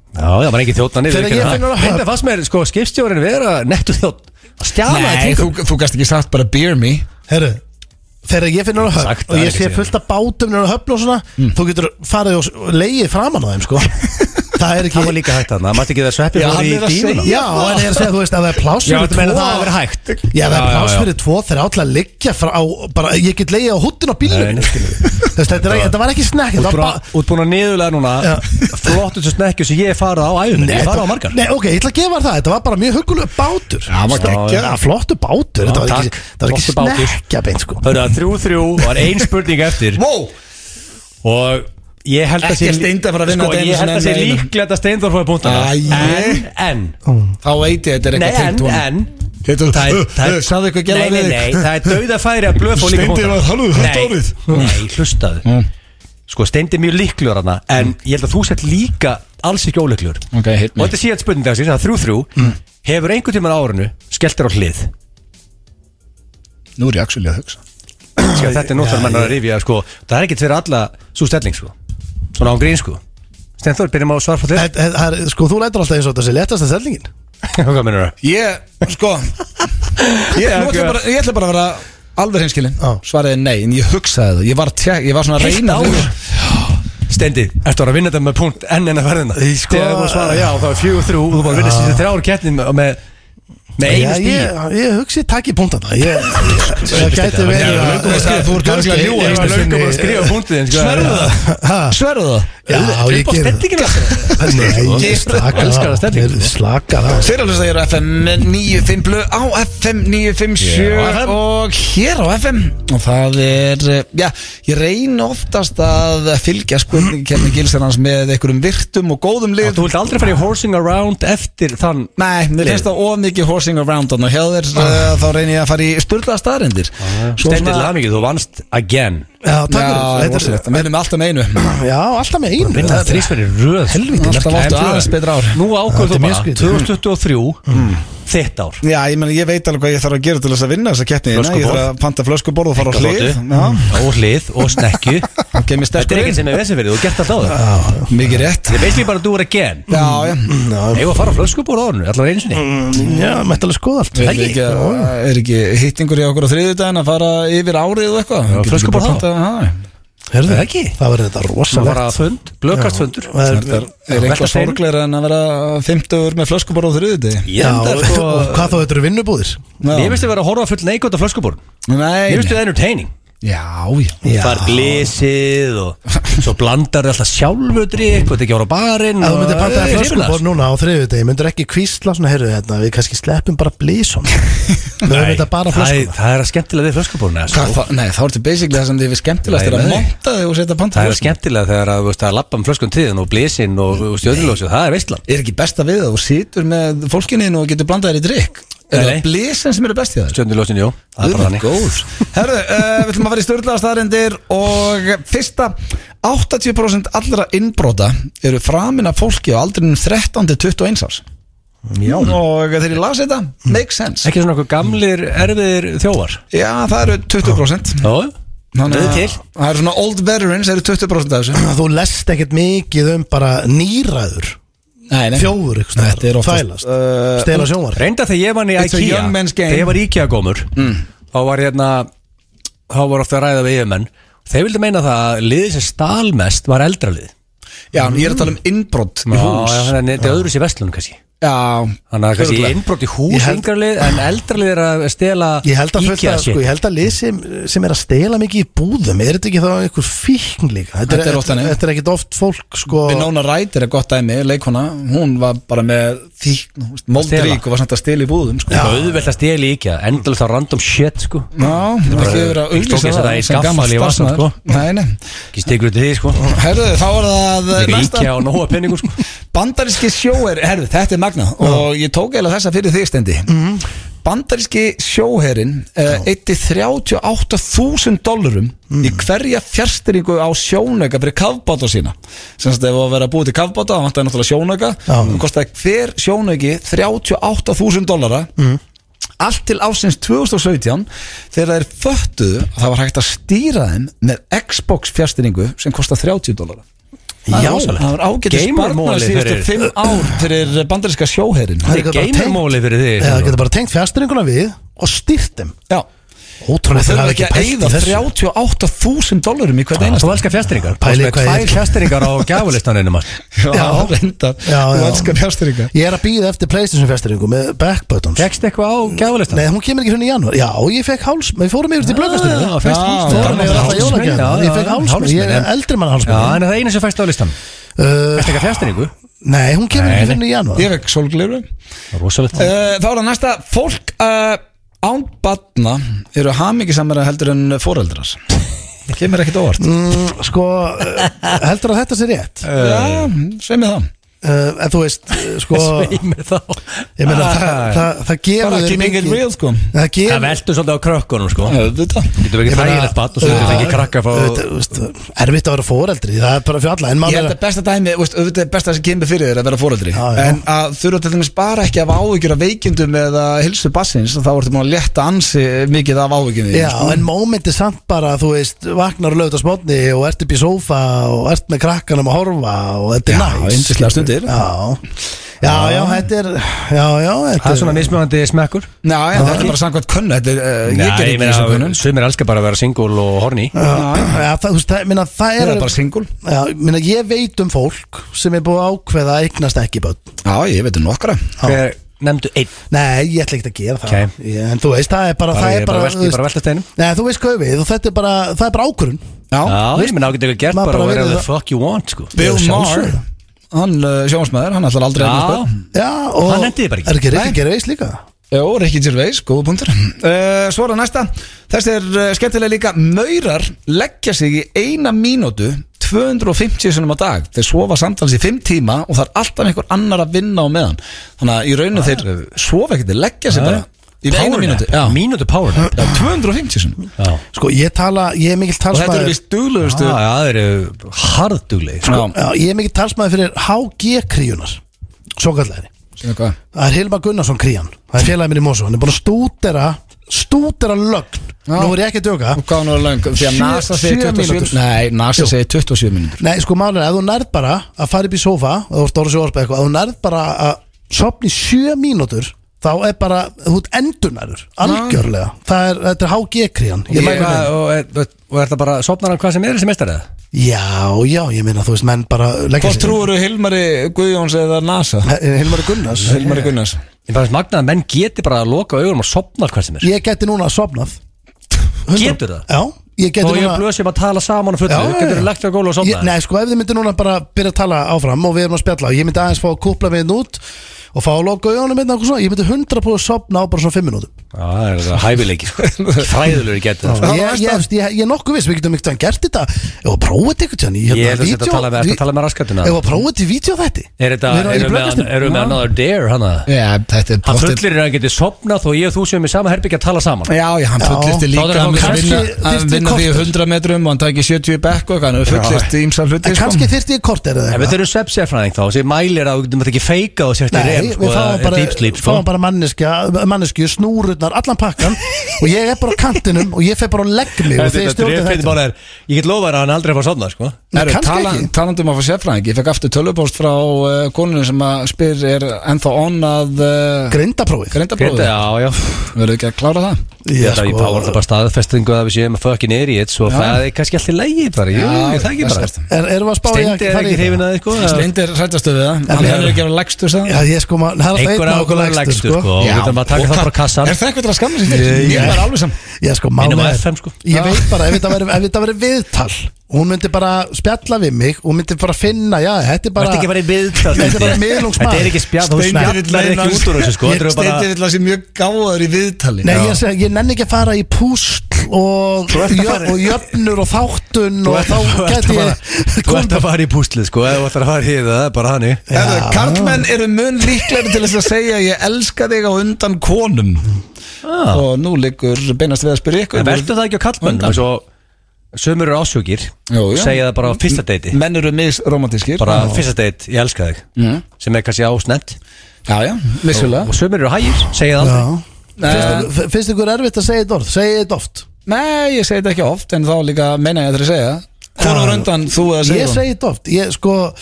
Já, það var engin þjóttan niður Þegar ég finn hana- Þetta fannst mér, sko, skipstjórin vera nettu þjótt Að stjala í Nei, kringum þú, þú gast ekki sagt bara beer me Herru, þegar ég finn hann á höfn Sagt, og það er ég ekki Mm. sé síðan. fullt af bátum hann á höfn og svona, þú getur farið og s- legið framan á þeim (laughs) sko Það er Það var ekki líka hægt þarna, maður ekki það sveppi Já, fór hann í er að dýnuna segja. Já, en ég er að segja, þú veist, að það er pláss Já, fyrir þetta meina tvo- það að vera hægt Já, það er Já, pláss já, já. fyrir tvo þegar átla að liggja frá, á, bara, ég get leiðið á húttin á Nei, bílunum nei, skilur (laughs) við. Þess, þetta, er- þetta var ekki snakk, þetta var bara Útbúin að niðurlega Já. núna Flottustu snekkju sem ég hef farið á æfum Ég hef farið á margar Nei, ok, ég ætla að gefa þér það, þetta var bara mjög hugulega bátur Já, var geggjað. Já, flottu bátur, Já, þetta var takk. ekki, það var Flottur bátur. ekki snekkja beint sko Hörðu það, þrjú þrjú var ein spurning eftir Wow, Og ég held að Ekki Steindi að fara að vinna Sko, þetta einu ég held sinni að sé enn með einum. líklegt að Steindor fóði Æi. punktana En, en, þá veit ég þetta er nei, eitthvað en, tengt honum. en Heitur, Það er, "Ö, það ö, er (laughs) Sagði eitthvað gæla Nei, nei, nei, það er dauða færi að blöð fóð líka Steindi punkta. var hálfur þetta Nei, árið. Nei, hlustaðu Sko, Steindi er mjög líklegur hana En ég held að þú sett líka alls ekki óleiklegur Mm. Ok, hit Og me. Mm. þetta er síðan spurning dagsins, það er þrjú þrjú Hefur einhvern tímann á árinu skellt þér á hlið Nú er ég actually að hugsa Ska, Sko, Þetta er nóttar mann að rifja, sko Það er ekkert fyrir alla svo stelling, sko Svona án grín, sko Steinþór, byrjum á að svara frá þér Það- það- það er- Sko, þú lætur alltaf eins og þetta sé letast að sellingin (laughs) Hvað mennur það? Ég, sko Ég, nú ætla ég bara, ég ætla bara að vera alveg hinskilin Já. Svaraði nei, en ég hugsaði það Ég var, tjek, ég var svona að Heilt reyna ár? fyrir- Stendi, ertu að vera að vinna þetta með punkt enn en að verðina sko- Þegar þú svara já, þá er fjögur þrjú og þú bara vinna þessi þrjár kettin með, með, með einu Já, stíl ég, ég hugsi takk í punktana Ég, ég gæti verið að- Þú ert örugglega að ljúga Þú Kannski ert örugglega að einu sinni- skrifa punktið þinn, sko. Ha? Sverðu það Já, ég Upp á gerir stendingina Nei, ég slaka Elskar að stellingu. Slaka það Þeir alveg segir FM 95 blöð á FM 957 Já, á FM. og hér á FM og það er, eh, já, ég reyn oftast að fylgja spurningkjarni gilsennans með einhverjum virtum og góðum Já, lið Þú vilt aldrei fara í horsing around eftir þann Nei, mér finnst það of mikið horsing around og hjá þér Ah. eh, þá reyn ég að fara í styrlaða staðrindir Stendi til hamingju, þú vannst again Já, takk Já, fyrir rosalegt, Þetta það meðnum alltaf með um einu er- Já, alltaf með einu Vinna þrísverði röð Helviti Alltaf áttu aðeins betra ár Nú ákvörðu Þetta þú er mjög bara skrítið. Mm. 2023 Þitt ár Já, ég meina, ég veit alveg hvað ég þarf að gera til þess að vinna þessa keppni hérna. Ég þarf að panta flöskuborð Mhm. og fara á hlið Já, hlið Og hlið og snekju Þetta Kemur er sterkur ekkert inn. sem er vesið fyrir, þú gert alltaf á það mikið rétt Þetta er basically bara að þú er again Já, já Eða að fara á flöskubúr á ornu, allavega einu sinni Já, mætti alveg skoða allt Er ekki, er ekki hittingur í okkur á þriðjudaginn að fara yfir árið og eitthvað? Getur flösku ekki bara bara pantað- já, Herðu, Það ekki? Það verður þetta Svo bara rosalegt fund, blökkastfundur Það er- Er, er Velta eitthvað steinum. sorgleira en að vera 50 með flöskuborð á þriðjudagi? Ég Já, held að sko og hvað þá þetta eru vinnubúðir? Mér finnst þið vera að horfa full neikot á flöskubúr Nei, Mér finnst þið entertaining já, já Já. Það er glísið (laughs) og svo blandar þið alltaf sjálfudri og þetta ekki ára á barinn Ef þú myndir panta Þetta það er flöskubor hrifilegt. núna á þriðjudegi Myndir ekki kvísla svona, heyrðu hérna Við kannski sleppum bara blísum Við höfum Nei, þetta bara það er- flöskubor Það er að skemmtilega við sko. flöskubúruna Hvað, þá- Nei, þá ertu basically það sem þið er skemmtilegast Nei, er að nei. monta þig og setja panta Það er skemmtilega þegar að, þú veist, að lappa um flöskun tíðin og blísin og stjórnlósi Það er veistlan Er ekki besta við það? Þú situr með fólkinni þínu og getur blandað þér í drikk Er Nei, það nei. blésin sem eru best í það? Stjórnlósin, jú, það er bara þannig Góð Herðu, uh, við ætlum að fara í störðlega staðarindir og fyrsta 80% allra innbrota eru framin af fólki á aldrinum 13 til 21 árs Já. og þegar ég las þetta, make sense Mm. Ekki svona okkur gamlir erfiðir þjóvar Já, það eru 20% Já, Þannig Rauð að- til. Það eru svona old veterans eru 20% af þessu Þú lest ekkert mikið um bara nýræður Nei, nei Þjófur, ykkur Þetta er oftast, Þælast eh, Stela sjónvar reynda þegar ég vann í It's a IKEA young man's game. Þegar ég var IKEA gómur Mm. Þá var ég hérna Þá var ofta að ræða við yfirmenn Þeir vildi meina það að liðið sem stalmest var eldralið Já, en ég er að tala um innbrot í Já, hús já, þannig að þetta er öðru sér vestlunum kannski Já, Þannig að kannski Örugglega. innbrot í Ég hús held- yngralið En eldralið er að stela Ég held að fullt IKEA að, shit. sko, ég held að lið sem, sem er að stela mikið í búðum Er þetta ekki þá einhver fíkn líka? Þetta er oft þannig. Þetta er ekkert oft fólk, sko Winona Ryder er gott dæmi, leikona hún var bara með þýkn þú veist, moldrík og var samt að stela í búðum sko. Það er auðvelt að stela í IKEA Endalið þá random shit sko Já, það er ekki verið að Ekki auglýsa stókið það þetta í sem skaffal gamall í vasann, starfsmaður. sko. Nei, nei Ekki stikur út í því sko Herðu, þá er það eh, Þegar næsta IKEA og nóa penningur sko Bandaríski sjóher, herðu, þetta er magnað og ég tók eiginlega þessa fyrir þig stendi Bandaríski sjóherin uh, eitti 38.000 dollurum í hverja fjärstyringu á sjónauka fyrir kafbáta sína sem þetta var að vera búið til kafbáta það vantaði náttúrulega sjónauka Já. og kostaði hver sjónauki 38.000 dollara allt til ásins 2017 þegar þeir föttuðu að það var hægt að stýra þeim með Xbox fjärstyringu sem kostaði 30 dollara Það er Já. rosalegt. það var ágætið Gamer sparnar móli síðustu fyrir- fimm ár fyrir bandaríska sjóherin Það er Þetta bara er geimurmóli fyrir þig sko. Eða getur bara tengt fjastringuna við og stýrt þeim Já, Ótrúlega þau eru ekki að eyða 38.000 dollurum í hvert Ah, einast Þú elskar fjastringar Pæli Þú hvað elskar ég- tvær fjastringar á gæfulistaninu Já, reyndar, Já, þú já. elskar fjárstyringa Ég er að býða eftir Playstation fjastringu með backbuttons Fekst eitthvað á Nei, gæfulistaninu? hún kemur ekki hérna í janúar Já, ég fekk háls, við fórum yfir til blökastunni Ah, Já, fegst hálsmenn. Þannig er alltaf Hálsmenn, jólagjörn já, Ég fekk já, hálsmenn, ég hálsmenn, er já. eldri mann Já, hálsmenn en það er eina sem fækst á listan Uh, Fækst eitthvað fjastringu Nei, hún kemur Nei, nei. ekki hérna í janúar Ég vekk sólgleiru Ah. Rósalegt Uh, þá er það næsta Fólk uh, án batna eru hamingisamara heldur en foreldrar Kemur ekkit óvart Mm, Sko, uh, heldur að þetta sé rétt uh, Já, segir mig það En þú veist, uh, sko Svei með þá Ég meina, það, það, það Bara gefur þér keeping it mikið real sko Það Það gefur veldur svolítið á krökkunum sko Já, Þetta Getur við ekki þægilegt batn og svo getur við ekki krakka fá Þetta, þú veist, Erfitt að vera fóreldri, það er bara fyrir alla En Ég maður held er að besta dæmi, veist, auðvitað er besta sem kemur fyrir þér að vera fóreldri Já, já. En að þurfa til dæmis bara ekki af áhyggjur af veikindum eða hilsu bassins Þá ertu maður að létta ansi mikið af áhyggjum Sko. því Já, en mómenti samt bara, þú veist, vagnar og lögðast mótni og ert upp í sófa og ert með krakkanum að horfa og þetta er Já, næs. yndislegar stundir. Já, Já, já, þetta er Já, já, þetta Það er svona mismjöndi smekkur Já, já, þetta er bara samkvæmt könnu Þetta er, uh, ég ger ekki þessu meina, könnun sumir elskar bara að vera single og horny Já, já, það, þú veist, það, minna, það Það er er bara singul já, minna, Ég veit um fólk sem er búið að ákveða að eignast ekki börn Já, ég veit um nokkra Hver nefndu einn Nei, ég ætla ekkert að gera það Ok. ég, En þú veist, það er bara, Bara- það ég er bara, bara velt- ég þú veist- bara velta steinum. Nei, þú veist hvað við og þetta er bara, það er bara ákvörun Já, Já, ég minna ágætið ekki gert bara Maður bara að vera verið the það. fuck you want sko Bill Ég Maher sjálfsögðu. Hann uh, sjónsmaður, hann ætlar aldrei að eignast Já, börn. Já, og Hann nefndi þið bara ekki. Er ekki Rikki Gervais líka? Jó, Rikki Gervais, góða punktur uh, Svora næsta Þessi er uh, skemmtilega líka Maurar leggja sig í eina mínútu 250 sinum á dag Þeir sofa samtals í 5 tíma og það er alltaf einhver annar að vinna á meðan Þannig að í rauninu þeir uh, sofa ekkert Þeir leggja sig bara í eina mínútu Já, Mínútu power nap já 250 sinum Já. Sko, ég tala, ég er mikill Og þetta talsmaður eru vist duglegustu Já, já, það eru harðdugleg sko. Já, Já, ég er mikill talsmaður fyrir HG-kríunar Svo kallæri sem eitthvað Það er Hilma Gunnarsson krían Það er félagið minn í Mosó Hann er búin að stútera Stútera lögn Já. Nú er ég ekki að djóka Og hvað hann var löng? Því að Sjö- NASA segir sjö 27 mínútur. Nei, NASA Jú. segir 27 mínútur Nei, sko málið er Ef þú nærð bara að fara upp í sofa og Þú ert orðið sjóðarspeð eitthvað Ef þú nærð bara að sopna í sjö mínútur Þá er bara Þú ert endurnærður Algjörlega Það er, þetta er HG-krían Ég Ég mæli meina, með og, og, og er það bara sopnar hann hvað sem er þessi mestar eða? Já, já, ég meina þú veist menn bara leggja Hvort sig- trúur Hilmari Guðjóns eða NASA? Hilmar Gunnars Eh, Hilmari Gunnars Ég fannst magnað að menn geti bara að loka augunum og sopnar hvað sem er Ég geti núna sopnað Getur það? Já, ég geti Og ég núna blöðs ég bara að tala saman og fullu Já, já, Getur já. þú lagt þér á gólu og Ég- sopnað? Nei, sko, ef þið myndir núna bara byrja að tala áfram og við erum að spjalla og ég myndi aðeins fá að kúpla mig inn út og fá að loka auðanum einn og eitthvað svona ég myndi 100% sopna á bara svona 5 minútum Já, það er það (laughs) hæfileiki sko. Fræðulegur getur það sko. ég, ég, ég, ég, ég er nokkuð viss, við getum ekkert að gert þetta ef að prófa þetta eitthvað tjáni Ég held að þetta tala með, ertu að tala um Eh, með raskatina hérna ef að prófa þetta í vídeo þetta Er þetta, erum við með, erum við með another dare hana? Já, Eh, þetta er Hann fullir er að hann geti sopnað þó ég og þú séum í sama herbyggja að tala saman Já, já, hann Já. Þá fullist er líka það hann kannski- vinna, fyrsti hann vinna því í korter. 100 metrum og hann takir 70 bekk og eitthvað, hann fullist í ymsa hluti sko. en kannski þyrfti ég kort er En það Eh, við þurfum svepsjafræðing þá, þessi mælir að þú getum þetta ekki feika og sért í Nei, rem, sko, við fáum eða bara, deep sleep, sko. fáum bara manneskja, manneskju, snúrurnar, allan pakkan og ég er bara á kantinum og ég fer bara og legg mig og Þetta þeir er stjórnir drefið þetta bara er, ég get lofa að hann aldrei fá að sofna, sko. Nei, kannski tala, ekki. Talandi um að fá sérfræðing, ég fekk aftur tölvupost frá uh, konunum sem að spyr er ennþá on að uh, grindaprófið Greta, grindabróðu já, já. Verður ekki að klára það? Ég held sko. að ég power það bara staðfestingu að við séum að fucking er í eitt, svo það er kannski allir lægi bara, jú, það er ekki bara. Er, erum við að spá í Steindi er fara í ekki það? hrifin að þið, sko. að- Steindir hrættastu við það, hann við- hefur ekki að vera leggstu það Já, ég sko, maður- það er alltaf Einhver einn á okkur ákveður lægstur, lægstur, sko. sko, og við þurfum að taka það bara á kassan. Er það eitthvað til að skamma sér fyrir? Ég var alveg saman Já, sko, Minnum málið á er- FM, sko. Ég veit bara, ef þetta verið- ef þetta verið viðtal og Hún myndi bara spjalla við mig og myndi bara finna, já, þetta er bara Þetta er ekki bara í viðtal, Þetta er bara Steindi. miðlungsmaður. Þetta er ekki spjall, þú Steindi vill snarlar meina- ekki út úr þessu, sko. Þetta eru bara, Steindir vill að sé mjög gáður í viðtali Nei, ég, seg, ég nenni ekki að fara í púsl og, jö, og jöfnur og þáttun þú og ert þá að- þú ert geti að ég (laughs) fara- þú ert að fara í púslið, sko, eða þú ert að fara í það, það er bara hannig. Herðu, Karlmenn eru mun líklegri til þess að segja ég elska þig á undan konum Ah. og nú liggur beinast við að spyrja ykkur En veltu það ekki á Mm. kallmönnum eins og Sumur eru ásjókir Jú, jú. Segja það bara á Mm. fyrsta deiti Menn eru misromantískir Bara fyrsta deit, ég elska þig Mm. Sem er kannski ásnefnt Já, já, Og vissulega sumur eru hægir, segja það Já. aldrei Eh, Finnst ykkur- Finnst ykkur erfitt að segja þetta orð? Segja þetta oft Nei, ég segi þetta ekki oft en þá líka meina ég að það að segja Hvor á undan þú eða Ég segir segi þetta oft Ég, sko,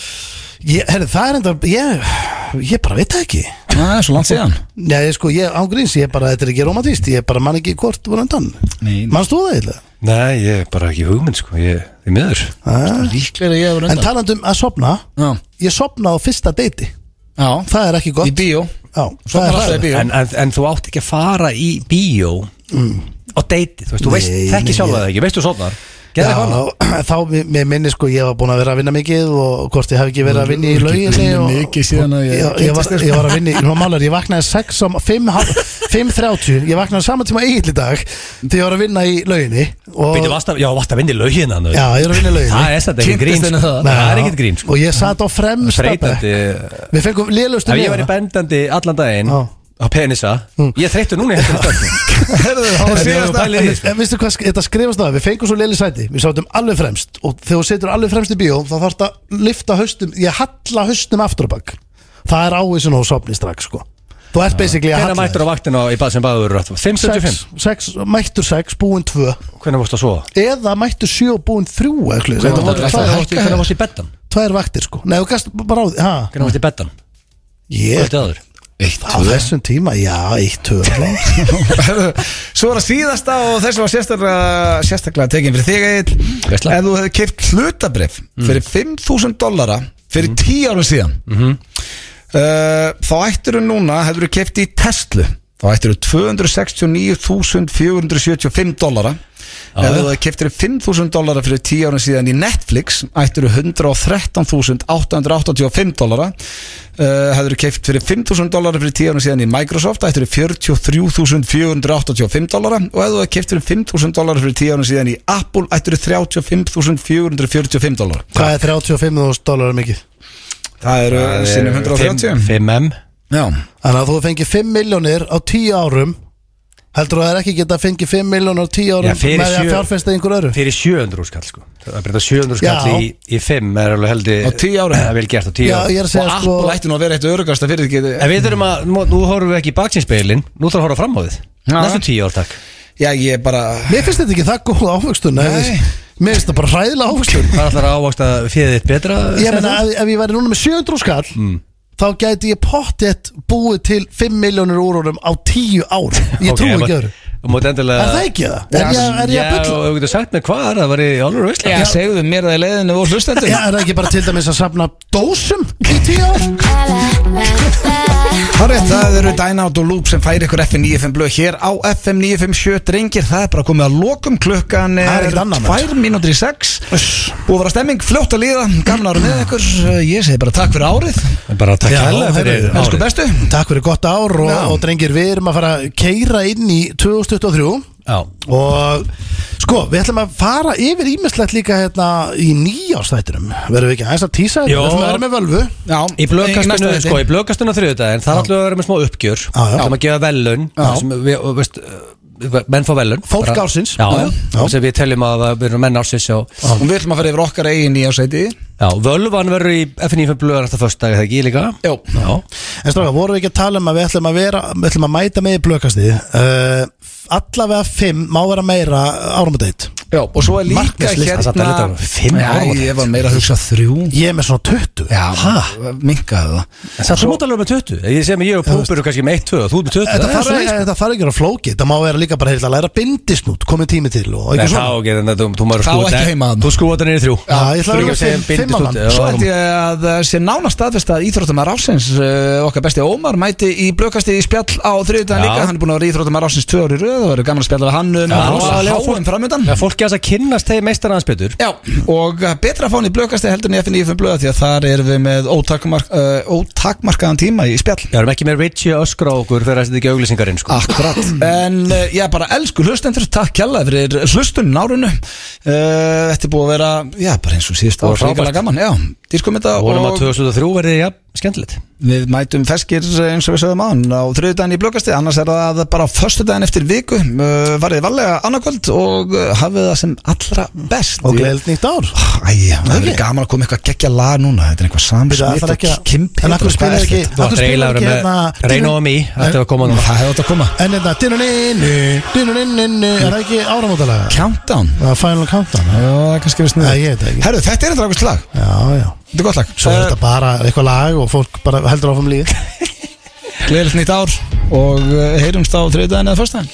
ég, herri, það er enda Ég, ég bara veit það ekki Það er svo langt síðan Já, ég sko, ég ángríns, ég bara, þetta er ekki romantist Ég bara man ekki hvort voru undan Nei. Manst þú það eitthvað? Nei, ég er bara ekki hugmynd sko Ég er miður Líklegri ég hefur Ah. En undan talandum að sopna Já, Ég sopnaði á fyrsta deiti já, Það er ekki í gott bíó (laughs) Já, það Sofnar er alltaf í hræðilegt. bíó. en, en, en þú átt ekki að fara í bíó Á deiti, þú veist, þú veist Mm. Nei, Þekki nei, sjálf ég- að það ekki, veist þú sopnar Gerða eitthvað annað Já, þá mér minni sko ég var búin að vera að vinna mikið og hvort ég hef ekki verið að vinna í lauginni unnið og, mikið síðan að ég ég, ég, var, ég sko. var að vinna í, hún málar, ég vaknaði um 6 á 5.30, ég vaknaði saman tíma eigin í dag því ég var að vinna í lauginni og Býttu, varst að, já, varst að vinna í lögin hann já, ég var að vinna í lauginni Það er þetta ekki grín Kynntist henni sko. það? Það er ekkert grín sko og ég satt á fremsta bekk Þreytandi við fengum Ef liðlustu ég væri bendandi allan daginn Já. Mm. Á penisa Ég er þreyttu núna í (laughs) hendurinn En Herðu, síðasta- það er En veistu hvað sk- þetta skrifast það Við fengum svo leilig sæti, við sátum alveg fremst Og þegar þú setur alveg fremst í bíó Þá þarf að lifta haustum, ég halla haustum aftur á bak Það er ávísun og sopni strax sko Þú ert basically að Hvernig halla mættur á vaktina í bað sem baður 5.75 Sex- sex- Mættur 6, búin 2 Hvernig varst að sofa? Eða mættur 7 og búin 3 eitthvað, Þetta Þetta er voru alltaf tvær- hægt. Hvernig varst í bettan? tvær vaktir sko Nei, þú gast bara á því ha? Hvernig varst í bettan? Ég, Kvöldi áður Eitt, á þessum tíma, já, eitt höf Herðu, Svo er að síðasta og þessi var sérstaklega, sérstaklega tekin fyrir þig Egil Veistla. Ef þú hefði keift hlutabrif fyrir 5.000 dollara fyrir 10 árum síðan uh, Þá ættir þú núna, hefur þú keift í Tesla Þá ættir þú 269.475 dollara Ef þú hefði keift fyrir 5.000 dollara fyrir 10 árum síðan í Netflix ættir þú 113.885 dollara uh, hefur keift fyrir 5.000 dólarar fyrir 10 árum síðan í Microsoft ættir 43.485 dólarar og ef þú hefur keift fyrir 5.000 dólarar fyrir 10 árum síðan í Apple ættir 35.445 dólarar Hvað er 35.000 dólarar mikið? það eru sinnum 130 5M já, Þannig að þú fengið 5 miljónir á 10 árum Heldur þú að það er ekki geta að fengið 5 miljónir á 10 árum Já, fyrir með því að sjö- fjárfesta í einhver öðru? Fyrir 700 skall sko Það breyta 700 skall Já. í, í 5 er alveg heldig Á 10 Það árum. er vel gert á 10 Já, árum ég er að segja og sko Apple ætti nú að vera eitt örugasta fyrir En við þurfum að, nú, nú horfum við ekki í baksinspegilin Nú þarf að horfa fram á þið Já. Næstu 10 ár takk já, ég bara Mér finnst þetta ekki það góð ávöxtun eða Nei. þess- Mér finnst þetta bara hræðilega (laughs) ávöxtun Hvað ætlar að ávaksta fjöðið þitt betra? Ég meina, ef, ef ég væri núna með 700 skall Mm. Þá gæti ég pottjett búið til 5 miljónir úr honum á 10 (laughs) ár Ég trúi ekki öðru Þú mátt endilega Er það ekki það? Er ég, er ég að Já, bylla? og þú getur sagt mér hvað er það var í alveg veistlega já, segðu mér það í leiðinu og hlustendum Já, er það ekki bara til dæmis að safna dósum í 10 ár? Það er rétt, það eru Dynout og Loop sem færi ykkur FM 95 blöð hér á FM 957 drengir, það er bara komið að lokum klukkan Það er er ekkert annað, maður. 2 mínútur í 6 og vera stemming fljótt að líða, gamla ára með ykkur ég segi bara takk fyrir árið Bara takk Já, hella fyrir herri, árið. elsku bestu Takk fyrir gott ár og, Já. og drengir, við erum að fara að keira inn í 2023 Já, og sko, við ætlum að fara yfir ímislegt líka hérna í nýjástættinum verðum við ekki aðeins að tísa þetta, Jó. við ætlum að vera með völvu Já, Í blöðkastinu, næsta sko, þætti. í blöðkastinu á þriðudaginn Það er alltaf að vera með smá uppgjör Já, já. Það er að gefa velun þar sem við, og, veist, uh, Menn fá velun Fólk ársins. Já, Já, já, já. þar sem við teljum að við erum menn ársins Já, og við ætlum að fara yfir okkar eigin í ásæti já völvan verður í FNF blöðar Þetta fyrst dag, er það ekki líka? Jó. Já, en stráka, vorum við ekki að tala um að við ætlum að vera við ætlum að mæta með í blökastíð uh, allavega 5 má vera meira áramöndeitt Já, og svo er líka Markmiðslista, hérna þetta er þetta var fimm Já, áramót. ég var meira að hugsa þrjú ég er með svona 20 Já, minkaði það En Það er mótalega með 20 Ég segi mig, ég og Púpur er kannski með 1-2 og Þú ert með 20 Þetta Það er þarf svoleiðis. ekki- þetta þarf ekki að vera flókið, þetta má vera líka bara heyrðu, að læra bindisnút, komið tími til og Nei, ekki þá svona ekki, þannig að þú- þú maður Þá skrúfa ekki þetta- heima þarna. Þú skrúa þetta niður í þrjú Já, ég ætla að Þú vera ekki segja fimm- fimm bindist út, manna. já, Svo já. ætti ég að eh, sé nánast staðfest að Íþróttamæður Ásins eh, okkar besti Ómar mæti í blökasti í spjall á þriðdagen Já. líka hann er búin að vera Íþróttamæður Ásins tvö ári röð og verður gaman að spjalla við hann um Já, rosa alveg. háum framöndan Já, fólk er að kynnast þegar meistar hans betur Já, og eh, betra að fá hann í blökasti heldur en í FNF blöða því að þar erum við með ótakmark, uh, ótakmarkaðan tíma í spjall Já, erum ekki með Richie að öskra á okkur þegar það setja ekki auglýsingarinn sko. Akkurat (clears throat) En eh, já, bara elsku hlustendur, takk kjallaði fyrir hlustun nárunu uh, Þetta er búið að vera, já, bara eins og síðust Og ár frábært. hrikalega gaman, já, dýrkomita og vonum að 2003 verði, já, skemmtilegt Við mætum feskir eins og við sögum án á þriðdæðin í blökkasti, annars er það bara á föstudæðin eftir viku, uh, varðið varlega annarkvöld og uh, hafið það sem allra best. Ah, og gleðilt nýtt ár Æ, það er Ok. gaman að koma eitthvað geggja lag núna, þetta er eitthvað Byrju, það samsmitt þarf og ekki að- kimpi. En akkur spilar ekki Þú akkur ætti eiginlega að spilar ekki vera með Reino og mig, þetta var koma núna Það hefði átt að koma. En þetta, dinuninnu, dinuninnu Er það ekki áramótalega? Countdown. Það er Final Countdown Já, það er kannski við Nei, snuðið. ég veit það ekki Herru, þetta er eitthvað ákveðst lag. Já, já Þetta er gott lag. Eh, Svo er þetta bara eitthvað lag og fólk bara heldur áfram líð Gleðilegt nýtt ár og uh, heyrumst eh, á þriðdæðin eða föstudæðin.